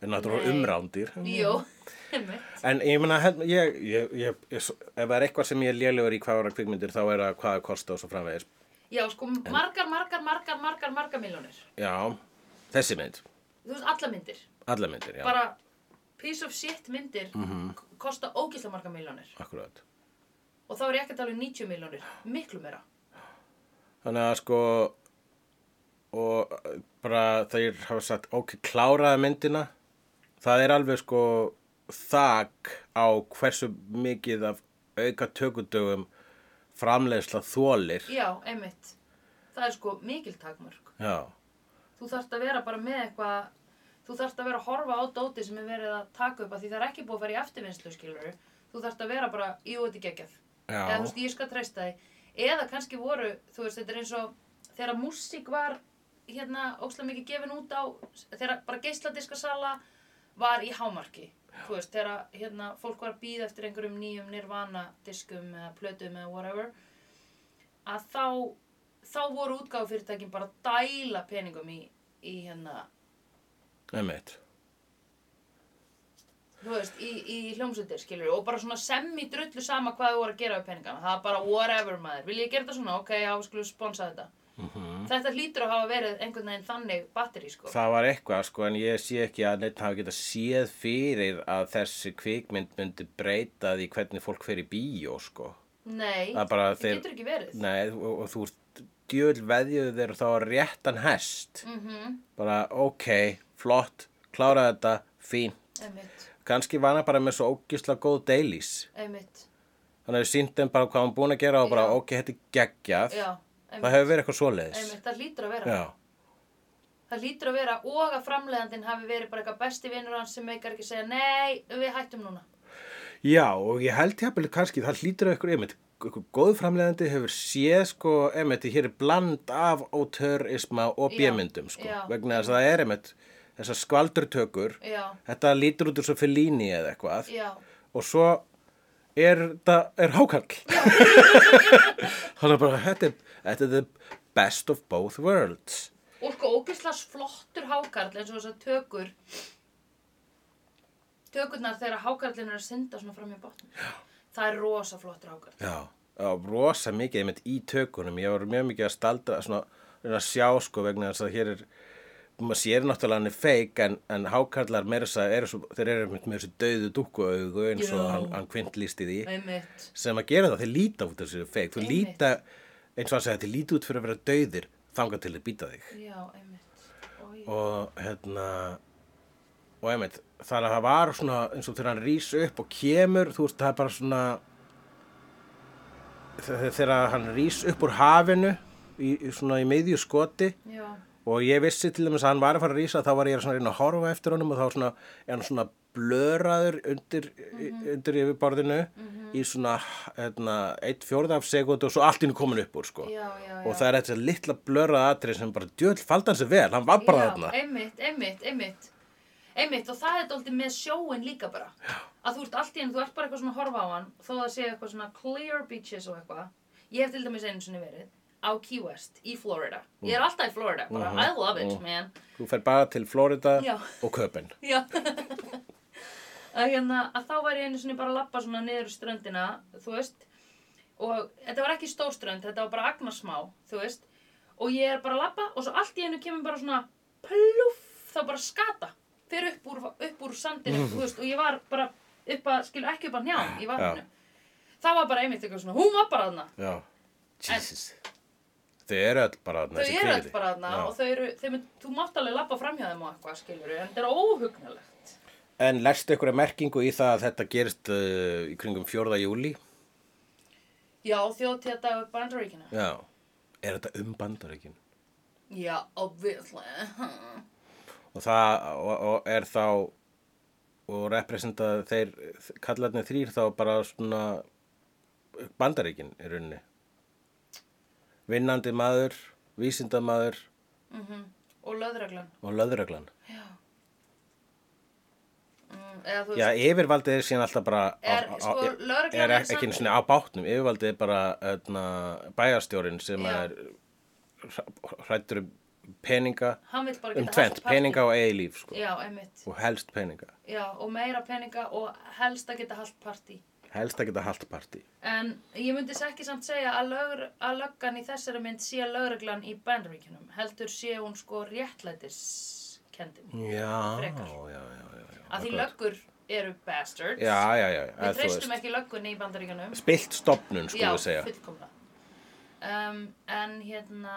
[SPEAKER 2] En náttúrulega
[SPEAKER 1] Nei.
[SPEAKER 2] umrándýr.
[SPEAKER 1] Jó, einmitt.
[SPEAKER 2] En ég meina, hérna, ég, ég, ég, ég, ef það er eitthvað sem ég er lélegur í hvað ára kvikmyndir þá er það hvað það kosta og svo framvegis.
[SPEAKER 1] já sko margar, margar, margar, margar, margar miljónir
[SPEAKER 2] Já, þessi mynd,
[SPEAKER 1] þú veist alla myndir
[SPEAKER 2] alla myndir, já,
[SPEAKER 1] bara piece of shit myndir
[SPEAKER 2] Mhm.
[SPEAKER 1] kosta ógeðslega margar miljónir
[SPEAKER 2] akkurat.
[SPEAKER 1] og þá er ég ekki að tala um 90 miljónir miklu meira
[SPEAKER 2] Þannig að sko, og eh, bara þeir hafa sagt, ok, kláraði myndina, það er alveg sko þak á hversu mikið af auka tökudögum framleiðsla þólir.
[SPEAKER 1] já, einmitt það er sko mikil takmörk
[SPEAKER 2] Já,
[SPEAKER 1] þú þarft að vera bara með eitthvað þú þarft að vera að horfa á dóti sem er verið að taka upp að því það er ekki búið að fara í eftirvinnslu skilur þú þarft að vera bara í út í geggjað
[SPEAKER 2] Já.
[SPEAKER 1] eða þú veist ég skal treysta því eða kannski voru, þú veist þetta er eins og þegar músík var hérna ókslega mikið gefin út á þegar bara geisladiskasala var í hámarki þú veist þegar hérna fólk var að býða eftir einhverjum nýjum nirvana diskum eða plötum eða whatever að þá þá voru útgáfufyrirtækin bara að dæla peningum í, í hérna
[SPEAKER 2] einmitt.
[SPEAKER 1] þú veist, í, í hljómsveitir, skilur og bara svona semmi drullu sama hvað þú voru að gera við peningana, það er bara whatever maður vil ég gera þetta svona, ok, já, skulum sponsa þetta þetta hlýtur að hafa verið einhvern veginn þannig batteri, sko
[SPEAKER 2] Mhm. Það var eitthvað sko en ég sé ekki að neitt hafa getað séð fyrir að þessi kvikmynd myndi breyta því hvernig fólk fer í bíó sko.
[SPEAKER 1] nei,
[SPEAKER 2] Það er bara
[SPEAKER 1] það
[SPEAKER 2] þeir-
[SPEAKER 1] getur ekki verið
[SPEAKER 2] Nei og, og þú ert djöl veðjuð þeir þá á réttan hest.
[SPEAKER 1] mhm,
[SPEAKER 2] Bara ok, flott, klára þetta, fín.
[SPEAKER 1] einmitt,
[SPEAKER 2] Kanski var hann bara með svo ógisla góð deilís.
[SPEAKER 1] einmitt
[SPEAKER 2] Hann hefur sínt þeim bara hvað hann búin að gera og bara
[SPEAKER 1] Já.
[SPEAKER 2] ok, þetta er geggjað.
[SPEAKER 1] já,
[SPEAKER 2] Það
[SPEAKER 1] einmitt,
[SPEAKER 2] hefur verið eitthvað svoleiðis.
[SPEAKER 1] einmitt, það hlýtur að vera
[SPEAKER 2] Já,
[SPEAKER 1] það hlýtur að vera og að framleiðandinn hafi verið bara eitthvað besti vinur hans sem meikar ekki að segja nei, við hættum núna
[SPEAKER 2] Já, og ég held jafnvel kannski, það hlýtur ykkur, einmitt, ykkur góð framleiðandi hefur séð, sko, einmitt, hér er bland af ótörisma og
[SPEAKER 1] Já,
[SPEAKER 2] bjömyndum, sko,
[SPEAKER 1] já.
[SPEAKER 2] vegna þess að það er, einmitt, þessar skvaldurtökur,
[SPEAKER 1] já,
[SPEAKER 2] þetta lítur út úr svo Fellini eða eitthvað,
[SPEAKER 1] já,
[SPEAKER 2] og svo er þetta, er hákarl. Þannig að bara, þetta er, þetta er the best of both worlds.
[SPEAKER 1] Og sko ógeðslega flottur hákarl eins og þess að tökur tökurnar þegar hákarlinn er að synda svona fram í botnum. Það er rosa flottur hákarl.
[SPEAKER 2] Já, já rosa mikið einmitt í tökunum. Ég var mjög mikið að staldra, svona, reyna að sjá sko vegna þess að hér er, maður sér náttúrulega hann er feik en, en hákarlar meira þess að eru svo, þeir eru einmitt með þessu dauðu dúkkuaugu eins og
[SPEAKER 1] Já.
[SPEAKER 2] hann, hann kvint líst í því
[SPEAKER 1] Einmitt.
[SPEAKER 2] sem að gera það, þeir líta út þessu feik. Þú
[SPEAKER 1] Einmitt.
[SPEAKER 2] líta, eins og hann segja, þeir líta út fyrir að vera dauðir þangað til þeir býta þig.
[SPEAKER 1] Já, einmitt. Oj.
[SPEAKER 2] Og hérna, og einmitt, þar að það var svona, eins og þegar hann rís upp og kemur, þú veist, það er bara svona, þe- þegar hann rís upp úr hafinu, í, í svona í miðju skoti,
[SPEAKER 1] Já,
[SPEAKER 2] og ég vissi til dæmis að hann var að fara að rísa, þá var ég svona að reyna að horfa eftir honum og þá svona, er hann svona blöraður undir,
[SPEAKER 1] Mhm.
[SPEAKER 2] undir yfirborðinu í svona, hérna, eitt fjórða af sekundu og svo allt inn komin upp úr, sko.
[SPEAKER 1] já, já.
[SPEAKER 2] Og það er þetta litla blöraða atrið sem bara, djöðl, falda hann sér vel, hann var bara þarna.
[SPEAKER 1] Já, einmitt, einmitt, einmitt. Einmitt og það er dóltið með sjóin líka bara. Já. Að þú ert allt í henni, þú ert bara eitthvað svona að horfa á hann þó að það sé eitthvað svona clear beaches og eitthvað. Ég hef til dæmis einu sinni verið á Key West í Florida. Ég
[SPEAKER 2] Mm.
[SPEAKER 1] er alltaf í Florida,
[SPEAKER 2] Mhm.
[SPEAKER 1] bara I love it, man.
[SPEAKER 2] Þú fer bara til Florida
[SPEAKER 1] Já.
[SPEAKER 2] og Köpen.
[SPEAKER 1] Já að, hérna, að þá var ég einu sinni bara að lappa svona niður ströndina, þú veist og þetta var ekki stór strönd þetta var bara agnarsmá, þú veist og ég er bara að lappa og svo allt í einu kemur bara svona pluff, þá bara skata fyrir upp úr, upp úr sandinu þú veist, og ég var bara upp að skilur ekki upp að njám í vatninu það hérna. var bara einmitt eitthvað svona, hún var bara þarna
[SPEAKER 2] Já. Jesus. Þau eru öll bara þarna,
[SPEAKER 1] þau
[SPEAKER 2] þessi
[SPEAKER 1] eru
[SPEAKER 2] kvíði.
[SPEAKER 1] allt bara þarna
[SPEAKER 2] Já.
[SPEAKER 1] og þau eru, þeim, er- þú mátt alveg lappa framhjá þeim og eitthvað skilur en þetta er óhugnalegt
[SPEAKER 2] En lestu ykkur að merkingu í það að þetta gerist uh, í kringum 4. júli?
[SPEAKER 1] já, þjóðtíðadagur bandaríkina
[SPEAKER 2] Já. Er þetta um bandaríkin?
[SPEAKER 1] Já, obviously.
[SPEAKER 2] Og það, og, og er þá, og representa þeir, kallarnir þrýr þá bara svona bandaríkin í rauninni. Vinnandi maður, vísindamaður
[SPEAKER 1] Mhm. og löðreglan
[SPEAKER 2] og löðröglan.
[SPEAKER 1] já mm, eða þú
[SPEAKER 2] Já,
[SPEAKER 1] veist
[SPEAKER 2] yfirvaldið er síðan alltaf bara... á-
[SPEAKER 1] Er,
[SPEAKER 2] á- á-
[SPEAKER 1] sko, lögreglan
[SPEAKER 2] er
[SPEAKER 1] er
[SPEAKER 2] ekki einu
[SPEAKER 1] samt-
[SPEAKER 2] sinni á bátnum. Yfirvaldið er bara öðna, bæjarstjórin sem
[SPEAKER 1] Já.
[SPEAKER 2] er hrættur um peninga,
[SPEAKER 1] hann vill bara
[SPEAKER 2] um
[SPEAKER 1] geta
[SPEAKER 2] tvent,
[SPEAKER 1] haft partí.
[SPEAKER 2] peninga og eigi líf, sko.
[SPEAKER 1] já, einmitt,
[SPEAKER 2] Og helst peninga.
[SPEAKER 1] já, og meira peninga og helst að geta haldt partí
[SPEAKER 2] Helst að geta haldt partí.
[SPEAKER 1] en ég myndi ekki samt segja að, lögur, að löggan í þessari mynd sé lögreglan í bandaríkjunum heldur sé hún sko réttlætiskendim
[SPEAKER 2] Já,
[SPEAKER 1] Frekar.
[SPEAKER 2] já, já, já. já.
[SPEAKER 1] að því
[SPEAKER 2] akkurat.
[SPEAKER 1] löggur eru bastards
[SPEAKER 2] Já, já, já. já,
[SPEAKER 1] við
[SPEAKER 2] þú
[SPEAKER 1] treystum
[SPEAKER 2] veist.
[SPEAKER 1] ekki löggunni í bandaríkjunum
[SPEAKER 2] Spilt stopnun, sko
[SPEAKER 1] Já,
[SPEAKER 2] við segja.
[SPEAKER 1] fullkomna. Um, en hérna,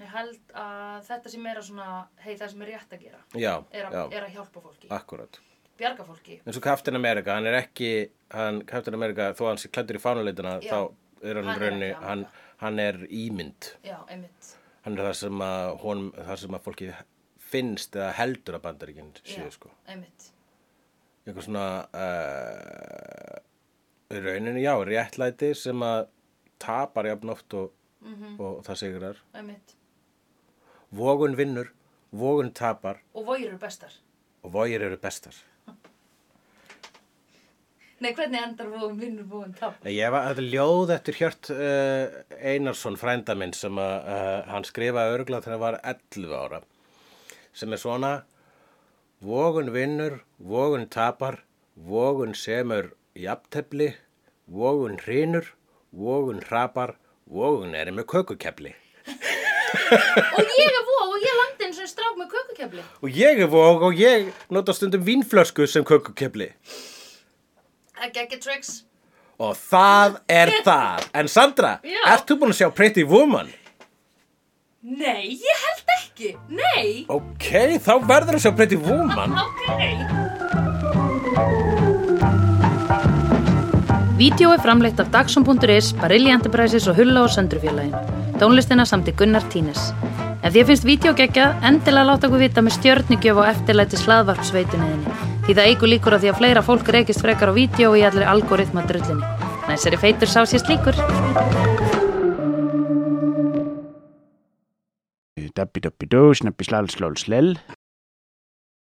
[SPEAKER 1] ég held að þetta sem er að svona, hei það sem er rétt að gera,
[SPEAKER 2] Já,
[SPEAKER 1] er að,
[SPEAKER 2] já,
[SPEAKER 1] er að hjálpa fólki,
[SPEAKER 2] akkurat.
[SPEAKER 1] bjarga fólki.
[SPEAKER 2] eins og Captain America, hann er ekki hann, Captain America, þó að hann sé klættur í fánuleitina
[SPEAKER 1] Já.
[SPEAKER 2] þá er hann,
[SPEAKER 1] Hann er
[SPEAKER 2] raunni
[SPEAKER 1] ekki
[SPEAKER 2] hann,
[SPEAKER 1] Ameríka.
[SPEAKER 2] hann er ímynd
[SPEAKER 1] Já, einmitt.
[SPEAKER 2] hann er það sem að, honum, það sem að fólki finnst eða heldur að bandaríkinn séu
[SPEAKER 1] Já,
[SPEAKER 2] sko
[SPEAKER 1] Einmitt.
[SPEAKER 2] eitthvað svona uh, rauninu, já, réttlæti sem að tapar jafn oft og,
[SPEAKER 1] Mhm.
[SPEAKER 2] og það sigrar
[SPEAKER 1] Einmitt.
[SPEAKER 2] vogun vinnur, vogun tapar
[SPEAKER 1] Og vógir eru bestar.
[SPEAKER 2] og vogir eru bestar
[SPEAKER 1] Nei, hvernig endar vógum vinnur vógum tap?
[SPEAKER 2] Nei, Ég var þetta er ljóð eftir Hjört uh, Einarsson frænda minn sem að, uh, hann skrifaði örgla þegar hann var 11 ára sem er svona Vogun vinnur, vogun tapar, vogun semur jafntefli, vogun hrinur, vogun hrapar, vogun er með kökukefli.
[SPEAKER 1] og ég er vóg og ég landi eins og strák með kökukefli.
[SPEAKER 2] Og ég er vog og ég nota stundum vínflösku sem kökukefli.
[SPEAKER 1] Ekki ekki tricks.
[SPEAKER 2] Og það er það. En Sandra,
[SPEAKER 1] Já.
[SPEAKER 2] ert þú búin að sjá Pretty Woman?
[SPEAKER 1] Nei, ég held ekki. Nei.
[SPEAKER 2] Ok, þá verður að sjá Pretty Woman.
[SPEAKER 1] Ok.
[SPEAKER 3] Vídeó er framleitt af Dagsum.is, Barilli Enterprises og Hulla og Söndrufjörlægin. Tónlistina samt í Gunnar Tínes. Ef því finnst vídeo geggjað, endilega láta okkur vita með stjörnigjöf og eftirlæti slaðvarpsveituninni. Því það eigur líkur á því að fleira fólk reykist frekar á vídeo í allri algoritma drullinni. Næs er í feitur sá sér slíkur.
[SPEAKER 4] Dabbi dabbi dó, snabbi slal slal slel.